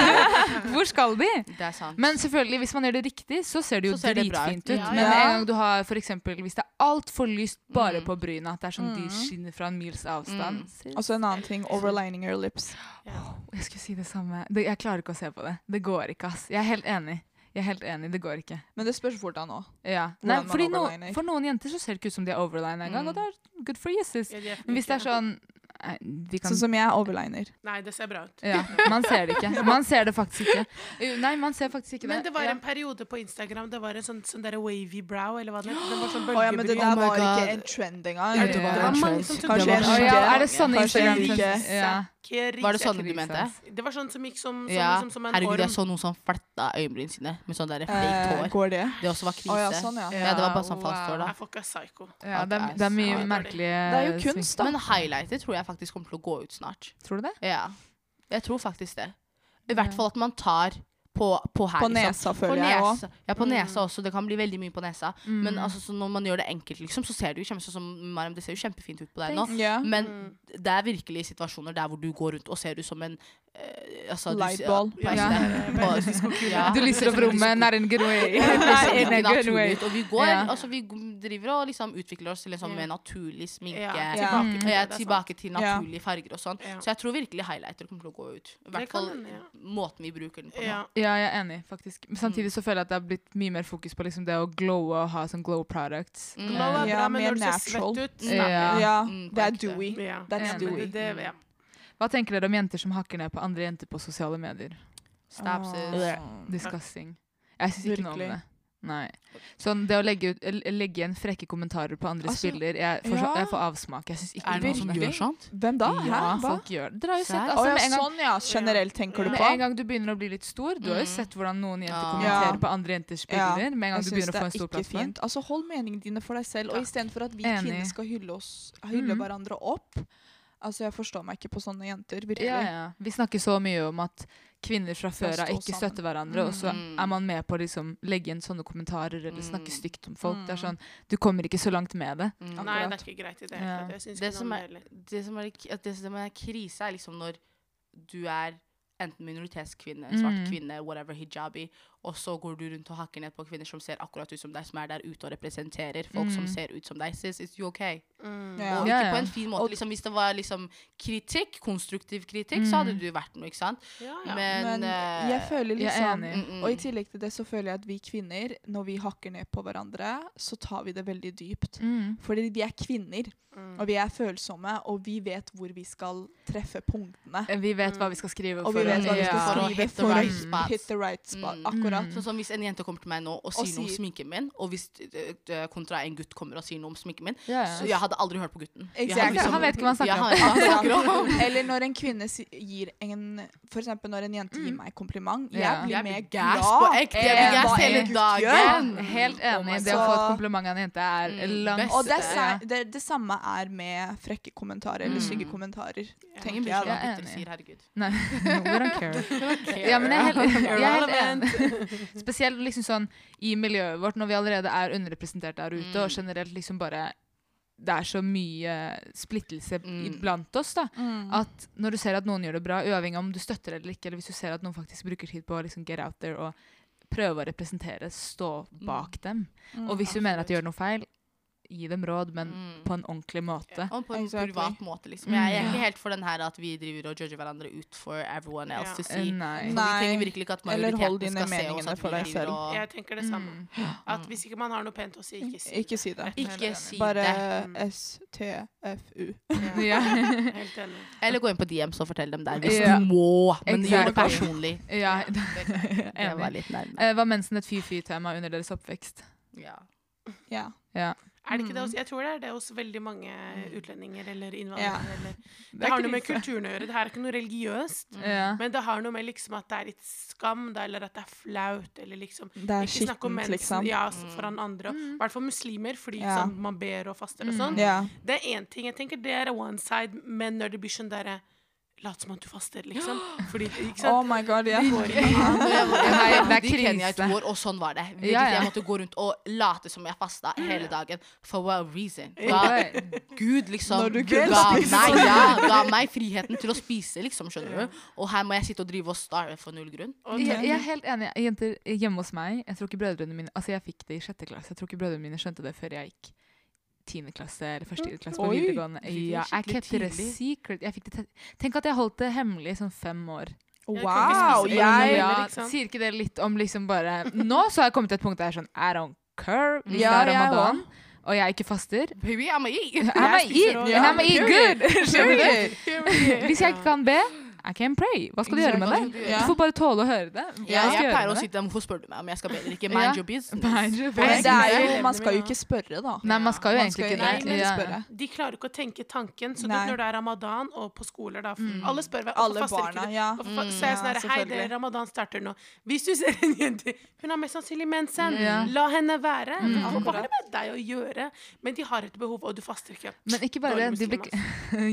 Speaker 1: du? Hvor skal de?
Speaker 4: Det er sant.
Speaker 1: Men selvfølgelig, hvis man gjør det riktig, så ser det jo
Speaker 4: Så ser det bra
Speaker 1: dritfint
Speaker 4: ut.
Speaker 1: ut.
Speaker 4: Ja,
Speaker 1: Men
Speaker 3: ja.
Speaker 1: med en gang du har for eksempel, hvis det er altfor lyst bare
Speaker 4: Mm.
Speaker 1: på bryna, at det er som de
Speaker 3: Mm.
Speaker 1: skinner fra en mils avstand
Speaker 4: Mm.
Speaker 1: ser-
Speaker 3: Og så en annen ting. Overlining your lips.
Speaker 1: Jeg skulle si det samme. Det, jeg klarer ikke å se på det. Det går ikke, ass. Jeg er helt enig. Jeg er helt enig, det går ikke.
Speaker 3: Men det spørs hvordan òg.
Speaker 1: Ja.
Speaker 3: Hvordan
Speaker 1: Nei,
Speaker 3: man
Speaker 1: fordi no,
Speaker 3: overliner.
Speaker 1: for noen jenter så ser det ikke ut som de er overlina engang,
Speaker 4: Mm.
Speaker 1: og det er good for you, sis.
Speaker 2: Ja, de er
Speaker 1: Men hvis det er
Speaker 2: flinke.
Speaker 1: sånn nei, vi kan,
Speaker 3: Sånn som jeg overliner.
Speaker 2: Nei, det ser bra ut.
Speaker 1: ja, Man ser det ikke. Man ser det faktisk ikke. Jo, Nei, man ser faktisk ikke det.
Speaker 2: Men det var
Speaker 1: Ja.
Speaker 2: en periode på Instagram Det var en sånn, sånn der wavy brow, eller hva det het. Den var sånn
Speaker 3: Å ja, men det
Speaker 2: bølgebryn.
Speaker 3: der
Speaker 4: my
Speaker 3: var ikke
Speaker 4: God.
Speaker 3: en trend engang.
Speaker 1: Ja, det var
Speaker 2: det
Speaker 1: en
Speaker 2: var mange
Speaker 4: trend.
Speaker 2: som tok
Speaker 3: Kanskje
Speaker 2: det.
Speaker 3: en
Speaker 1: Å ja, er det sånne
Speaker 3: Kanskje en
Speaker 1: Instagram
Speaker 3: like.
Speaker 1: ja.
Speaker 2: Ikke
Speaker 4: Var det
Speaker 2: rise.
Speaker 4: sånne du mente?
Speaker 2: Det var sånn som gikk som, som,
Speaker 4: Ja.
Speaker 2: liksom, som en
Speaker 4: Herregud, jeg
Speaker 2: orm.
Speaker 4: så noen som fletta øyenbrynene sine med sånn der
Speaker 3: Eh,
Speaker 4: fake hår.
Speaker 3: går det?
Speaker 4: Det også var krise.
Speaker 3: Å ja, sånn, ja.
Speaker 4: Ja, det var bare sånn
Speaker 1: Wow.
Speaker 4: falskt hår, da.
Speaker 2: Nei, folk er psycho.
Speaker 1: ja, det er, det er mye
Speaker 4: Ja,
Speaker 1: merkelige
Speaker 3: Det er jo kunst, da.
Speaker 4: Men highlighter tror jeg faktisk kommer til å gå ut snart.
Speaker 1: sving- Tror du det?
Speaker 4: Ja, jeg tror faktisk det. I
Speaker 1: Ja.
Speaker 4: hvert fall at man tar på, på her.
Speaker 3: På
Speaker 4: liksom.
Speaker 3: nesa,
Speaker 4: På
Speaker 3: føler jeg òg.
Speaker 4: nesa. Ja, på nesa også. Det kan bli veldig mye på nesa. Men
Speaker 1: Mm.
Speaker 4: altså, så når man gjør det enkelt, liksom, så ser det jo, kjempe, sånn som Mariam, det ser jo kjempefint ut på deg nå.
Speaker 3: Ja.
Speaker 4: Men
Speaker 2: Mm.
Speaker 4: det er virkelig situasjoner der hvor du går rundt og ser ut som en eh, altså, du
Speaker 3: Light
Speaker 4: ser-
Speaker 3: ball.
Speaker 4: på en
Speaker 1: Ja.
Speaker 4: sted. På- Ja.
Speaker 1: Du lyser opp
Speaker 4: ser ut som en
Speaker 1: rommet,
Speaker 4: disko-
Speaker 1: not in good way.
Speaker 4: Det ser
Speaker 1: Not in
Speaker 4: ikke
Speaker 1: a good
Speaker 4: liksom- naturlig
Speaker 1: way.
Speaker 4: ut, Og vi går,
Speaker 1: Ja.
Speaker 4: altså vi g- driver og liksom utvikler oss til en sånn
Speaker 2: Ja.
Speaker 4: mer naturlig sminke.
Speaker 2: Ja,
Speaker 3: Ja.
Speaker 2: tilbake
Speaker 1: Mm.
Speaker 2: til
Speaker 4: Og jeg
Speaker 2: det, det
Speaker 4: er
Speaker 2: er sånn. sant.
Speaker 4: tilbake til
Speaker 3: Ja.
Speaker 4: naturlige farger og sånn.
Speaker 2: Ja.
Speaker 4: Så jeg tror virkelig highlighter kommer til å gå ut. I
Speaker 2: Det
Speaker 4: hvert
Speaker 2: kan
Speaker 4: fall
Speaker 2: hende, ja.
Speaker 4: måten vi bruker den på nå.
Speaker 2: Ja.
Speaker 1: Ja, jeg er enig, faktisk. Men samtidig så føler jeg at det har blitt mye mer fokus på liksom det å glowe og ha sånn glow products.
Speaker 4: Mm.
Speaker 2: Glow
Speaker 1: Eh,
Speaker 2: er
Speaker 3: Ja,
Speaker 2: bra, men
Speaker 3: mer
Speaker 2: når du ser
Speaker 3: natural.
Speaker 2: svett ut
Speaker 4: Ja.
Speaker 1: Ja.
Speaker 3: ja.
Speaker 4: Mm,
Speaker 3: Det er
Speaker 4: på ekte.
Speaker 3: Dewey.
Speaker 2: Ja.
Speaker 3: That's
Speaker 1: Ja, men
Speaker 3: Dewey.
Speaker 2: Det, det, ja.
Speaker 3: Mm.
Speaker 1: Hva tenker dere om jenter som hakker ned på andre jenter på sosiale medier?
Speaker 4: Stabses.
Speaker 1: Disgusting. Jeg syns ikke noe om
Speaker 3: Virkelig.
Speaker 1: det. Nei. Sånn det å legge, ut, l- legge igjen frekke kommentarer på andres
Speaker 3: Altså,
Speaker 1: bilder, jeg får, Ah, så-
Speaker 3: ja.
Speaker 1: jeg får avsmak. Jeg syns ikke
Speaker 4: Er det noen som
Speaker 1: om
Speaker 3: Virkelig.
Speaker 4: gjør sånt?
Speaker 3: Hvem da? Hæ?
Speaker 1: Ja,
Speaker 3: Hva?
Speaker 1: folk gjør det. Dere har jo
Speaker 4: Serr?
Speaker 1: sett
Speaker 4: Å,
Speaker 1: altså,
Speaker 3: Å ja,
Speaker 1: med, en gang,
Speaker 3: sånn ja. Generelt tenker du
Speaker 1: med
Speaker 3: på?
Speaker 1: en gang du begynner å bli litt stor Du har jo
Speaker 4: Mm.
Speaker 1: sett hvordan noen jenter
Speaker 4: Ja.
Speaker 1: kommenterer
Speaker 3: Ja.
Speaker 1: på andre jenters
Speaker 3: Ja.
Speaker 1: bilder. Med en gang du
Speaker 3: Jeg syns
Speaker 1: begynner
Speaker 3: det
Speaker 1: å få
Speaker 3: er
Speaker 1: en stor
Speaker 3: ikke
Speaker 1: plattform.
Speaker 3: fint. Altså, hold meningene dine for deg selv. Og istedenfor at vi
Speaker 1: Enig.
Speaker 3: kvinner skal hylle, oss,
Speaker 1: Mhm.
Speaker 3: hylle hverandre opp Altså, Jeg forstår meg ikke på sånne jenter. virkelig.
Speaker 1: Ja, ja. Vi snakker så mye om at kvinner fra før av
Speaker 3: stå
Speaker 1: ikke
Speaker 3: sammen.
Speaker 1: støtter hverandre, og så
Speaker 4: Mm.
Speaker 1: er man med på å liksom legge igjen sånne kommentarer eller
Speaker 4: Mm.
Speaker 1: snakke stygt om folk. Det er
Speaker 3: Mm.
Speaker 1: sånn, Du kommer ikke så langt med det.
Speaker 4: Mm.
Speaker 2: Nei, det
Speaker 3: Akkurat.
Speaker 2: er ikke greit i det
Speaker 1: Ja.
Speaker 2: hele tatt. Jeg synes
Speaker 4: Det
Speaker 2: ikke
Speaker 4: som
Speaker 2: noe
Speaker 4: er-
Speaker 2: om det heller.
Speaker 4: Det som er, k- at det som er krise, er liksom når du er enten minoritetskvinne,
Speaker 1: Mm.
Speaker 4: svart kvinne, whatever, hijabi, og så går du rundt og hakker ned på kvinner som ser akkurat ut som deg, som er der ute og representerer folk som
Speaker 1: Mm.
Speaker 4: ser ut som deg. Sis, it's you okay?
Speaker 2: Mm.
Speaker 3: Ja.
Speaker 4: Og
Speaker 1: Ja,
Speaker 4: ikke
Speaker 1: ja.
Speaker 4: på en fin måte.
Speaker 3: Og-
Speaker 4: Liksom, hvis det var liksom kritikk, konstruktiv kritikk, så hadde
Speaker 1: Mm.
Speaker 4: du vært noe, ikke sant?
Speaker 2: Ja, ja.
Speaker 4: Men,
Speaker 3: Men
Speaker 4: eh,
Speaker 3: jeg føler
Speaker 1: Jeg er sånn
Speaker 3: liksom
Speaker 1: enig.
Speaker 4: mm, mm.
Speaker 3: Og i tillegg til det så føler jeg at vi kvinner, når vi hakker ned på hverandre, så tar vi det veldig dypt.
Speaker 1: Mm.
Speaker 3: Fordi vi er kvinner,
Speaker 2: Mm.
Speaker 3: og vi er følsomme, og vi vet hvor vi skal treffe punktene.
Speaker 1: Eh, Vi vet hva vi skal skrive.
Speaker 3: Og
Speaker 1: for
Speaker 3: vi
Speaker 1: å-
Speaker 3: vet hva vi
Speaker 1: ja.
Speaker 3: skal
Speaker 4: For å
Speaker 3: skrive
Speaker 4: hit the
Speaker 3: for å
Speaker 4: right spots.
Speaker 3: hit the right spot.
Speaker 4: Mm.
Speaker 3: Akkurat.
Speaker 4: Sånn som Hvis en jente kommer til meg nå og sier noe om
Speaker 3: sier-
Speaker 4: sminken min, og hvis eh, eh, kontra en gutt kommer og sier noe om sminken min,
Speaker 1: Ja,
Speaker 4: så
Speaker 1: ja.
Speaker 4: jeg hadde aldri hørt på gutten. Jeg hadde liksom-
Speaker 3: Exactly.
Speaker 1: Han- Han vet ikke hva han snakker
Speaker 4: Ja,
Speaker 1: om.
Speaker 4: han, han snakker om.
Speaker 3: Eller når en kvinne si- gir en For eksempel når en jente gir meg kompliment. Jeg
Speaker 1: Ja.
Speaker 3: blir
Speaker 4: Jeg
Speaker 3: mer
Speaker 4: blir
Speaker 3: glad.
Speaker 4: gass på ekte. Jeg
Speaker 3: enn
Speaker 4: blir
Speaker 3: hva
Speaker 4: gass
Speaker 3: en
Speaker 4: hele
Speaker 3: gutt gjør.
Speaker 4: dagen. Oh
Speaker 1: Ja, helt enig.
Speaker 3: my
Speaker 1: det å
Speaker 3: God.
Speaker 1: få et kompliment av en jente er
Speaker 4: Mm,
Speaker 1: langt
Speaker 4: best.
Speaker 3: Og det, er
Speaker 1: beste.
Speaker 3: sa- det, det samme er med frekke kommentarer eller
Speaker 4: Mm.
Speaker 3: stygge kommentarer.
Speaker 4: Ingen
Speaker 3: Tenker
Speaker 4: bryr
Speaker 3: jeg
Speaker 4: seg om
Speaker 3: da.
Speaker 4: hva
Speaker 1: Jeg er
Speaker 4: gutter
Speaker 1: enig.
Speaker 4: sier, herregud.
Speaker 1: Nei, we don't care. Ja, men jeg er helt, jeg er helt enig. Spesielt liksom sånn i miljøet vårt, når vi allerede er underrepresentert der ute, og generelt liksom bare Det er så mye splittelse
Speaker 4: Mm.
Speaker 1: iblant oss, da.
Speaker 3: Mm.
Speaker 1: At når du ser at noen gjør det bra, uavhengig om du støtter eller ikke, eller hvis du ser at noen faktisk bruker tid på å liksom get out there og prøve å representere, stå bak dem.
Speaker 3: Mm,
Speaker 1: Og hvis du mener at de
Speaker 4: absolutt.
Speaker 1: gjør noe feil, gi dem råd, men
Speaker 4: Mm.
Speaker 1: på en ordentlig måte.
Speaker 4: Og på en
Speaker 3: Exactly.
Speaker 4: privat måte, liksom.
Speaker 1: Mm.
Speaker 4: Jeg jeg er ikke helt for den her at vi driver og judger hverandre ut for everyone else
Speaker 2: Ja.
Speaker 4: to
Speaker 1: Eh,
Speaker 4: see. For
Speaker 1: Nei.
Speaker 4: vi
Speaker 3: Nei.
Speaker 4: trenger virkelig ikke at
Speaker 3: Eller hold
Speaker 4: majoriteten
Speaker 3: dine
Speaker 4: skal se oss
Speaker 3: meningene
Speaker 4: at
Speaker 3: for
Speaker 4: vi
Speaker 3: deg
Speaker 4: driver
Speaker 3: selv.
Speaker 4: og
Speaker 2: Jeg tenker det samme.
Speaker 1: Mm.
Speaker 2: At hvis ikke man har noe pent å si, ikke si
Speaker 3: Mm. Ikke si det.
Speaker 4: Ikke si
Speaker 3: Bare Mm.
Speaker 4: det.
Speaker 3: STFU.
Speaker 2: det.
Speaker 1: Mm. Ja.
Speaker 2: Ja, Helt enig.
Speaker 4: Eller gå inn på DMs og fortell dem der hvis
Speaker 1: Ja.
Speaker 4: du må, men gjør det
Speaker 1: Exactly.
Speaker 4: personlig.
Speaker 1: ja.
Speaker 4: Det
Speaker 1: Enig.
Speaker 4: var litt nærme.
Speaker 1: Eh, Var mensen et fy-fy-tema under deres oppvekst?
Speaker 4: Ja.
Speaker 3: Ja.
Speaker 1: Ja.
Speaker 2: Er
Speaker 4: Mm.
Speaker 2: det ikke det hos, jeg tror det er det hos veldig mange utlendinger eller
Speaker 3: Ja.
Speaker 2: innvandrere. Eller, det,
Speaker 1: er
Speaker 2: har
Speaker 1: ikke
Speaker 2: noe med
Speaker 1: liksom-
Speaker 2: kulturen å gjøre. Det her er ikke noe
Speaker 4: Mm.
Speaker 2: religiøst.
Speaker 1: Ja.
Speaker 2: Men det har noe med liksom at det er litt skam, da, eller at det er flaut, eller liksom
Speaker 3: Det er
Speaker 2: Ikke snakk om
Speaker 3: skittent,
Speaker 2: mensen
Speaker 3: Eh, liksom. Mm.
Speaker 2: ja, s-
Speaker 1: Mm.
Speaker 2: foran andre. og- I hvert fall muslimer, fordi
Speaker 3: Ja. Mm.
Speaker 2: sånn, man ber og faster og sånn.
Speaker 3: Ja.
Speaker 2: Det er én ting. jeg tenker Det er one side, men når det blir sånn derre Lat som at du faster, liksom. Fordi, ikke sant?
Speaker 3: Oh my god, ja.
Speaker 4: Når jeg var- jeg
Speaker 1: Nei,
Speaker 4: var
Speaker 1: det er
Speaker 4: i Kenya i to
Speaker 1: krise.
Speaker 4: år, og sånn var det. Virkelig,
Speaker 1: Ja, ja.
Speaker 4: Jeg måtte gå rundt og late som jeg fasta hele dagen. For what reason? Ga
Speaker 1: Oi.
Speaker 4: Gud liksom
Speaker 3: Når du kunne
Speaker 4: ga,
Speaker 3: spise
Speaker 4: meg,
Speaker 3: sånn.
Speaker 4: ja, ga meg friheten til å spise, liksom, skjønner du. Og her må jeg sitte og drive og starve for null grunn.
Speaker 2: Og
Speaker 1: Jeg,
Speaker 2: tenk-
Speaker 1: jeg er helt enig. Jenter hjemme hos meg Jeg tror ikke brødrene mine Altså jeg fikk det i sjette klasse. Jeg tror ikke brødrene mine skjønte det før jeg gikk tiende klasse eller første klasse på
Speaker 3: Oi,
Speaker 1: videregående.
Speaker 4: fikk det
Speaker 1: Ja, jeg
Speaker 4: skikkelig
Speaker 1: kept it a
Speaker 4: tidlig.
Speaker 1: secret. Jeg fikk det te- Tenk at jeg holdt det hemmelig i sånn fem år.
Speaker 3: Wow,
Speaker 2: spise
Speaker 3: jeg
Speaker 1: ja,
Speaker 2: heller, ikke sant?
Speaker 1: Sier ikke det litt om liksom bare Nå så har jeg kommet til et punkt der jeg er sånn I don't care hvis
Speaker 3: Ja,
Speaker 1: det er
Speaker 3: jeg
Speaker 1: ramadan, og jeg ikke faster.
Speaker 4: Baby, I'm a eat.
Speaker 1: I'm
Speaker 2: Jeg spiser
Speaker 1: eat,
Speaker 2: også.
Speaker 1: and I'm
Speaker 3: Ja,
Speaker 1: eat
Speaker 3: period.
Speaker 1: good. Skjønner du? Hvis jeg ikke kan be, I can pray. Hva skal du gjøre med det?
Speaker 3: Ja.
Speaker 1: Du får bare tåle å høre det. Hva skal
Speaker 4: Ja, jeg
Speaker 1: gjøre
Speaker 4: pleier å
Speaker 1: med det?
Speaker 4: si til dem hvorfor spør du meg om jeg skal be eller ikke.
Speaker 1: Ja.
Speaker 4: Mind your business.
Speaker 1: Mind your
Speaker 3: Men
Speaker 1: business.
Speaker 3: det er jo, man skal jo ikke spørre, da.
Speaker 1: Nei, man skal jo
Speaker 3: Man
Speaker 1: egentlig
Speaker 3: skal jo
Speaker 1: ikke
Speaker 2: egentlig
Speaker 1: det.
Speaker 3: ikke
Speaker 1: Ja.
Speaker 3: spørre.
Speaker 2: De klarer ikke å tenke tanken. Så du,
Speaker 3: Nei.
Speaker 2: når det er ramadan og på skoler, da for
Speaker 1: Mm.
Speaker 2: Alle spør hva
Speaker 3: Alle
Speaker 2: hvorfor faster
Speaker 3: barna,
Speaker 2: ikke du?
Speaker 3: ja.
Speaker 2: Hvorfor fa- Så er jeg sånn
Speaker 3: Ja,
Speaker 2: her, Hei, det
Speaker 3: selvfølgelig.
Speaker 2: er ramadan starter nå. Hvis du ser en jente Hun har mest sannsynlig mensen.
Speaker 1: Ja. Mm,
Speaker 2: La henne være. Hva har
Speaker 3: Akkurat.
Speaker 2: det med deg å gjøre? Men de har et behov, og du faster ikke.
Speaker 1: Men ikke bare det.
Speaker 2: Dårlig
Speaker 1: De ble,
Speaker 2: muslim,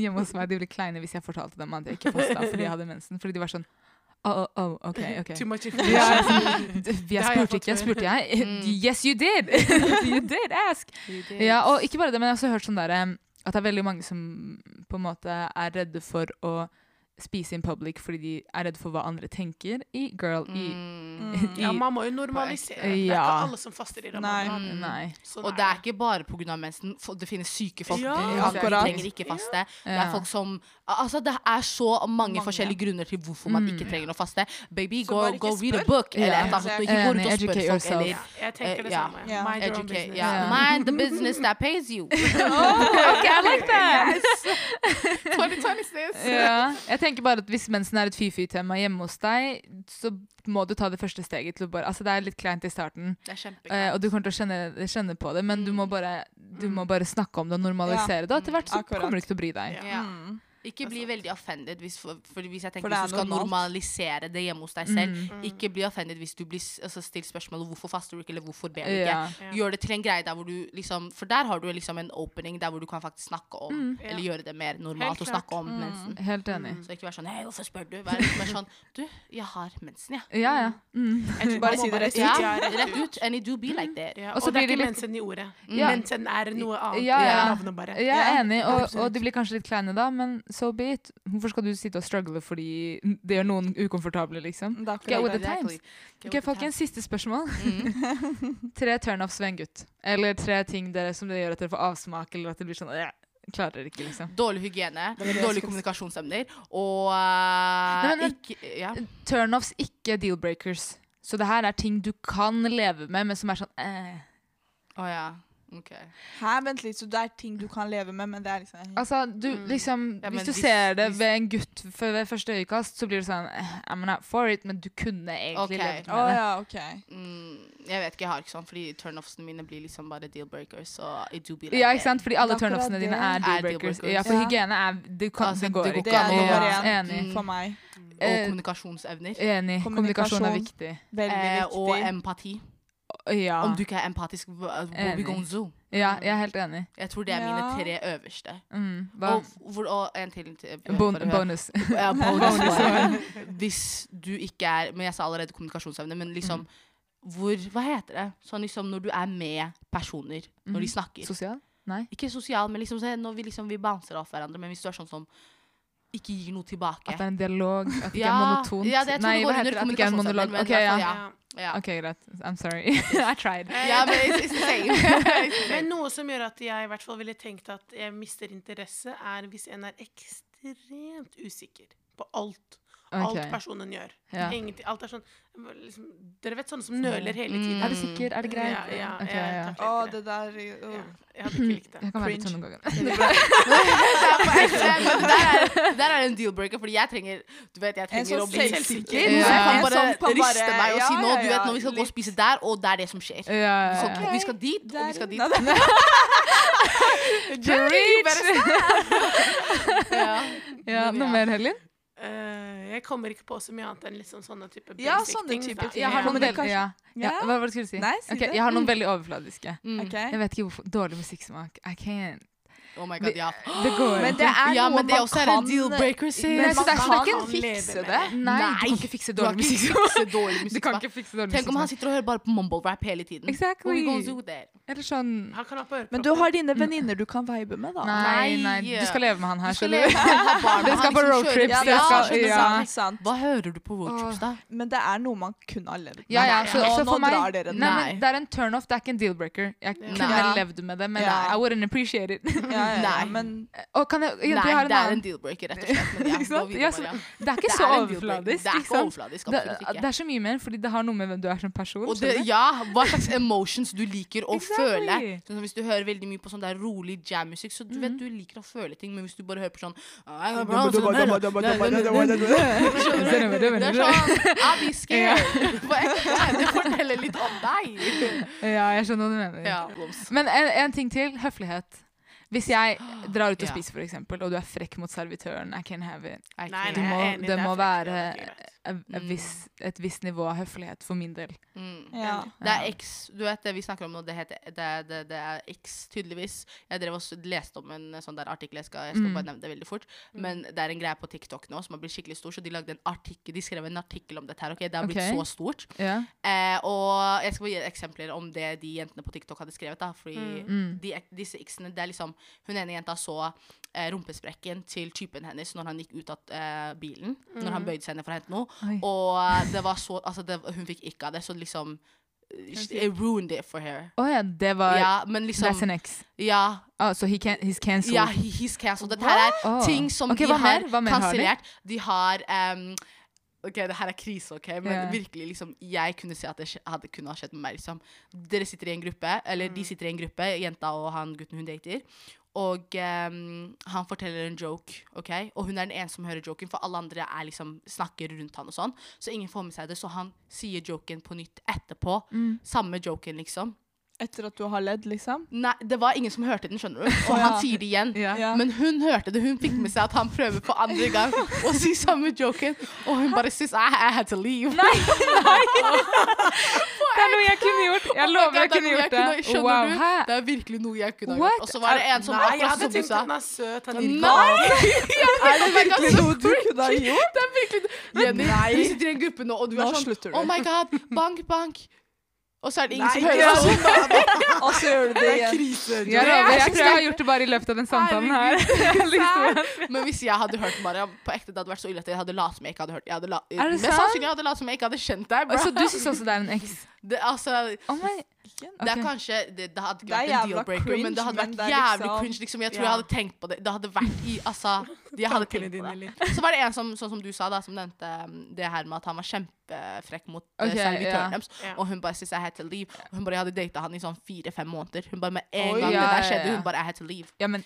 Speaker 1: hjemme hos meg de ble kleine hvis jeg fortalte dem at jeg ikke fasta fordi jeg hadde mensen. Fordi de var sånn Oh, oh, oh, ok, ok.
Speaker 2: Too much
Speaker 1: Ja,
Speaker 2: information.
Speaker 1: altså, d- jeg
Speaker 2: har jeg
Speaker 1: spurte
Speaker 2: fått
Speaker 1: ikke, jeg
Speaker 2: før.
Speaker 1: spurte jeg. Yes, you did! You did ask! Ja, og ikke bare det, men jeg har også hørt sånn der, em, at det er veldig mange som på en måte er redde for å spise in public fordi de er redde for hva andre tenker i girl i, i
Speaker 4: Mm.
Speaker 3: Mm.
Speaker 2: Ja, man må jo normalisere. Det er ikke
Speaker 1: Ja.
Speaker 2: alle som faster i ramadan.
Speaker 1: Nei.
Speaker 2: Sånn
Speaker 4: Og det er ikke bare pga. mensen. For det finnes syke folk.
Speaker 2: Ja,
Speaker 4: Ja, de
Speaker 3: akkurat.
Speaker 4: trenger ikke faste. Det
Speaker 1: Ja.
Speaker 4: er folk som Altså, det er så mange, forskjellige grunner til hvorfor man
Speaker 1: Mm.
Speaker 4: ikke trenger å faste. Baby, go,
Speaker 2: bare ikke
Speaker 4: go read a
Speaker 2: spør.
Speaker 4: book. Eller
Speaker 1: Ja.
Speaker 4: et eller annet. Ikke gå
Speaker 1: Enig,
Speaker 4: rundt og spør
Speaker 1: educate
Speaker 4: folk.
Speaker 1: yourself.
Speaker 4: Eller
Speaker 2: Ja, jeg tenker det
Speaker 4: Eh, ja.
Speaker 2: samme.
Speaker 3: Ja.
Speaker 2: Mind your own
Speaker 4: educate.
Speaker 2: business.
Speaker 4: Ja.
Speaker 1: Ja.
Speaker 4: Mind the business that pays you.
Speaker 1: Ok, I like that!
Speaker 4: 2020 sis.
Speaker 1: Ja. Jeg tenker bare at hvis mensen er et fy-fy-tema hjemme hos deg, så må du ta det første steget til å bare Altså, det er litt kleint i starten,
Speaker 4: Det er
Speaker 1: eh,
Speaker 4: kjempegreit.
Speaker 1: og du kommer til å kjenne, kjenne på det, men du må bare, du må bare snakke om det og normalisere det, og etter hvert så
Speaker 3: akkurat.
Speaker 1: kommer du ikke til å bry deg.
Speaker 2: Ja.
Speaker 3: Mm.
Speaker 4: Ja. Ikke bli veldig offended hvis, for, for hvis jeg tenker
Speaker 3: det er
Speaker 4: hvis du skal
Speaker 3: normalt.
Speaker 4: normalisere det hjemme hos deg
Speaker 1: Mm.
Speaker 4: selv.
Speaker 2: Mm.
Speaker 4: Ikke bli offended hvis du blir s- altså, stilt spørsmål om hvorfor faster du ikke, eller hvorfor ber du ikke.
Speaker 1: Ja.
Speaker 4: Gjør det til en greie der hvor du liksom For der har du liksom en opening der hvor du kan faktisk snakke om,
Speaker 1: Mm.
Speaker 4: eller
Speaker 2: Ja.
Speaker 4: gjøre det mer
Speaker 2: Helt
Speaker 4: normalt å
Speaker 2: klart.
Speaker 4: snakke om mensen.
Speaker 1: Helt enig.
Speaker 4: Så ikke vær sånn Hei, hvorfor spør du? Vær litt mer sånn Du, jeg har mensen, jeg.
Speaker 1: Ja, ja. Mm.
Speaker 2: Jeg tror
Speaker 3: Bare
Speaker 2: man må
Speaker 3: si det rett ut.
Speaker 4: Ja.
Speaker 2: Ja, rett
Speaker 4: rett ut. And it do be like that.
Speaker 2: Ja,
Speaker 1: Og
Speaker 2: og
Speaker 1: så
Speaker 2: det
Speaker 1: blir
Speaker 2: er
Speaker 1: de
Speaker 2: ikke
Speaker 1: litt-
Speaker 2: mensen i ordet.
Speaker 1: Ja.
Speaker 2: Mensen er noe annet.
Speaker 1: Ja,
Speaker 2: Det er
Speaker 1: ja.
Speaker 2: navnet bare.
Speaker 1: Jeg er
Speaker 3: Ja,
Speaker 1: enig, og,
Speaker 2: absolutt.
Speaker 1: og de blir kanskje litt kleine da, men so be it. Hvorfor skal du sitte og struggle fordi det gjør noen ukomfortable, liksom?
Speaker 3: Det er
Speaker 1: Get
Speaker 3: akkurat
Speaker 1: with
Speaker 3: det.
Speaker 1: the times. Ok, folkens, siste spørsmål. tre turnoffs ved en gutt. Eller tre ting dere, som dere gjør at dere får avsmak, eller at det blir sånn «Øh, Klarer ikke, liksom.
Speaker 4: Dårlig hygiene,
Speaker 3: var det jeg
Speaker 4: dårlige
Speaker 3: skulle si.
Speaker 4: kommunikasjonsevner og
Speaker 1: Nei,
Speaker 4: eh,
Speaker 1: men- eh, men-
Speaker 4: ikke ja.
Speaker 1: Turnoffs, ikke deal-breakers. Så det her er ting du kan leve med, men som er sånn eh.
Speaker 4: Å ja. Ok.
Speaker 3: Hæ, vent litt, så det er ting du kan leve med, men det er liksom
Speaker 1: Altså, du, liksom,
Speaker 4: Mm. Ja, men
Speaker 1: hvis du
Speaker 4: hvis-
Speaker 1: ser det
Speaker 4: hvis-
Speaker 1: ved en gutt f- ved første øyekast, så blir det sånn eh, I'm not for it, men du kunne egentlig
Speaker 4: Ok.
Speaker 1: levd
Speaker 3: Å
Speaker 1: med det.
Speaker 3: ja, OK.
Speaker 4: Mm, jeg vet ikke, jeg har ikke sånn, fordi turnoffsene mine blir liksom bare deal breakers. Så it do be like
Speaker 1: Ja,
Speaker 4: that.
Speaker 1: ikke sant? Fordi alle
Speaker 3: Det er akkurat
Speaker 1: turnoffsene dine
Speaker 3: det.
Speaker 1: er
Speaker 4: Er
Speaker 1: deal-breakers.
Speaker 4: deal-breakers.
Speaker 1: Ja, for
Speaker 3: Ja.
Speaker 1: hygiene er Det, kan,
Speaker 4: Altså,
Speaker 1: det går
Speaker 4: det går
Speaker 1: ikke.
Speaker 3: Det er
Speaker 4: an å-
Speaker 3: nummer
Speaker 1: Ja,
Speaker 3: én
Speaker 1: Enig.
Speaker 4: Mm.
Speaker 3: for meg.
Speaker 1: eh,
Speaker 4: Og kommunikasjevner.
Speaker 1: Enig. Kommunikasjon er
Speaker 3: Kommunikasjon.
Speaker 1: viktig.
Speaker 3: Veldig
Speaker 4: Eh,
Speaker 3: viktig.
Speaker 4: og empati.
Speaker 1: Ja.
Speaker 4: Om du ikke er empatisk, hva- hvor
Speaker 1: Enig.
Speaker 4: vi gonzo?
Speaker 1: ja, jeg er helt enig.
Speaker 4: Jeg tror det er
Speaker 3: Ja.
Speaker 4: mine tre øverste.
Speaker 1: Mm. Hva?
Speaker 4: Og, hvor, og en til. til
Speaker 1: Bon
Speaker 4: bare hør.
Speaker 1: bonus.
Speaker 4: Ja, bonus one. Hvis du ikke er Men jeg sa allerede kommunikasjonsevne, men liksom
Speaker 1: Mm.
Speaker 4: hvor, Hva heter det? Sånn liksom når du er med personer, når de
Speaker 1: Mm.
Speaker 4: snakker.
Speaker 1: Sosial? Nei.
Speaker 4: Ikke sosial, men liksom sånn når vi liksom vi bouncer av hverandre. Men hvis du er sånn som ikke gir noe
Speaker 1: At
Speaker 4: tilbake.
Speaker 1: det er en dialog, at det ikke
Speaker 4: Ja,
Speaker 1: er monotont.
Speaker 4: ja, det- jeg tror
Speaker 1: Nei,
Speaker 4: det går
Speaker 1: hva
Speaker 4: under
Speaker 1: heter det? At det ikke er en
Speaker 4: kommunikasjonsevne,
Speaker 1: monolog.
Speaker 4: men
Speaker 1: Ok,
Speaker 4: i hvert fall,
Speaker 1: ja.
Speaker 4: ja. Ja. Mm.
Speaker 1: Ok, greit. I'm sorry. I tried.
Speaker 4: Ja, men it's, it's the same.
Speaker 2: Men noe som gjør at jeg i hvert fall ville tenkt at jeg mister interesse, er hvis en er ekstremt usikker på alt.
Speaker 1: Ok.
Speaker 2: Alt personen gjør.
Speaker 1: Ja.
Speaker 2: Ingenting, alt er sånn liksom, Dere vet sånne som nøler hele
Speaker 4: Mm.
Speaker 2: tiden.
Speaker 1: Er du sikker? Er det greit?
Speaker 2: Ja, ja,
Speaker 1: Ok, ja.
Speaker 2: jeg takler
Speaker 3: Å,
Speaker 2: ikke
Speaker 3: det der øh.
Speaker 2: Ja, jeg hadde ikke likt det.
Speaker 1: Jeg kan være litt
Speaker 3: Cringe.
Speaker 1: sånn noen ganger.
Speaker 4: Men der er, der er det en deal-breaker, fordi jeg trenger Du vet, jeg
Speaker 3: En
Speaker 4: trenger
Speaker 3: som
Speaker 4: å bli
Speaker 3: selvsikker.
Speaker 1: Ja.
Speaker 4: Jeg kan
Speaker 3: En
Speaker 4: bare
Speaker 3: som Sånn, kan
Speaker 4: riste
Speaker 3: bare-
Speaker 4: meg og si
Speaker 3: ja,
Speaker 4: nå,
Speaker 3: ja,
Speaker 4: du vet,
Speaker 3: ja,
Speaker 4: når vi skal gå og
Speaker 3: litt-
Speaker 4: spise der, og det er det som skjer.
Speaker 1: Ja, ja,
Speaker 4: Så
Speaker 1: ja.
Speaker 4: vi skal dit, og vi skal dit.
Speaker 3: Der- Nei,
Speaker 1: Preach!
Speaker 4: Ja.
Speaker 1: Ja, noe mer, Helin?
Speaker 2: Eh, jeg kommer ikke på så mye annet enn liksom sånne type basic
Speaker 3: Ja, sånne
Speaker 2: things,
Speaker 3: type
Speaker 2: da.
Speaker 3: ting.
Speaker 1: Jeg har noen
Speaker 3: Kommunikasjon.
Speaker 1: veldig ja. Ja,
Speaker 3: Ja.
Speaker 1: Hva var det du skulle si?
Speaker 3: Nei, si
Speaker 1: Ok,
Speaker 3: det.
Speaker 1: jeg har noen veldig overfladiske.
Speaker 4: Mm.
Speaker 3: OK.
Speaker 1: Jeg vet ikke hvorfor. Dårlig musikksmak. I can't.
Speaker 4: Oh my god, ja.
Speaker 1: Det går
Speaker 3: Men det
Speaker 1: ikke.
Speaker 3: er
Speaker 4: Ja,
Speaker 3: noe
Speaker 4: men det
Speaker 3: man
Speaker 4: også er
Speaker 3: kan
Speaker 4: en deal-breaker, sis.
Speaker 1: Nei,
Speaker 3: Men
Speaker 1: så det er
Speaker 3: man
Speaker 1: så det er ikke
Speaker 3: kan
Speaker 1: en
Speaker 3: leve
Speaker 1: fikse
Speaker 3: med
Speaker 1: det. Nei, du kan
Speaker 4: Nei.
Speaker 1: ikke fikse
Speaker 4: Du har
Speaker 1: dårlig
Speaker 4: ikke
Speaker 1: musikksmak.
Speaker 4: fikse
Speaker 1: Du
Speaker 4: dårlig
Speaker 1: kan
Speaker 4: musikksmak.
Speaker 1: ikke fikse dårlig
Speaker 4: Tenk om han
Speaker 1: musikksmak.
Speaker 4: sitter og hører bare på mumble rap hele tiden. Hvor
Speaker 1: Exactly.
Speaker 4: vi gonna do there?
Speaker 1: Eller sånn
Speaker 2: Han kan ha på
Speaker 3: Men du
Speaker 2: ørepropper.
Speaker 3: har dine venninner du kan vibe med, da.
Speaker 1: Nei, nei.
Speaker 4: Nei.
Speaker 1: Du skal leve med han
Speaker 4: Du
Speaker 1: her,
Speaker 4: skal
Speaker 1: skjønner
Speaker 4: leve-
Speaker 1: du.
Speaker 4: ha barn,
Speaker 1: Dere
Speaker 4: han
Speaker 1: skal på
Speaker 4: liksom
Speaker 1: roadtrips,
Speaker 4: kjører-
Speaker 1: dere
Speaker 4: Ja,
Speaker 1: skal-
Speaker 4: skjønner du,
Speaker 1: ja.
Speaker 4: sant?
Speaker 3: sant, sant.
Speaker 4: Hva hører du på roadtrips, da?
Speaker 3: Men det er noe man kunne ha levd med.
Speaker 1: Ja, ja,
Speaker 4: Nei,
Speaker 1: så,
Speaker 4: ja.
Speaker 1: så
Speaker 3: Å, nå
Speaker 1: for meg
Speaker 3: drar dere det.
Speaker 1: nei,
Speaker 4: Nei.
Speaker 1: men Det er en turnoff, det er ikke en deal-breaker. Jeg kunne
Speaker 4: Nei.
Speaker 1: levd med det, men
Speaker 3: Ja.
Speaker 1: I wouldn't appreciate it.
Speaker 3: Ja, ja, ja,
Speaker 4: Nei.
Speaker 3: Men
Speaker 1: Og kan jeg, jeg,
Speaker 4: Nei,
Speaker 1: jeg har en
Speaker 4: det er en
Speaker 1: annen.
Speaker 4: deal-breaker, rett og slett. Men ja,
Speaker 1: Ikke
Speaker 4: gå
Speaker 1: sant?
Speaker 4: videre,
Speaker 1: Ja, så-
Speaker 4: Maria.
Speaker 1: Det er ikke
Speaker 4: Det
Speaker 1: så
Speaker 4: er en
Speaker 1: overfladisk.
Speaker 4: deal-breaker. Det er
Speaker 1: ikke
Speaker 4: ikke
Speaker 1: sant?
Speaker 4: overfladisk,
Speaker 1: Det,
Speaker 4: absolutt
Speaker 1: det
Speaker 4: ikke.
Speaker 1: er så mye mer, fordi det har noe med hvem du er som person.
Speaker 4: Og det,
Speaker 1: skjønner du?
Speaker 4: ja, hva slags emotions du liker å
Speaker 1: Exactly.
Speaker 4: føle. Sånn, som hvis du hører veldig mye på sånn der rolig jam-musikk, så du
Speaker 1: Mhm.
Speaker 4: vet du liker å føle ting, men hvis du bare hører på sånn Det er sånn I'll be scared. På ekte. Det forteller litt om deg.
Speaker 1: Ja, jeg skjønner hva du mener.
Speaker 4: Ja, blomst.
Speaker 1: Men en, en ting til. Høflighet. Hvis jeg drar ut og
Speaker 4: Ja.
Speaker 1: spiser, for eksempel, og du er frekk mot servitøren, I can have it.
Speaker 4: Nei,
Speaker 2: Nei,
Speaker 1: Du
Speaker 2: nei,
Speaker 1: må,
Speaker 2: jeg er enig,
Speaker 1: det
Speaker 2: er
Speaker 1: må
Speaker 2: frekt,
Speaker 1: være
Speaker 2: det er ikke greit.
Speaker 1: et, et, visst- et visst nivå av høflighet for min del.
Speaker 4: Mm.
Speaker 3: ja.
Speaker 4: Det er X, du vet det vi snakker om nå, det, heter, det, er- det, det er X, tydeligvis. Jeg drev også, leste om en sånn der artikkel, jeg skal, jeg skal
Speaker 1: Mm.
Speaker 4: bare nevne det veldig fort. Men det er en greie på TikTok nå som har blitt skikkelig stor, så de lagde en artikkel, de skrev en artikkel om dette her, ok? Det har blitt
Speaker 1: Ok.
Speaker 4: så stort.
Speaker 1: Ja.
Speaker 4: Eh, og jeg skal bare gi eksempler om det de jentene på TikTok hadde skrevet, da, fordi
Speaker 1: Mm.
Speaker 4: de, disse x-ene, det er liksom Hun ene jenta så eh, rumpesprekken til typen hennes når han gikk ut av eh, bilen.
Speaker 1: Mm.
Speaker 4: Når han bøyde seg ned for å hente noe.
Speaker 1: Oi.
Speaker 4: Og det var så Altså, det, hun fikk ikke av det, så liksom It ruined it for her.
Speaker 1: Å ja, det var
Speaker 4: Ja, men
Speaker 1: That's
Speaker 4: liksom
Speaker 1: an X.
Speaker 4: Ja,
Speaker 1: Oh, så he can, he's cancelled.
Speaker 4: ja he- he's cancelled. Dette her er
Speaker 1: Åh.
Speaker 4: ting som
Speaker 1: Ah. Ok,
Speaker 4: de
Speaker 1: hva
Speaker 4: har
Speaker 1: mer? Hva mer har de?
Speaker 4: kansellert. De har ehm, Ok, det her er krise, ok, men
Speaker 1: Ja.
Speaker 4: virkelig, liksom, jeg kunne se at det skje- hadde, kunne ha skjedd med meg. liksom. Dere sitter i en gruppe, eller
Speaker 1: Mm.
Speaker 4: de sitter i en gruppe, jenta og han gutten hun dater. Og ehm, han forteller en joke, ok? og hun er den eneste som hører joken, for alle andre er liksom, snakker rundt han og sånn. Så ingen får med seg det, så han sier joken på nytt etterpå.
Speaker 3: Mm.
Speaker 4: Samme joken, liksom.
Speaker 3: Etter at du har ledd, liksom.
Speaker 4: Nei, det var ingen som hørte den, skjønner du. Og
Speaker 3: Å,
Speaker 4: han
Speaker 3: ja.
Speaker 4: sier det igjen.
Speaker 1: Ja.
Speaker 3: Ja.
Speaker 4: Men hun hørte det. Hun fikk med seg at han prøver for andre gang å si samme joken. Og hun bare synes I, I had to leave.
Speaker 1: Det er noe jeg kunne gjort! Jeg
Speaker 4: Oh my
Speaker 1: lover
Speaker 4: God,
Speaker 1: jeg
Speaker 4: det er
Speaker 1: kunne
Speaker 4: noe
Speaker 1: gjort det.
Speaker 4: kunne- skjønner
Speaker 1: Wow,
Speaker 4: du?
Speaker 1: hæ?
Speaker 4: Det er virkelig noe jeg kunne ha
Speaker 1: What?
Speaker 4: gjort. Og så var det en som
Speaker 2: Nei, jeg
Speaker 4: akkurat
Speaker 2: hadde
Speaker 4: som du
Speaker 2: tenkt
Speaker 4: sa.
Speaker 2: at han er søt. Han gir ikke
Speaker 4: Nei!
Speaker 3: Er det virkelig noe du kunne ha gjort?
Speaker 4: Det er virkelig Jenny,
Speaker 3: Nei.
Speaker 4: vi sitter i en gruppe nå, og du
Speaker 3: Nå
Speaker 4: er sånn
Speaker 3: slutter du.
Speaker 4: Oh my god, bank, bank. Og så er det ingen som
Speaker 2: Nei,
Speaker 4: hører oss.
Speaker 3: Og så gjør du det igjen.
Speaker 2: krise.
Speaker 1: Jeg lover, jeg tror jeg har gjort det bare i løpet av den samtalen her. Liksom.
Speaker 4: Men hvis jeg hadde hørt Mariam på ekte, det hadde vært så ille at jeg hadde latt som jeg ikke hadde hørt. Jeg hadde la,
Speaker 1: det
Speaker 4: mest
Speaker 1: sant? Altså,
Speaker 4: sannsynlig hadde jeg latt som jeg ikke hadde kjent deg. bro.
Speaker 1: Så du syns også det er en X?
Speaker 4: Det, altså,
Speaker 1: Oh my.
Speaker 3: Hvilken?
Speaker 4: Det er
Speaker 1: Ok.
Speaker 4: kanskje Det, det hadde
Speaker 3: Det
Speaker 4: ikke
Speaker 3: er
Speaker 4: vært en
Speaker 3: jævla
Speaker 4: deal-breaker, men det
Speaker 3: cringe,
Speaker 4: hadde
Speaker 3: men det
Speaker 4: vært
Speaker 3: er
Speaker 4: jævlig
Speaker 3: liksom-
Speaker 4: cringe. Liksom. Jeg
Speaker 2: Ja.
Speaker 4: tror jeg hadde tenkt på det. Det hadde vært i Altså, jeg hadde
Speaker 5: Tankene
Speaker 4: tenkt på
Speaker 5: dine
Speaker 4: det.
Speaker 5: litt.
Speaker 4: Så var det en som, sånn som du sa, da, som nevnte um, det her med at han var kjempefrekk mot eh,
Speaker 1: Ok, ja.
Speaker 4: servitøren deres.
Speaker 2: Ja.
Speaker 4: Og hun bare syntes jeg had to leave. Og hun bare jeg hadde data han i sånn fire-fem måneder. Hun bare med en
Speaker 1: Oi,
Speaker 4: gang
Speaker 1: ja,
Speaker 4: det
Speaker 1: ja,
Speaker 4: der skjedde,
Speaker 1: ja.
Speaker 4: hun bare I had to leave.
Speaker 1: Ja, men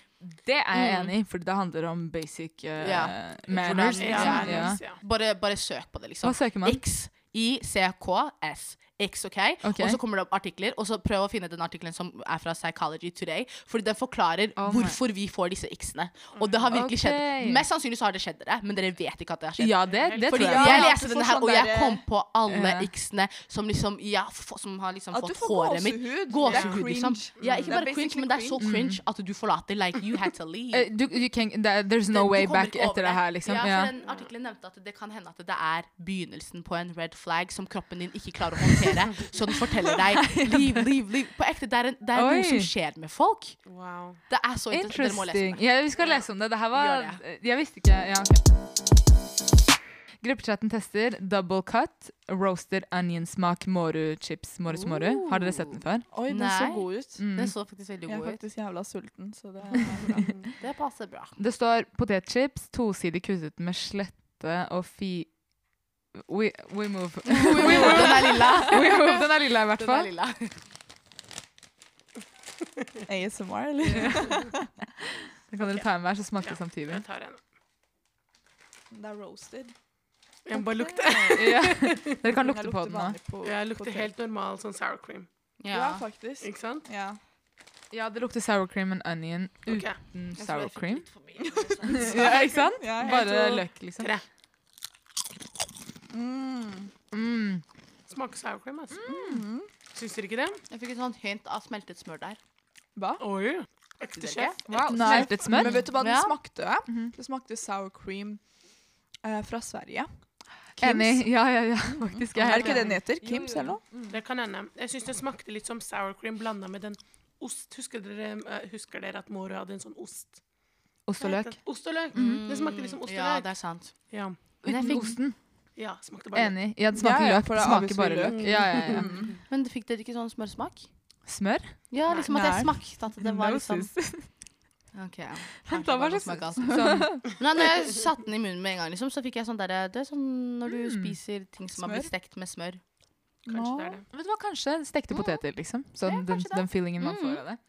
Speaker 1: det er jeg
Speaker 4: Mm.
Speaker 1: enig i, for det handler om basic eh,
Speaker 4: Ja.
Speaker 1: manners.
Speaker 4: Hvordan-
Speaker 2: Ja,
Speaker 1: Liksom.
Speaker 2: det er
Speaker 1: Ja.
Speaker 2: nice, ja.
Speaker 4: Bare, bare søk på det,
Speaker 1: Hva
Speaker 4: liksom.
Speaker 1: søker man?
Speaker 4: X-I-C-K-S. X, OK?
Speaker 1: Ok.
Speaker 4: Og så kommer det opp artikler, og så prøv å finne den artikkelen som er fra Psychology Today, fordi den forklarer
Speaker 1: Oh my-
Speaker 4: hvorfor vi får disse x-ene. Og det har virkelig
Speaker 1: Ok.
Speaker 4: skjedd. Mest sannsynlig så har det skjedd dere, men dere vet ikke at det har skjedd.
Speaker 1: Ja, det, det tror
Speaker 4: Fordi
Speaker 1: jeg.
Speaker 3: Ja,
Speaker 4: jeg
Speaker 3: at
Speaker 4: leste
Speaker 3: du
Speaker 4: den
Speaker 3: får
Speaker 4: her,
Speaker 3: sånn
Speaker 4: og jeg
Speaker 3: derre-
Speaker 4: kom på alle
Speaker 1: Ja.
Speaker 4: x-ene som liksom ja, f- Som har liksom
Speaker 3: At du
Speaker 4: fått
Speaker 3: får
Speaker 4: håret mitt.
Speaker 3: gåsehud.
Speaker 4: Gåsehud, liksom. Ja,
Speaker 3: Det er
Speaker 4: ikke bare
Speaker 3: basically
Speaker 4: cringe, men det er så
Speaker 3: cringe.
Speaker 4: cringe at du forlater. Like, you had to leave.
Speaker 1: Eh, Du, du kan, there- there's no
Speaker 4: Du
Speaker 1: way
Speaker 4: kommer
Speaker 1: back
Speaker 4: ikke over
Speaker 1: etter det her, liksom.
Speaker 4: Ja,
Speaker 1: Ja.
Speaker 4: for den artikkelen nevnte at det kan hende at det er begynnelsen på en red flag som kroppen din ikke klarer å håndtere, så den forteller deg liv, liv, liv. På ekte, det er, en, det er
Speaker 1: Oi.
Speaker 4: noe som skjer med folk.
Speaker 2: Wow.
Speaker 4: Det er så interessant. Dere må lese
Speaker 1: Interesting.
Speaker 4: om det.
Speaker 1: Ja, vi skal lese om det. Det her var
Speaker 4: Gjør
Speaker 1: Jeg visste ikke ja, ok. Gruppechatten tester double cut, roasted onion-smak moru-chips. Morus moru. Har dere sett den før?
Speaker 3: Oi, den så
Speaker 4: Nei.
Speaker 3: god ut.
Speaker 1: Mm.
Speaker 4: Den så faktisk veldig
Speaker 3: Jeg er
Speaker 4: god ut.
Speaker 3: faktisk jævla sulten, så det
Speaker 4: Det passer bra.
Speaker 1: Det står potetchips, tosidig kuttet med slette og fi... We, we move.
Speaker 4: Den er lilla.
Speaker 1: we move. Den er lilla, i hvert
Speaker 4: Den er
Speaker 1: fall.
Speaker 4: lilla.
Speaker 3: er ASMR, eller?
Speaker 1: Den kan dere ta med hver, så smaker det samtidig.
Speaker 2: Jeg tar en.
Speaker 3: Det er roasted.
Speaker 2: Jeg må bare lukte.
Speaker 1: Ja. Dere kan
Speaker 3: Jeg
Speaker 1: lukte på
Speaker 3: lukter
Speaker 1: den nå.
Speaker 3: vanlig på-
Speaker 2: Jeg
Speaker 3: på
Speaker 2: lukter
Speaker 3: te.
Speaker 2: helt normal sånn sour cream.
Speaker 3: Ja,
Speaker 4: Ja.
Speaker 3: faktisk.
Speaker 2: Ikke sant?
Speaker 3: Ja.
Speaker 1: Ja, det lukter sour cream and onion
Speaker 2: Ok.
Speaker 1: uten sour cream.
Speaker 4: cream.
Speaker 1: Ja, ikke sant?
Speaker 3: Ja, helt
Speaker 1: Bare
Speaker 3: og-
Speaker 1: løk, liksom.
Speaker 2: Tre.
Speaker 3: Mm.
Speaker 1: Mm.
Speaker 2: Smaker sour cream, altså. Syns dere ikke det?
Speaker 4: Jeg fikk et sånt hint av smeltet smør der.
Speaker 3: Hva?
Speaker 2: Oi. Ekte
Speaker 4: Dere?
Speaker 2: sjef.
Speaker 1: Wow,
Speaker 3: Nei,
Speaker 1: smeltet smør.
Speaker 3: Men vet du hva den
Speaker 4: Ja.
Speaker 3: smakte?
Speaker 1: Mhm.
Speaker 3: Det smakte sour cream eh, fra Sverige. Kims.
Speaker 1: Enig. Ja, ja, ja, faktisk. Jeg
Speaker 3: Er
Speaker 1: er helt
Speaker 3: det ikke
Speaker 1: enig.
Speaker 3: det den heter?
Speaker 2: Jo,
Speaker 3: Kims
Speaker 2: jo,
Speaker 3: eller noe?
Speaker 1: Mm.
Speaker 2: Det kan hende. Jeg syns det smakte litt som sour cream blanda med den ost. Husker dere, eh, husker dere at Moro hadde en sånn ost?
Speaker 1: Ost og løk. Mm.
Speaker 2: Ost og løk. Det smakte litt som ost og
Speaker 4: Ja,
Speaker 2: løk.
Speaker 4: det er sant.
Speaker 2: Ja.
Speaker 4: Men jeg
Speaker 1: Uten
Speaker 4: fikk-
Speaker 1: osten.
Speaker 2: ja, smakte bare
Speaker 1: Enig. Ja, det
Speaker 3: Ja,
Speaker 1: smaker
Speaker 3: ja,
Speaker 1: løk.
Speaker 3: for
Speaker 1: Det
Speaker 3: det
Speaker 1: smaker
Speaker 3: avviser
Speaker 1: bare løk.
Speaker 3: løk.
Speaker 1: Ja, ja, ja.
Speaker 4: Men fikk dere ikke sånn smørsmak?
Speaker 1: Smør?
Speaker 4: Ja,
Speaker 2: Nei.
Speaker 4: liksom at jeg
Speaker 3: Nei.
Speaker 4: smakte at det var liksom Ok.
Speaker 1: Vent
Speaker 4: Kanskje
Speaker 1: da, hva
Speaker 4: det var
Speaker 1: slags-
Speaker 4: noe smak, altså.
Speaker 1: Sånn.
Speaker 4: Nei, når jeg satte den i munnen med en gang, liksom, så fikk jeg sånn derre Det er sånn når du
Speaker 1: Mm.
Speaker 4: spiser ting som har blitt
Speaker 3: Smør?
Speaker 4: stekt med smør.
Speaker 2: Kanskje
Speaker 3: Nå.
Speaker 2: det er det.
Speaker 1: Vet du hva, kanskje stekte
Speaker 4: Mm.
Speaker 1: poteter, liksom. Sånn, den,
Speaker 4: kanskje det.
Speaker 1: den feelingen man får av det.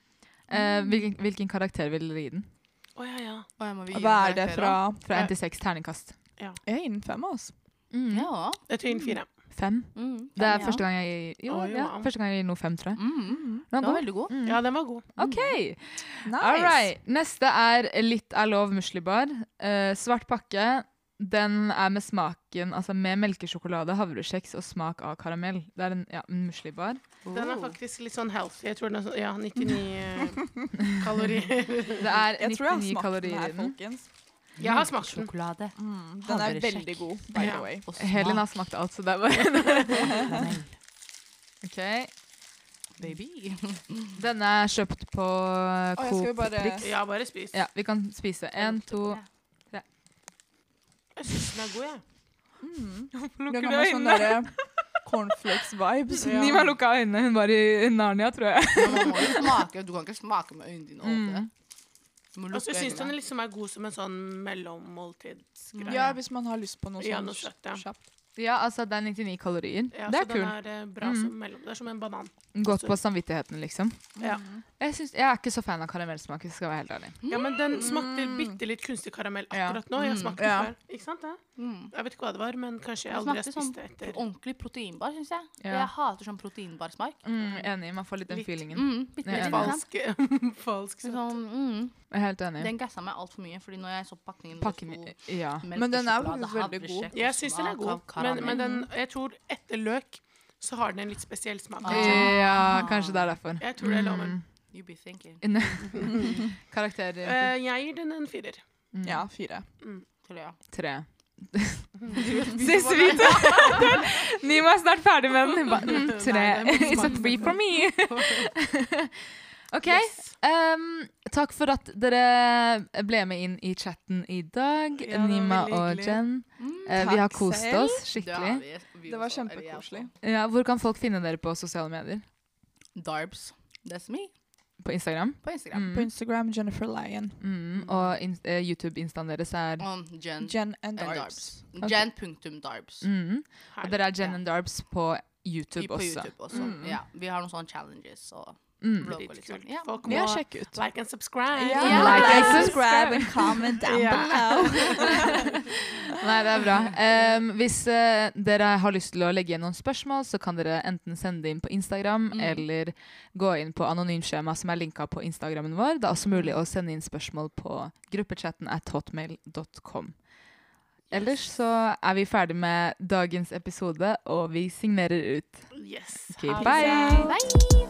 Speaker 1: Eh, hvilken, hvilken karakter vil dere gi den?
Speaker 2: Å ja, ja.
Speaker 4: Å, jeg må vi gi
Speaker 3: Hva
Speaker 4: den
Speaker 3: er det
Speaker 4: karakter også?
Speaker 3: fra
Speaker 1: Fra én til seks terningkast.
Speaker 3: Jeg er innen fem, altså.
Speaker 1: Mm.
Speaker 4: Ja.
Speaker 2: Jeg tar inn fire.
Speaker 1: Fem.
Speaker 4: Mm.
Speaker 1: Det er
Speaker 4: Ja.
Speaker 1: første gang jeg gir Jo,
Speaker 2: Oi,
Speaker 1: ja,
Speaker 2: wow.
Speaker 1: første gang jeg gir noe fem, tror jeg.
Speaker 4: Mm.
Speaker 1: Den
Speaker 4: Den
Speaker 1: var
Speaker 4: var
Speaker 1: god.
Speaker 4: veldig god.
Speaker 1: Mm.
Speaker 2: Ja, den var god.
Speaker 1: OK.
Speaker 3: Nice.
Speaker 1: All right. Neste er Litt er lov muslibar. Eh, svart pakke. Den er med smaken, altså med melkesjokolade, havrekjeks og smak av karamell. Det er en ja, en muslibar.
Speaker 2: Den
Speaker 4: Oh.
Speaker 1: Oh.
Speaker 2: er faktisk litt sånn healthy. Jeg tror den er sånn Ja, 99 eh, kalorier.
Speaker 1: Det er
Speaker 3: Jeg tror jeg har
Speaker 1: 99
Speaker 3: smakt den
Speaker 1: kalorier
Speaker 3: her,
Speaker 1: i den.
Speaker 3: folkens.
Speaker 2: Jeg har smakt den.
Speaker 4: Sjokolade.
Speaker 3: Mm, den er
Speaker 4: Havresjekk.
Speaker 3: veldig god, by
Speaker 2: Ja.
Speaker 3: the way.
Speaker 4: Og
Speaker 1: Helen har
Speaker 4: smak.
Speaker 1: smakt alt, så det er bare OK.
Speaker 4: Baby.
Speaker 1: Denne er kjøpt på eh,
Speaker 3: Å, jeg skal jo
Speaker 1: Coop
Speaker 3: bare
Speaker 1: Prix.
Speaker 2: Ja, bare spis.
Speaker 1: Ja, vi kan spise én, to
Speaker 2: Jeg syns den er god, jeg.
Speaker 3: mm.
Speaker 2: Lukker
Speaker 3: Den ga meg sånn derre cornflakes-vibes.
Speaker 1: Nima lukka øynene. Hun var i Narnia, tror jeg.
Speaker 4: Men Man må jo smake. Du kan ikke smake med øynene dine. og
Speaker 1: Mm.
Speaker 4: det. Du må
Speaker 2: Altså,
Speaker 4: lukke
Speaker 2: jeg syns den
Speaker 4: øynene.
Speaker 2: liksom er god som en sånn mellommåltidsgreie.
Speaker 3: Ja, hvis man har lyst på noe
Speaker 2: Ja,
Speaker 3: sånn
Speaker 2: noe søtt, ja.
Speaker 3: kjapt.
Speaker 1: Ja, altså, det er 99 kalorier.
Speaker 2: Ja,
Speaker 1: det
Speaker 2: så
Speaker 1: er kult.
Speaker 2: Den er eh, bra som mellom. Det er som en banan.
Speaker 1: Godt på samvittigheten, liksom.
Speaker 2: Ja.
Speaker 1: Jeg, syns- jeg er ikke så fan av karamellsmak, hvis jeg skal være helt ærlig.
Speaker 2: ja, men den smakte bitte litt kunstig karamell
Speaker 1: Ja.
Speaker 2: akkurat nå. Jeg har smakt den
Speaker 3: Ja.
Speaker 2: før. Ikke sant? det?
Speaker 4: Mm.
Speaker 2: Jeg vet ikke hva det var, men kanskje jeg
Speaker 4: Den
Speaker 2: aldri har
Speaker 4: smakte
Speaker 2: spist
Speaker 4: sånn
Speaker 2: det etter.
Speaker 4: Ordentlig proteinbar, syns jeg.
Speaker 1: Ja.
Speaker 4: Jeg hater sånn proteinbar smak.
Speaker 1: Mm, enig, man får litt den
Speaker 2: Litt.
Speaker 1: feelingen.
Speaker 4: Mm. Bitte
Speaker 1: Jeg er
Speaker 4: litt.
Speaker 1: enig.
Speaker 4: sant?
Speaker 2: Falsk, falsk søt.
Speaker 4: Sånn, mm.
Speaker 1: Jeg er helt enig.
Speaker 4: Den gassa meg altfor mye, fordi når jeg så pakningen hvor det
Speaker 1: Pakken
Speaker 4: sto
Speaker 1: ja.
Speaker 4: melk
Speaker 3: Men
Speaker 4: og
Speaker 3: den er
Speaker 4: sjokolade,
Speaker 3: faktisk veldig
Speaker 4: havresjekk
Speaker 3: god.
Speaker 4: og
Speaker 2: Jeg syns den er
Speaker 4: sånn smak av
Speaker 2: god, men,
Speaker 4: karamell.
Speaker 2: men den, jeg tror etter løk så har den en litt spesiell smak.
Speaker 4: Ah.
Speaker 2: kanskje.
Speaker 1: ja, kanskje det er derfor.
Speaker 2: Jeg tror det er loven.
Speaker 1: Mm.
Speaker 4: You be thinking.
Speaker 1: Karakter
Speaker 2: Eh, jeg gir den en firer.
Speaker 1: mm,
Speaker 3: Ja, fire.
Speaker 4: Tror jeg.
Speaker 1: tre. Siste bit! Nima er snart ferdig med den. Hun ba, mm, Tre. It's a three for me. OK.
Speaker 2: Yes.
Speaker 1: ehm, takk for at dere ble med inn i chatten i dag,
Speaker 2: Ja, det var
Speaker 1: Nima
Speaker 2: veldig
Speaker 1: og
Speaker 2: hyggelig.
Speaker 1: Jen.
Speaker 4: Mm,
Speaker 1: Eh, vi har
Speaker 3: Takk
Speaker 1: kost
Speaker 3: selv.
Speaker 1: oss
Speaker 4: det har
Speaker 1: skikkelig.
Speaker 4: vi- vi
Speaker 3: Det var
Speaker 4: også, eller jeg
Speaker 3: kjempekoselig.
Speaker 4: også.
Speaker 1: Ja, hvor kan folk finne dere på sosiale medier?
Speaker 4: Darbs. That's me
Speaker 1: på Instagram.
Speaker 4: på Instagram.
Speaker 3: På
Speaker 1: Mm.
Speaker 3: Instagram Jennifer Lyon.
Speaker 1: Mm. Og ins- eh, YouTube-instaen deres er
Speaker 4: Og Jen
Speaker 3: Jen and
Speaker 4: and
Speaker 3: Mm. Darbs.
Speaker 4: Darbs.
Speaker 3: Ok.
Speaker 4: Jen punktum Darbs.
Speaker 1: mm. Og
Speaker 2: Herlig.
Speaker 1: dere er Jen and Darbs på YouTube
Speaker 4: I- på
Speaker 1: også.
Speaker 4: YouTube også.
Speaker 3: Mm.
Speaker 4: Ja, vi har noen sånne challenges og
Speaker 1: Mm.
Speaker 4: vlogg og litt sånn.
Speaker 2: Dritkult.
Speaker 4: Ja.
Speaker 2: Folk
Speaker 3: Ja,
Speaker 2: må
Speaker 3: sjekk ut.
Speaker 2: like and subscribe.
Speaker 3: Ja.
Speaker 4: Ja.
Speaker 3: Like
Speaker 1: Like
Speaker 3: and
Speaker 1: and
Speaker 3: subscribe and comment down
Speaker 5: Ja.
Speaker 3: below.
Speaker 1: Nei, det er bra. Em, hvis eh, dere har lyst til å legge igjen noen spørsmål, så kan dere enten sende det inn på Instagram
Speaker 4: Mm.
Speaker 1: eller gå inn på anonymskjema som er linka på Instagrammen vår. Det er også mulig å sende inn spørsmål på gruppechatten at hotmail.com. Ellers så er vi ferdig med dagens episode, og vi signerer ut.
Speaker 2: Yes.
Speaker 1: Ok,
Speaker 2: Ha det.
Speaker 1: bye!
Speaker 4: Bye!